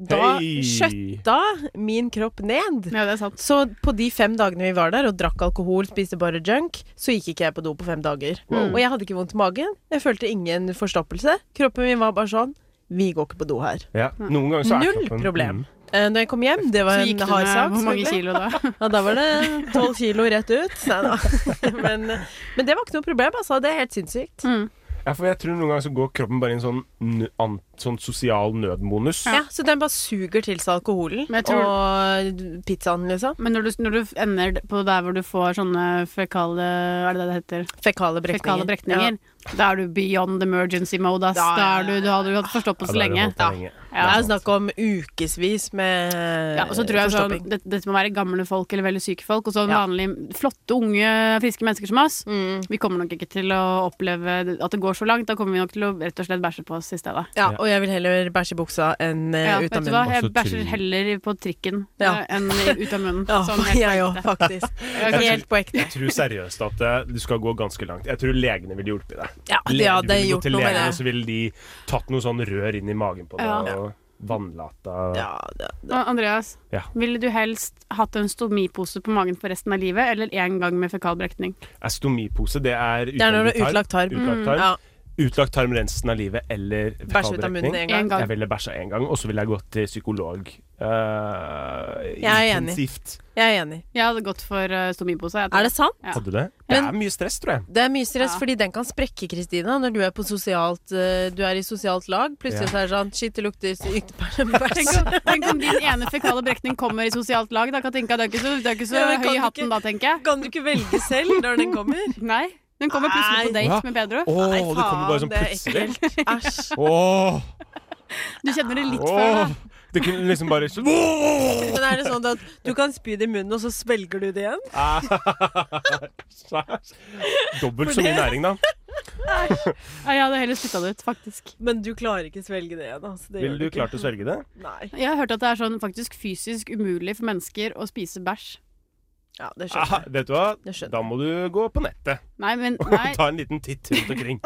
Speaker 3: da
Speaker 4: Hei!
Speaker 3: skjøtta min kropp ned.
Speaker 2: Ja, det er sant.
Speaker 3: Så på de fem dagene vi var der og drakk alkohol, spiste bare junk, så gikk ikke jeg på do på fem dager. Og jeg hadde ikke vondt i magen. Jeg følte ingen forstoppelse. Kroppen min var bare sånn Vi går ikke på do her.
Speaker 4: Ja. Noen ganger så er
Speaker 3: Null
Speaker 4: kroppen-
Speaker 3: problem.
Speaker 4: Mm.
Speaker 3: Eh, Når jeg kom hjem, det var
Speaker 2: Så
Speaker 3: en
Speaker 2: gikk du
Speaker 3: hard
Speaker 2: ned
Speaker 3: sak.
Speaker 2: hvor mange
Speaker 3: selvfølgelig. *laughs*
Speaker 2: kilo da?
Speaker 3: Ja, da var det tolv kilo rett ut. Nei da. *laughs* Men, men det var ikke noe problem, altså. Det er helt sinnssykt.
Speaker 2: Mm.
Speaker 4: Ja, for jeg tror noen ganger så går kroppen bare i en sånn, nø- an, sånn sosial nødmonus.
Speaker 3: Ja, Så den bare suger til seg alkoholen
Speaker 2: Men jeg tror-
Speaker 3: og pizzaen, liksom.
Speaker 2: Men når du, når du ender på der hvor du får sånne fekale Er det det det heter?
Speaker 3: Fekale brekninger.
Speaker 2: Fekale brekninger. Da er du beyond emergency mode, ass.
Speaker 3: Da-
Speaker 2: Da er du, du hadde jo hatt forstoppelse
Speaker 4: Ja, da
Speaker 2: lenge.
Speaker 4: har du holdt deg lenge.
Speaker 3: Ja. Det
Speaker 2: Ja.
Speaker 3: er snakk om ukevis med
Speaker 2: Ja, og så tror jeg sånn,
Speaker 3: forstopping.
Speaker 2: dette, dette må være gamle folk eller veldig syke folk, og så
Speaker 3: Ja.
Speaker 2: vanlige flotte, unge, friske mennesker som oss.
Speaker 3: Mm.
Speaker 2: Vi kommer nok ikke til å oppleve at det går så langt. Da kommer vi nok til å rett og slett bæsje på oss i stedet.
Speaker 3: Ja, sånn, og jeg vil heller bæsje i buksa enn eh,
Speaker 2: Ja,
Speaker 3: ut av
Speaker 2: vet du hva?
Speaker 3: munnen.
Speaker 2: Jeg
Speaker 4: Også
Speaker 2: bæsjer
Speaker 4: til-
Speaker 2: heller på trikken
Speaker 3: Ja.
Speaker 2: eh, enn i- ut av munnen.
Speaker 3: *laughs* Ja,
Speaker 2: Sånn helt
Speaker 3: jeg
Speaker 2: ekte.
Speaker 3: òg, faktisk.
Speaker 2: tror-
Speaker 3: Helt på ekte.
Speaker 4: Jeg tror seriøst at eh, du skal gå ganske langt. Jeg tror legene ville hjulpet deg.
Speaker 3: Ja, det
Speaker 4: Lege-
Speaker 3: hadde
Speaker 4: du ville gått
Speaker 3: gjort
Speaker 4: til
Speaker 3: noe med
Speaker 4: legen, Og
Speaker 3: det.
Speaker 4: så ville de tatt noe sånn rør inn i magen på deg
Speaker 2: Ja.
Speaker 4: og vannlata
Speaker 3: Ja, det,
Speaker 2: Og Andreas,
Speaker 4: Ja.
Speaker 2: ville du helst hatt en stomipose på magen for resten av livet, eller én gang med fekalbrekning?
Speaker 4: Estomipose, det er
Speaker 3: det er når du har
Speaker 4: utlagt
Speaker 3: utlagt tarm. Mm,
Speaker 4: Utlagt tarm.
Speaker 3: Ja,
Speaker 4: Utlagt tarm resten av livet eller
Speaker 3: bæsje ut av munnen
Speaker 4: fekalbrekning.
Speaker 3: en
Speaker 2: En
Speaker 3: gang.
Speaker 2: gang.
Speaker 4: Jeg ville bæsja én gang, og så ville jeg gått til psykolog. eh,
Speaker 3: er enig.
Speaker 4: intensivt.
Speaker 3: Jeg er enig.
Speaker 2: Jeg hadde gått for eh, stomipose. Jeg tror.
Speaker 3: Er det sant?
Speaker 2: Ja.
Speaker 4: Hadde du det? Det
Speaker 3: Men-
Speaker 4: er mye stress, tror jeg.
Speaker 3: Det er mye stress,
Speaker 2: Ja.
Speaker 3: fordi den kan sprekke, Kristina, når du er på sosialt eh, Du er i sosialt lag. Plutselig
Speaker 4: Ja.
Speaker 3: så er det sånn Shit, det lukter sykt *laughs*
Speaker 2: Tenk
Speaker 3: bæsj.
Speaker 2: om, tenk om din ene fekale brekning kommer i sosialt lag. Da, Katinka, det er ikke så, det er ikke så
Speaker 3: Ja, men kan
Speaker 2: høy i
Speaker 3: du
Speaker 2: hatten
Speaker 3: ikke-
Speaker 2: da, tenker jeg.
Speaker 3: Kan du ikke velge selv når den kommer?
Speaker 2: Nei. Den kommer plutselig
Speaker 3: Nei.
Speaker 2: på date
Speaker 4: Ja.
Speaker 2: med Pedro.
Speaker 4: Å,
Speaker 3: Nei,
Speaker 4: det kommer bare
Speaker 3: faen,
Speaker 4: sånn
Speaker 3: det er
Speaker 4: plutselig.
Speaker 3: ekkelt. Æsj.
Speaker 4: *laughs* Åh,
Speaker 2: Du kjenner det litt før. da.
Speaker 4: åh. Det kunne
Speaker 3: *laughs*
Speaker 4: liksom bare Åh!
Speaker 3: Men er det sånn at du kan spy det i munnen, og så svelger du det igjen?
Speaker 4: Sæsj. Dobbelt så mye næring,
Speaker 3: *laughs*
Speaker 4: da.
Speaker 2: Ja, jeg hadde heller spytta det ut, faktisk.
Speaker 3: Men du klarer ikke svelge det igjen. Altså, det
Speaker 4: Ville
Speaker 3: gjør
Speaker 4: du klart
Speaker 3: ikke.
Speaker 4: å svelge det?
Speaker 3: Nei.
Speaker 2: Jeg har hørt at det er sånn faktisk fysisk umulig for mennesker å spise bæsj.
Speaker 3: Ja, det skjønner
Speaker 4: Ah,
Speaker 3: jeg.
Speaker 4: vet du hva?
Speaker 3: Det skjønner jeg.
Speaker 4: Da må du gå på nettet
Speaker 2: Nei, men
Speaker 4: *laughs* og
Speaker 2: nei.
Speaker 4: ta en liten titt rundt omkring.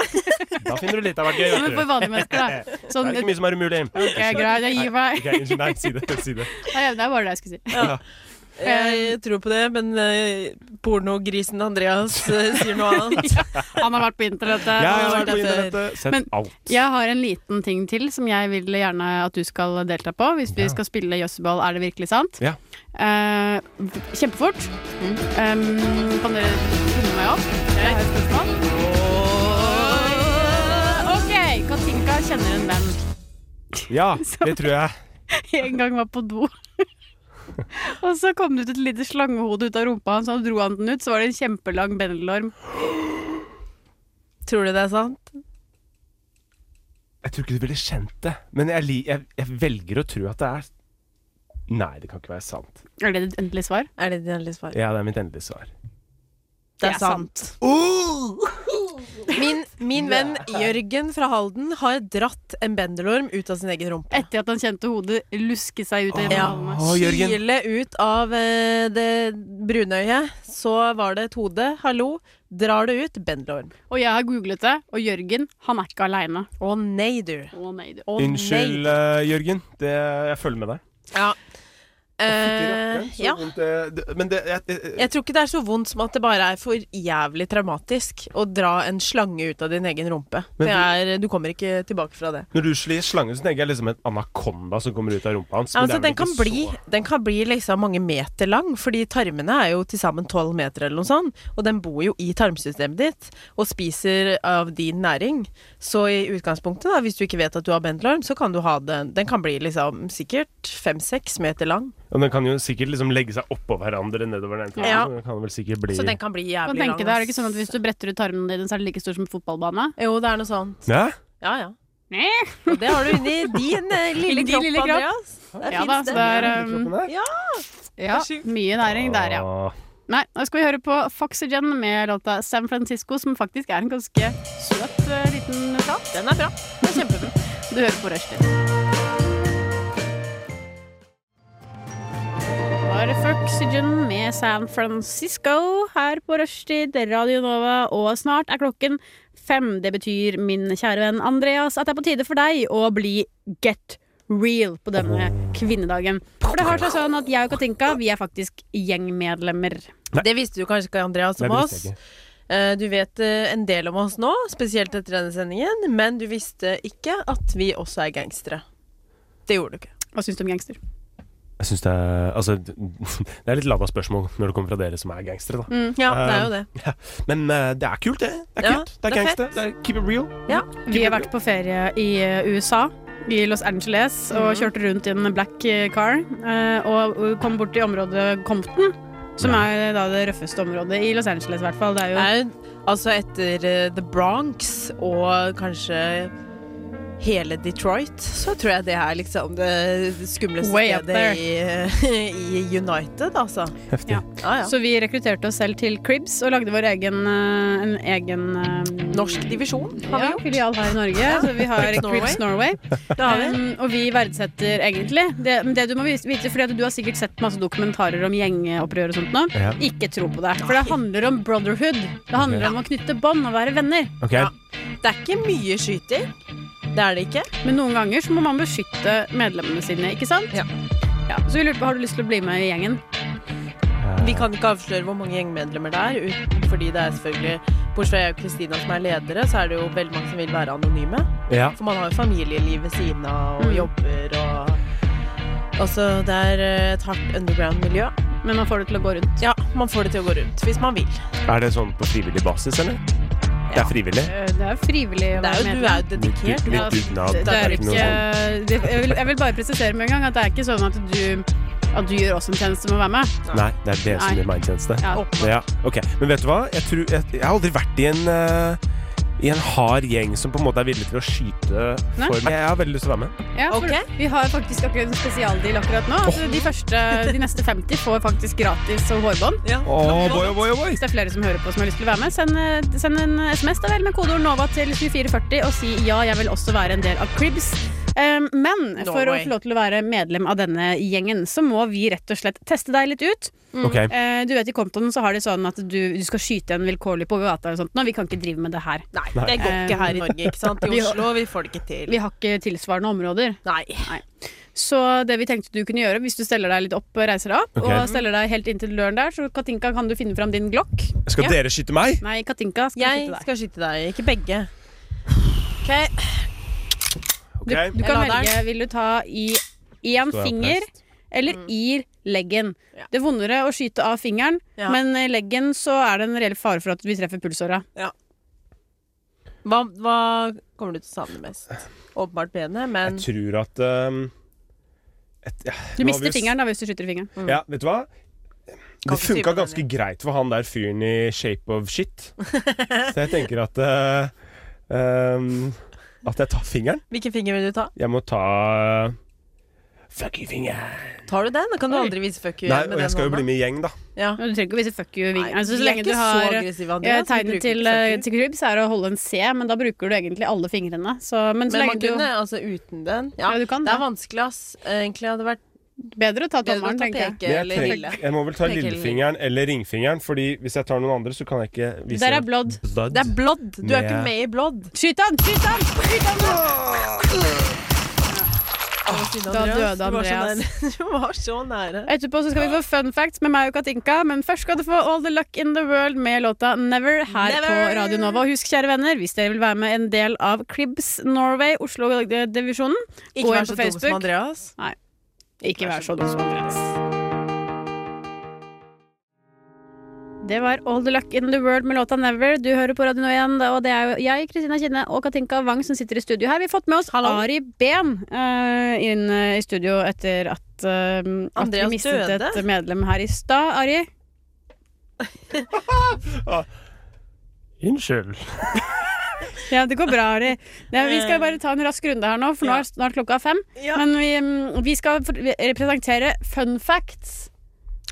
Speaker 4: Da finner du litt av hvert gøy.
Speaker 2: Ja,
Speaker 4: vet
Speaker 2: Men
Speaker 4: du.
Speaker 2: for vanlige mennesker, da.
Speaker 4: Det
Speaker 2: Sånn,
Speaker 4: er ikke
Speaker 2: ok,
Speaker 4: mye som er umulig.
Speaker 2: greit, jeg gir meg.
Speaker 4: Ok, Unnskyld, nei, si det. Si det.
Speaker 2: Nei, det er bare det jeg skulle si.
Speaker 3: Jeg tror på det, men eh, pornogrisen Andreas eh, sier noe annet.
Speaker 2: Han har vært på internettet.
Speaker 4: Jeg
Speaker 2: og-
Speaker 4: har vært på
Speaker 3: derfor-
Speaker 4: internettet, sett
Speaker 2: Men-
Speaker 4: alt.
Speaker 2: Jeg har en liten ting til som jeg vil gjerne at du skal delta på. Hvis vi
Speaker 4: Ja.
Speaker 2: skal spille Jøsseball, er det virkelig sant?
Speaker 4: Ja. Mm.
Speaker 2: Eh, kjempefort. Eh, kan dere finne meg opp? Jeg har et spørsmål. OK, Katinka kjenner en venn *laughs*
Speaker 4: Ja, det tror jeg.
Speaker 2: en gang var på do *laughs* Og så kom det ut et lite slangehode ut av rumpa hans, og så dro han den ut, så var det en kjempelang bendelorm.
Speaker 3: Tror du det er sant?
Speaker 4: Jeg tror ikke du ville kjent det, men jeg, li- jeg, jeg velger å tro at det er Nei, det kan ikke være sant.
Speaker 2: Er det ditt endelige svar?
Speaker 3: *laughs* Er det ditt endelige svar?
Speaker 4: Ja, det er mitt endelige svar.
Speaker 3: Det er sant. Min, min venn Jørgen fra Halden har dratt en bendelorm ut av sin egen rumpe.
Speaker 2: Etter at han kjente hodet luske seg ut av
Speaker 3: Ja.
Speaker 2: hjemmehalene.
Speaker 4: Å, Jørgen.
Speaker 3: Kile ut av eh, det brunøyet, så var det et hode. Hallo. Drar det ut, bendelorm.
Speaker 2: Og jeg har googlet det, og Jørgen, han er ikke aleine.
Speaker 3: Å nei, du.
Speaker 2: Å nei, du.
Speaker 3: Å,
Speaker 4: Unnskyld,
Speaker 3: nei.
Speaker 4: eh, Jørgen. Det, jeg følger med deg.
Speaker 3: Ja.
Speaker 4: Fytti
Speaker 3: Eh,
Speaker 4: rakkeren, så
Speaker 3: ja.
Speaker 4: vondt det- det- Men det jeg, jeg,
Speaker 3: Jeg tror ikke det er så vondt som at det bare er for jævlig traumatisk å dra en slange ut av din egen rumpe. Det
Speaker 4: Men
Speaker 3: er, du kommer ikke tilbake fra det.
Speaker 4: Når du slår slangen, så tenker jeg liksom en anakonda som kommer ut av rumpa hans. men det
Speaker 3: Altså,
Speaker 4: er vel
Speaker 3: den, kan
Speaker 4: ikke
Speaker 3: bli,
Speaker 4: så-
Speaker 3: den kan bli liksom mange meter lang, fordi tarmene er jo til sammen tolv meter eller noe sånt, og den bor jo i tarmsystemet ditt og spiser av din næring. Så i utgangspunktet, da, hvis du ikke vet at du har bendelorm, så kan du ha den Den kan bli liksom sikkert fem-seks meter lang.
Speaker 4: Og den kan jo sikkert liksom legge seg oppå hverandre nedover den ene
Speaker 3: Ja.
Speaker 4: så Den kan vel sikkert bli
Speaker 3: Så den kan bli
Speaker 2: Kan
Speaker 3: jævlig lang.
Speaker 2: tenke deg, er det
Speaker 3: ass.
Speaker 2: ikke sånn at Hvis du bretter ut tarmene dine, så er det like stor som en fotballbane?
Speaker 3: Jo, det er noe sånt.
Speaker 4: Ja?
Speaker 3: Ja, ja.
Speaker 2: Nei.
Speaker 3: Og det har du inni din eh, lille
Speaker 2: Inni din
Speaker 3: kropp,
Speaker 2: lille kropp.
Speaker 3: Andreas. Der
Speaker 2: Ja
Speaker 3: finnes
Speaker 2: da, så det er um,
Speaker 4: Kroppen der?
Speaker 2: ja, mye næring der, ja.
Speaker 4: Åh.
Speaker 2: Nei, nå skal vi høre på Foxygen med låta San Francisco, som faktisk er en ganske søt eh, liten prat.
Speaker 3: Den er bra. Den er kjempebra.
Speaker 2: *laughs* Du hører på Rushtid. Var Foxygen med San Francisco her på Rushtid, Radio Nova, og snart er klokken fem. Det betyr, min kjære venn Andreas, at det er på tide for deg å bli get real på denne kvinnedagen. For det har seg sånn at jeg og Katinka, vi er faktisk gjengmedlemmer.
Speaker 3: Det visste du kanskje ikke, Andreas,
Speaker 4: Nei,
Speaker 3: om
Speaker 4: det
Speaker 3: oss.
Speaker 4: visste jeg ikke.
Speaker 3: Eh, Du vet eh, en del om oss nå, spesielt etter denne sendingen, men du visste ikke at vi også er gangstere. Det gjorde du ikke.
Speaker 2: Hva syns du om gangster?
Speaker 4: Jeg syns det er Altså, *laughs* det er litt lada spørsmål når det kommer fra dere som er gangstere, da.
Speaker 3: Ja,
Speaker 4: Eh,
Speaker 3: det er jo det.
Speaker 4: Men eh, det er kult, det. Det er
Speaker 3: Ja,
Speaker 4: kult. Det er
Speaker 3: det er
Speaker 4: gangster. Det er keep it real.
Speaker 2: Vi har vært på ferie i eh, USA, i Los Angeles, og kjørte rundt i en black eh, car. eh, Og og kom bort til området Compton, som er da det røffeste området i Los Angeles, i hvert fall. Det er jo
Speaker 3: det er jo, altså etter eh, The Bronx og kanskje hele Detroit, så tror jeg det er liksom det skumleste
Speaker 2: Way up
Speaker 3: stedet i, i *laughs* United, altså.
Speaker 2: Ja.
Speaker 4: Heftig.
Speaker 3: Ja, ja.
Speaker 2: Så vi rekrutterte oss selv til Cribs og lagde vår egen, eh, en egen eh,
Speaker 3: Norsk divisjon har vi
Speaker 2: ja,
Speaker 3: gjort.
Speaker 2: filial her i Norge. Så vi har
Speaker 3: Cribs
Speaker 2: Cribs *laughs* Norway. Um, og vi verdsetter egentlig det, det du må vis- vite, fordi at du har sikkert sett masse dokumentarer om gjengeopprør og sånt nå.
Speaker 4: Ja.
Speaker 2: Ikke tro på det. For det handler om brotherhood. Det handler
Speaker 4: Ok.
Speaker 2: om å knytte bånd og være venner.
Speaker 4: Ok,
Speaker 3: Ja. Det er ikke mye skyting. Det er det ikke.
Speaker 2: Men noen ganger så må man beskytte medlemmene sine, ikke sant?
Speaker 3: Ja.
Speaker 2: Ja, så vi lurte på, har du lyst til å bli med i gjengen?
Speaker 3: Vi kan ikke avsløre hvor mange gjengmedlemmer det er, ut- fordi det er selvfølgelig Bortsett fra jeg og Kristina som er ledere, så er det jo veldig mange som vil være anonyme.
Speaker 4: Eh, ja.
Speaker 3: For man har jo familieliv ved siden av, og
Speaker 2: Mm.
Speaker 3: jobber og Altså, det er eh, et hardt underground-miljø.
Speaker 2: Men man får det til å gå rundt.
Speaker 3: Ja, man får det til å gå rundt hvis man vil.
Speaker 4: Er det sånn på frivillig basis, eller? Det er frivillig?
Speaker 2: Eh, Det er frivillig å
Speaker 3: Det er
Speaker 2: være
Speaker 3: jo,
Speaker 2: med.
Speaker 3: du er jo dedikert.
Speaker 4: Litt
Speaker 2: Ja,
Speaker 4: dugnad.
Speaker 2: det, det er
Speaker 4: ikke noe sånn-
Speaker 2: ikke,
Speaker 3: sånn.
Speaker 2: det, jeg, vil, jeg vil bare presisere med en gang at det er ikke sånn at du, at du gjør oss en tjeneste med å være med.
Speaker 4: Nei, det er det som
Speaker 2: Nei.
Speaker 4: gjør meg en tjeneste.
Speaker 2: Ja.
Speaker 4: Ja, ok. Men vet du hva? Jeg, tror, jeg, jeg har aldri vært i en, eh, i en hard gjeng som på en måte er villig til å skyte
Speaker 2: Nei.
Speaker 4: for meg. Jeg har veldig lyst til å være med.
Speaker 2: Ja, for
Speaker 3: Ok.
Speaker 2: Vi har faktisk akkurat en spesialdeal akkurat nå. Altså, de, første, de neste 50 får faktisk gratis og hårbånd.
Speaker 4: Åh, boy, oh, boy, boy.
Speaker 2: Hvis det er flere som hører på som har lyst til å være med, send, eh, send en SMS da vel med kodeord NOVA til 2440 og si ja, jeg vil også være en del av Cribs. Um, men
Speaker 3: No
Speaker 2: for å
Speaker 3: way.
Speaker 2: få lov til å være medlem av denne gjengen, så må vi rett og slett teste deg litt ut.
Speaker 4: Ok,
Speaker 2: Eh, du vet I Compton så har de sånn at du, du skal skyte en vilkårlig på gata. og sånt. Nå, vi kan ikke drive med det her.
Speaker 3: Nei, det går ikke her i Norge, ikke sant. I Oslo *laughs* vi får det ikke til.
Speaker 2: Vi har ikke tilsvarende områder.
Speaker 3: Nei.
Speaker 2: Så det vi tenkte du kunne gjøre, hvis du steller deg litt opp, reiser deg opp,
Speaker 4: Ok.
Speaker 2: og steller deg helt inntil døren der, så Katinka, kan du finne fram din glokk?
Speaker 4: Skal
Speaker 2: Ja.
Speaker 4: dere skyte meg?
Speaker 2: Nei, Katinka skal
Speaker 3: Jeg
Speaker 2: skyte deg.
Speaker 3: skal skyte deg, ikke begge. OK.
Speaker 4: Ok.
Speaker 2: Du
Speaker 3: Jeg
Speaker 2: kan
Speaker 3: lader den.
Speaker 2: velge, vil du ta i én
Speaker 4: Står jeg
Speaker 2: finger
Speaker 4: oppreist?
Speaker 2: eller i leggen.
Speaker 3: Mm. Ja.
Speaker 2: Det er vondere å skyte av fingeren,
Speaker 3: Ja.
Speaker 2: men i leggen så er det en reell fare for at vi treffer pulsåra.
Speaker 3: Hva, hva kommer du til å savne mest? Åpenbart benet, men
Speaker 4: Jeg tror at um, ehm, et- ja,
Speaker 2: Du
Speaker 4: nå har
Speaker 2: mister
Speaker 4: vi s-
Speaker 2: fingeren da hvis du skyter i fingeren.
Speaker 3: Mm.
Speaker 4: Ja, vet du hva? Det
Speaker 2: ikke type
Speaker 4: funka ganske greit for han der fyren i Shape of Shit. *laughs* Så jeg tenker at eh, ehm, At jeg tar fingeren.
Speaker 3: Hvilken finger vil du ta?
Speaker 4: Jeg må ta eh, Fuck you, finger.
Speaker 3: Tar du den? Da kan du aldri vise fuck you
Speaker 4: Nei,
Speaker 3: igjen
Speaker 4: og
Speaker 3: med
Speaker 4: jeg
Speaker 3: den
Speaker 4: skal jo
Speaker 3: hånda.
Speaker 4: bli med i gjeng, da.
Speaker 3: Ja.
Speaker 2: Du trenger ikke å vise fuck you. Ving. Altså,
Speaker 3: vi
Speaker 2: så
Speaker 3: er
Speaker 2: lenge
Speaker 3: ikke
Speaker 2: du
Speaker 3: så
Speaker 2: har
Speaker 3: aggressive, Andreas. Vi
Speaker 2: Ja,
Speaker 3: bruker
Speaker 2: Tegnet til,
Speaker 3: ikke fuck
Speaker 2: eh, til kryps er å holde en C, men da bruker du egentlig alle fingrene. Så, men så
Speaker 3: Men
Speaker 2: lenge
Speaker 3: man
Speaker 2: du
Speaker 3: kunne, altså uten den Ja, det er vanskelig, ass. Egentlig hadde det vært
Speaker 2: bedre å ta
Speaker 3: tommelen,
Speaker 4: Men
Speaker 3: tenker
Speaker 4: jeg,
Speaker 3: eller
Speaker 4: trenger-
Speaker 3: lille.
Speaker 4: jeg må vel ta
Speaker 3: Peke eller lille.
Speaker 4: lillefingeren eller ringfingeren, Fordi hvis jeg tar noen andre, så kan jeg ikke vise
Speaker 3: Der er blodd. Det er blodd. Du er ikke med i blodd.
Speaker 2: Skyt han! Skyt han! Skyt han! Da døde Andreas.
Speaker 3: *laughs* Du var så nære.
Speaker 2: Etterpå så skal vi få fun facts med meg og Katinka, men først skal du få All the luck in the world med låta Never her på
Speaker 3: Never!
Speaker 2: Radio Nova. Og husk, kjære venner, hvis dere vil være med en del av Cribs Norway, Oslo-divisjonen,
Speaker 3: Ikke
Speaker 2: gå
Speaker 3: vær
Speaker 2: inn
Speaker 3: så
Speaker 2: på
Speaker 3: dum som
Speaker 2: Facebook.
Speaker 3: Andreas.
Speaker 2: Nei. Ikke vær så dum som Andreas. Det var All the luck in the world med låta Never. Du hører på Radio Nå igjen, da, og det er jo jeg, Kristina Kinne og Katinka Wang som sitter i studio her. Vi har fått med oss Ari Behn eh, inn eh, i studio etter at, eh, at vi
Speaker 3: Andreas
Speaker 2: mistet
Speaker 3: døde.
Speaker 2: et medlem her i stad. Ari?
Speaker 4: Unnskyld.
Speaker 2: Ja, det går bra, Ari. Ja, vi skal bare ta en rask runde her nå, for nå er snart klokka fem. Men vi, mm, vi skal for- vi presentere fun facts.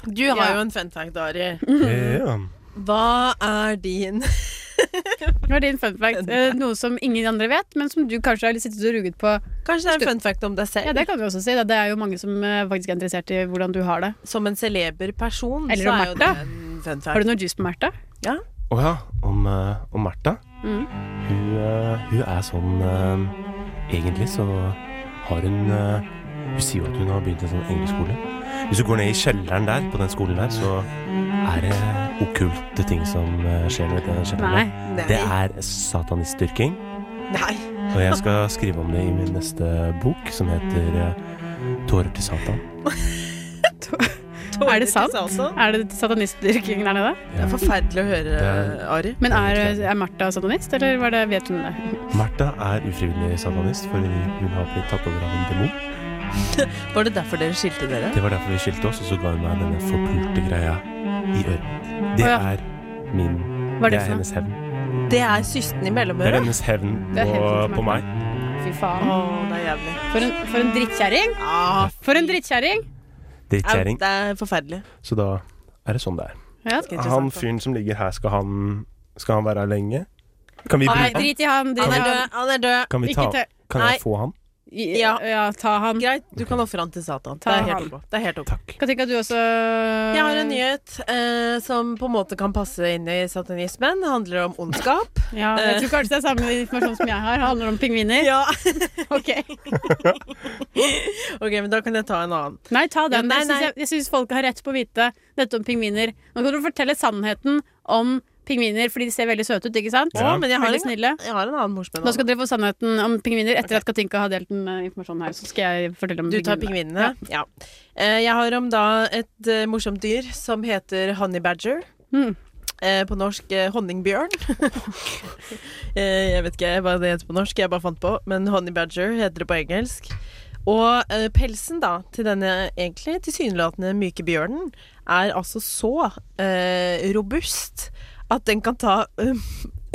Speaker 3: Du har jo en fun fact, Ari.
Speaker 4: Eh, Ja.
Speaker 3: Hva er din
Speaker 2: Det var din fun fact. Eh, Noe som ingen andre vet, men som du kanskje har litt sittet og ruget på.
Speaker 3: Kanskje det er en fun fact om deg selv?
Speaker 2: Ja, det kan vi også si. da. Det er jo mange som eh, faktisk er interessert i hvordan du har det.
Speaker 3: Som en celeber person,
Speaker 2: Eller
Speaker 3: så
Speaker 2: om
Speaker 3: er jo det
Speaker 2: Märtha.
Speaker 3: en fun fact.
Speaker 2: Har du noe juice på Märtha?
Speaker 3: Ja.
Speaker 4: Å ja. Om, eh, om Märtha.
Speaker 3: Mhm.
Speaker 4: Hun, eh, hun er sånn eh, Egentlig så har hun eh, Hun sier jo at hun har begynt en sånn engelskskole. Hvis du går ned i kjelleren der, på den skolen der, så er det okkulte ting som eh, skjer nede i den kjelleren.
Speaker 3: Nei. Nei.
Speaker 4: der. Det er satanistdyrking.
Speaker 3: *laughs* Nei.
Speaker 4: Og jeg skal skrive om det i min neste bok, som heter eh, 'Tårer til Satan'.
Speaker 2: Er det sant? Er det satanistdyrking der nede?
Speaker 4: Det
Speaker 3: er forferdelig å høre,
Speaker 4: Det er-
Speaker 3: Ari.
Speaker 2: Men er, er Märtha satanist, eller var det, vet hun det?
Speaker 4: Märtha er ufrivillig satanist fordi hun har blitt tatt over av en demon.
Speaker 3: Var det derfor dere skilte dere?
Speaker 4: Det var derfor vi skilte oss, og så ga hun meg denne forpulte greia i øret. Det
Speaker 3: Å
Speaker 4: er min
Speaker 3: Hva er
Speaker 4: Det
Speaker 3: det
Speaker 4: er
Speaker 3: for noe?
Speaker 4: hennes hevn.
Speaker 3: Det er systen i
Speaker 4: Mm. Det er
Speaker 3: mellomøret.
Speaker 4: hennes hevn
Speaker 2: Det er
Speaker 4: på,
Speaker 2: hevn til
Speaker 4: på
Speaker 2: meg.
Speaker 4: meg.
Speaker 2: Fy faen.
Speaker 3: Å, det er jævlig.
Speaker 2: For en, for en drittkjerring! For en drittkjerring!
Speaker 4: Drittkjerring.
Speaker 3: Det er forferdelig.
Speaker 4: Så da er det sånn det er.
Speaker 2: Ja.
Speaker 4: Han fyren som ligger her, skal han, skal han være her lenge? Kan vi
Speaker 2: Nei,
Speaker 4: bruke han?
Speaker 2: drit i han. Drit
Speaker 4: Kan
Speaker 2: i
Speaker 4: vi-
Speaker 2: han.
Speaker 3: Han er død.
Speaker 4: Kan, vi ta,
Speaker 2: Ikke ta-
Speaker 4: kan
Speaker 2: Nei.
Speaker 4: jeg få han?
Speaker 2: Ja, ta han.
Speaker 3: Greit, du kan ofre han til Satan.
Speaker 2: Ta
Speaker 3: det er helt
Speaker 2: han.
Speaker 3: ok. Det er helt ok.
Speaker 2: Katinka, du også
Speaker 3: Jeg har en nyhet eh, som på en måte kan passe inn i satanismen. Det handler om ondskap.
Speaker 2: Ja, jeg tror kanskje det er samme informasjon som jeg har. Det handler om
Speaker 3: *laughs*
Speaker 2: pingviner.
Speaker 3: Eh. Ja.
Speaker 2: *laughs* Ok.
Speaker 3: Ok, men da kan jeg ta en annen.
Speaker 2: Nei, ta den.
Speaker 3: Nei,
Speaker 2: Jeg syns-
Speaker 3: nei.
Speaker 2: Jeg, jeg syns folk har rett på å vite dette om pingviner. Nå kan du fortelle sannheten om pingviner, fordi de ser veldig søte ut, ikke sant?
Speaker 3: Å, men jeg har
Speaker 2: veldig
Speaker 3: en-
Speaker 2: snille.
Speaker 3: Jeg har en annen morsmenn.
Speaker 2: Nå skal dere få sannheten om pingviner etter at Katinka har delt den eh, informasjonen her. Så skal jeg fortelle om
Speaker 3: Du tar pingvinene? Ja. Eh, Jeg har om da et eh, morsomt dyr som heter honey badger.
Speaker 2: Mm.
Speaker 3: Eh, På norsk eh, honningbjørn. Eh, jeg vet ikke hva det heter på norsk, jeg bare fant på. Men honey badger heter det på engelsk. Og eh, pelsen da, til denne egentlig tilsynelatende myke bjørnen er altså så eh, robust at den kan ta eh,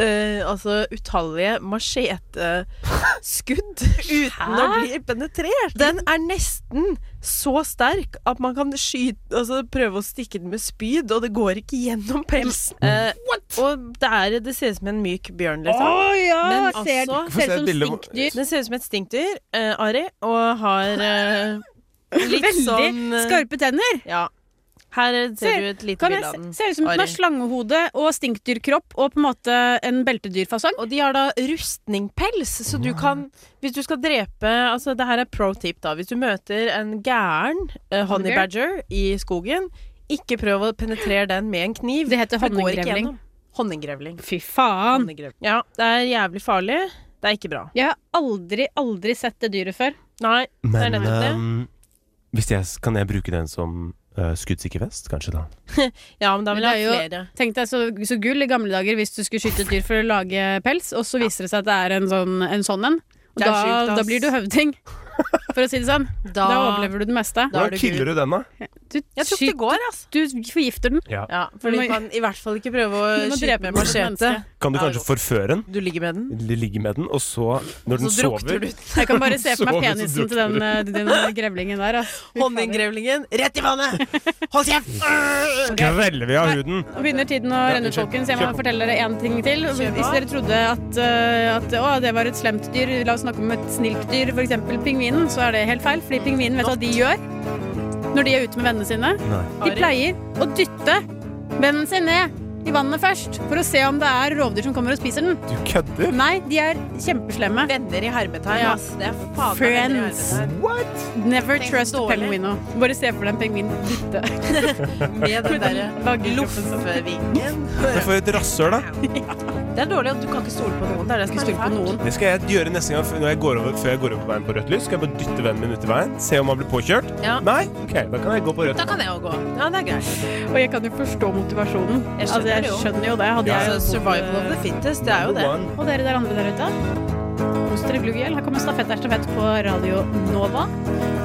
Speaker 3: eh, altså utallige macheteskudd
Speaker 2: eh,
Speaker 3: uten å
Speaker 9: Hæ?
Speaker 3: bli penetrert. *laughs* Den er nesten så sterk at man kan skyte, altså, prøve å stikke den med spyd, og det går ikke gjennom pelsen. Eh, og det, er, det ser ut som en myk bjørn, liksom.
Speaker 2: Å, ja,
Speaker 3: Men
Speaker 2: ser- ser
Speaker 3: altså-
Speaker 2: ut Få se et som bilde hvor- stinkdyr.
Speaker 3: Den ser ut som et stinkdyr, eh, Ari, og har eh, litt
Speaker 2: Veldig
Speaker 3: sånn eh,
Speaker 2: skarpe tenner.
Speaker 3: Ja. Her ser du et lite
Speaker 2: kan jeg
Speaker 3: bilde av
Speaker 2: se-
Speaker 3: den.
Speaker 2: Ser ut som at den har
Speaker 3: Ari.
Speaker 2: slangehode og stinkdyrkropp og på en måte en beltedyrfasong.
Speaker 3: Og de har da rustningpels, så
Speaker 2: Mm.
Speaker 3: du kan Hvis du skal drepe Altså, det her er pro tip, da. Hvis du møter en gæren eh, honey badger i skogen, ikke prøv å penetrere den med en kniv. Det heter
Speaker 2: honninggrevling.
Speaker 3: Honninggrevling.
Speaker 2: Fy faen!
Speaker 3: Sånn. Ja, det er jævlig farlig. Det er ikke bra.
Speaker 2: Jeg har aldri, aldri sett det dyret før.
Speaker 3: Nei,
Speaker 4: Men ehm, hvis jeg, s- kan jeg bruke den som uh, skuddsikker vest, kanskje da?
Speaker 3: Ja, men da vil jeg ha flere.
Speaker 2: Tenk deg så, så gull i gamle dager hvis du skulle skyte et dyr for å lage pels, og så viser det seg at det er en sånn en. Sånn en. Og
Speaker 3: Det er
Speaker 2: da,
Speaker 3: sjukt, ass.
Speaker 2: da blir du høvding. for å si det sånn. Da,
Speaker 3: Da-
Speaker 2: overlever du det meste.
Speaker 4: Hvordan killer du den, da?
Speaker 2: Du,
Speaker 3: Jeg tror ikke det går, altså.
Speaker 2: Du forgifter den.
Speaker 4: Ja.
Speaker 3: Ja, for
Speaker 2: Du
Speaker 3: du
Speaker 2: må-
Speaker 3: kan i hvert fall ikke prøve å
Speaker 2: Du må
Speaker 3: skyte
Speaker 2: drepe
Speaker 3: med
Speaker 2: den som
Speaker 3: machete.
Speaker 2: menneske.
Speaker 4: Kan du kanskje forføre den?
Speaker 3: Du ligger med den.
Speaker 4: Ligge med den, og så, når den
Speaker 3: Så drukner
Speaker 4: sover *laughs*
Speaker 3: *laughs* du
Speaker 2: Jeg kan bare se for meg
Speaker 4: Sover, så
Speaker 2: penisen til
Speaker 4: drukner
Speaker 2: den, eh, den grevlingen der. Altså.
Speaker 3: Honninggrevlingen rett i *laughs* vannet! Hold kjeft!
Speaker 4: Greller vi av huden.
Speaker 2: Nå begynner tiden å renne ut, folkens. Jeg må
Speaker 4: Kjør på.
Speaker 2: fortelle dere én ting til. Hvis
Speaker 3: Kjør på.
Speaker 2: dere trodde at, eh, at å, det var et slemt dyr, la oss snakke om et snilt dyr, f.eks. pingvinen, så er det helt feil. Fordi pingvinen, vet du hva de gjør når de er ute med vennene sine?
Speaker 4: Nei.
Speaker 2: De pleier å dytte vennen sin ned i vannet først for å se om det er rovdyr som kommer og spiser den.
Speaker 4: Du kødder?
Speaker 2: Nei, de er kjempeslemme.
Speaker 3: Venner i hermetegn,
Speaker 2: Ja.
Speaker 3: ass. Det er faen meg venner i
Speaker 2: Friends.
Speaker 3: hermetegn.
Speaker 4: What?
Speaker 2: Never
Speaker 3: Tenk så
Speaker 2: trust a
Speaker 3: dårlig.
Speaker 2: penguino. Bare se for deg en pingvin dytte.
Speaker 3: Med den eh, derre loffevingen.
Speaker 4: Det får jo et rasshøl, da.
Speaker 3: Det er dårlig at du kan ikke stole på noen. Det er det som er
Speaker 2: Ikke stole på
Speaker 3: fælt.
Speaker 2: noen.
Speaker 4: Det skal jeg gjøre neste gang før- når jeg går over, før jeg går over på veien på rødt lys. Skal jeg bare dytte vennen min ut i veien, se om han blir påkjørt.
Speaker 3: Ja.
Speaker 4: Nei? Ok, da kan jeg gå på rødt.
Speaker 3: Da kan jeg jo gå. Ja, det er greit.
Speaker 2: Og jeg kan jo forstå motivasjonen.
Speaker 3: Jeg skjønner
Speaker 2: altså, jeg
Speaker 3: det jo.
Speaker 2: skjønner jo det. Hadde jeg
Speaker 3: Altså,
Speaker 2: bodd-
Speaker 3: survival of the fittest, det er jo det.
Speaker 4: One.
Speaker 2: Og dere der andre der ute, kos dere glugg i hjel. Her kommer stafett er stafett på Radio Nova.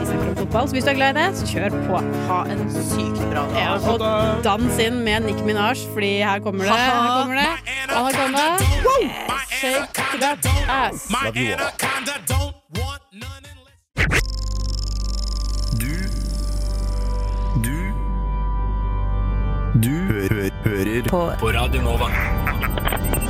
Speaker 2: Vi snakker om fotball, så hvis du er glad i det, så kjør på.
Speaker 3: Ha en sykt bra dag.
Speaker 2: Ja, og dans inn med Nicki Minaj, fordi her kommer det. Her kommer det. Anaconda. Shake that ass.
Speaker 4: Love you all.
Speaker 12: Du Du Du hø hø hører på. på Radio Nova.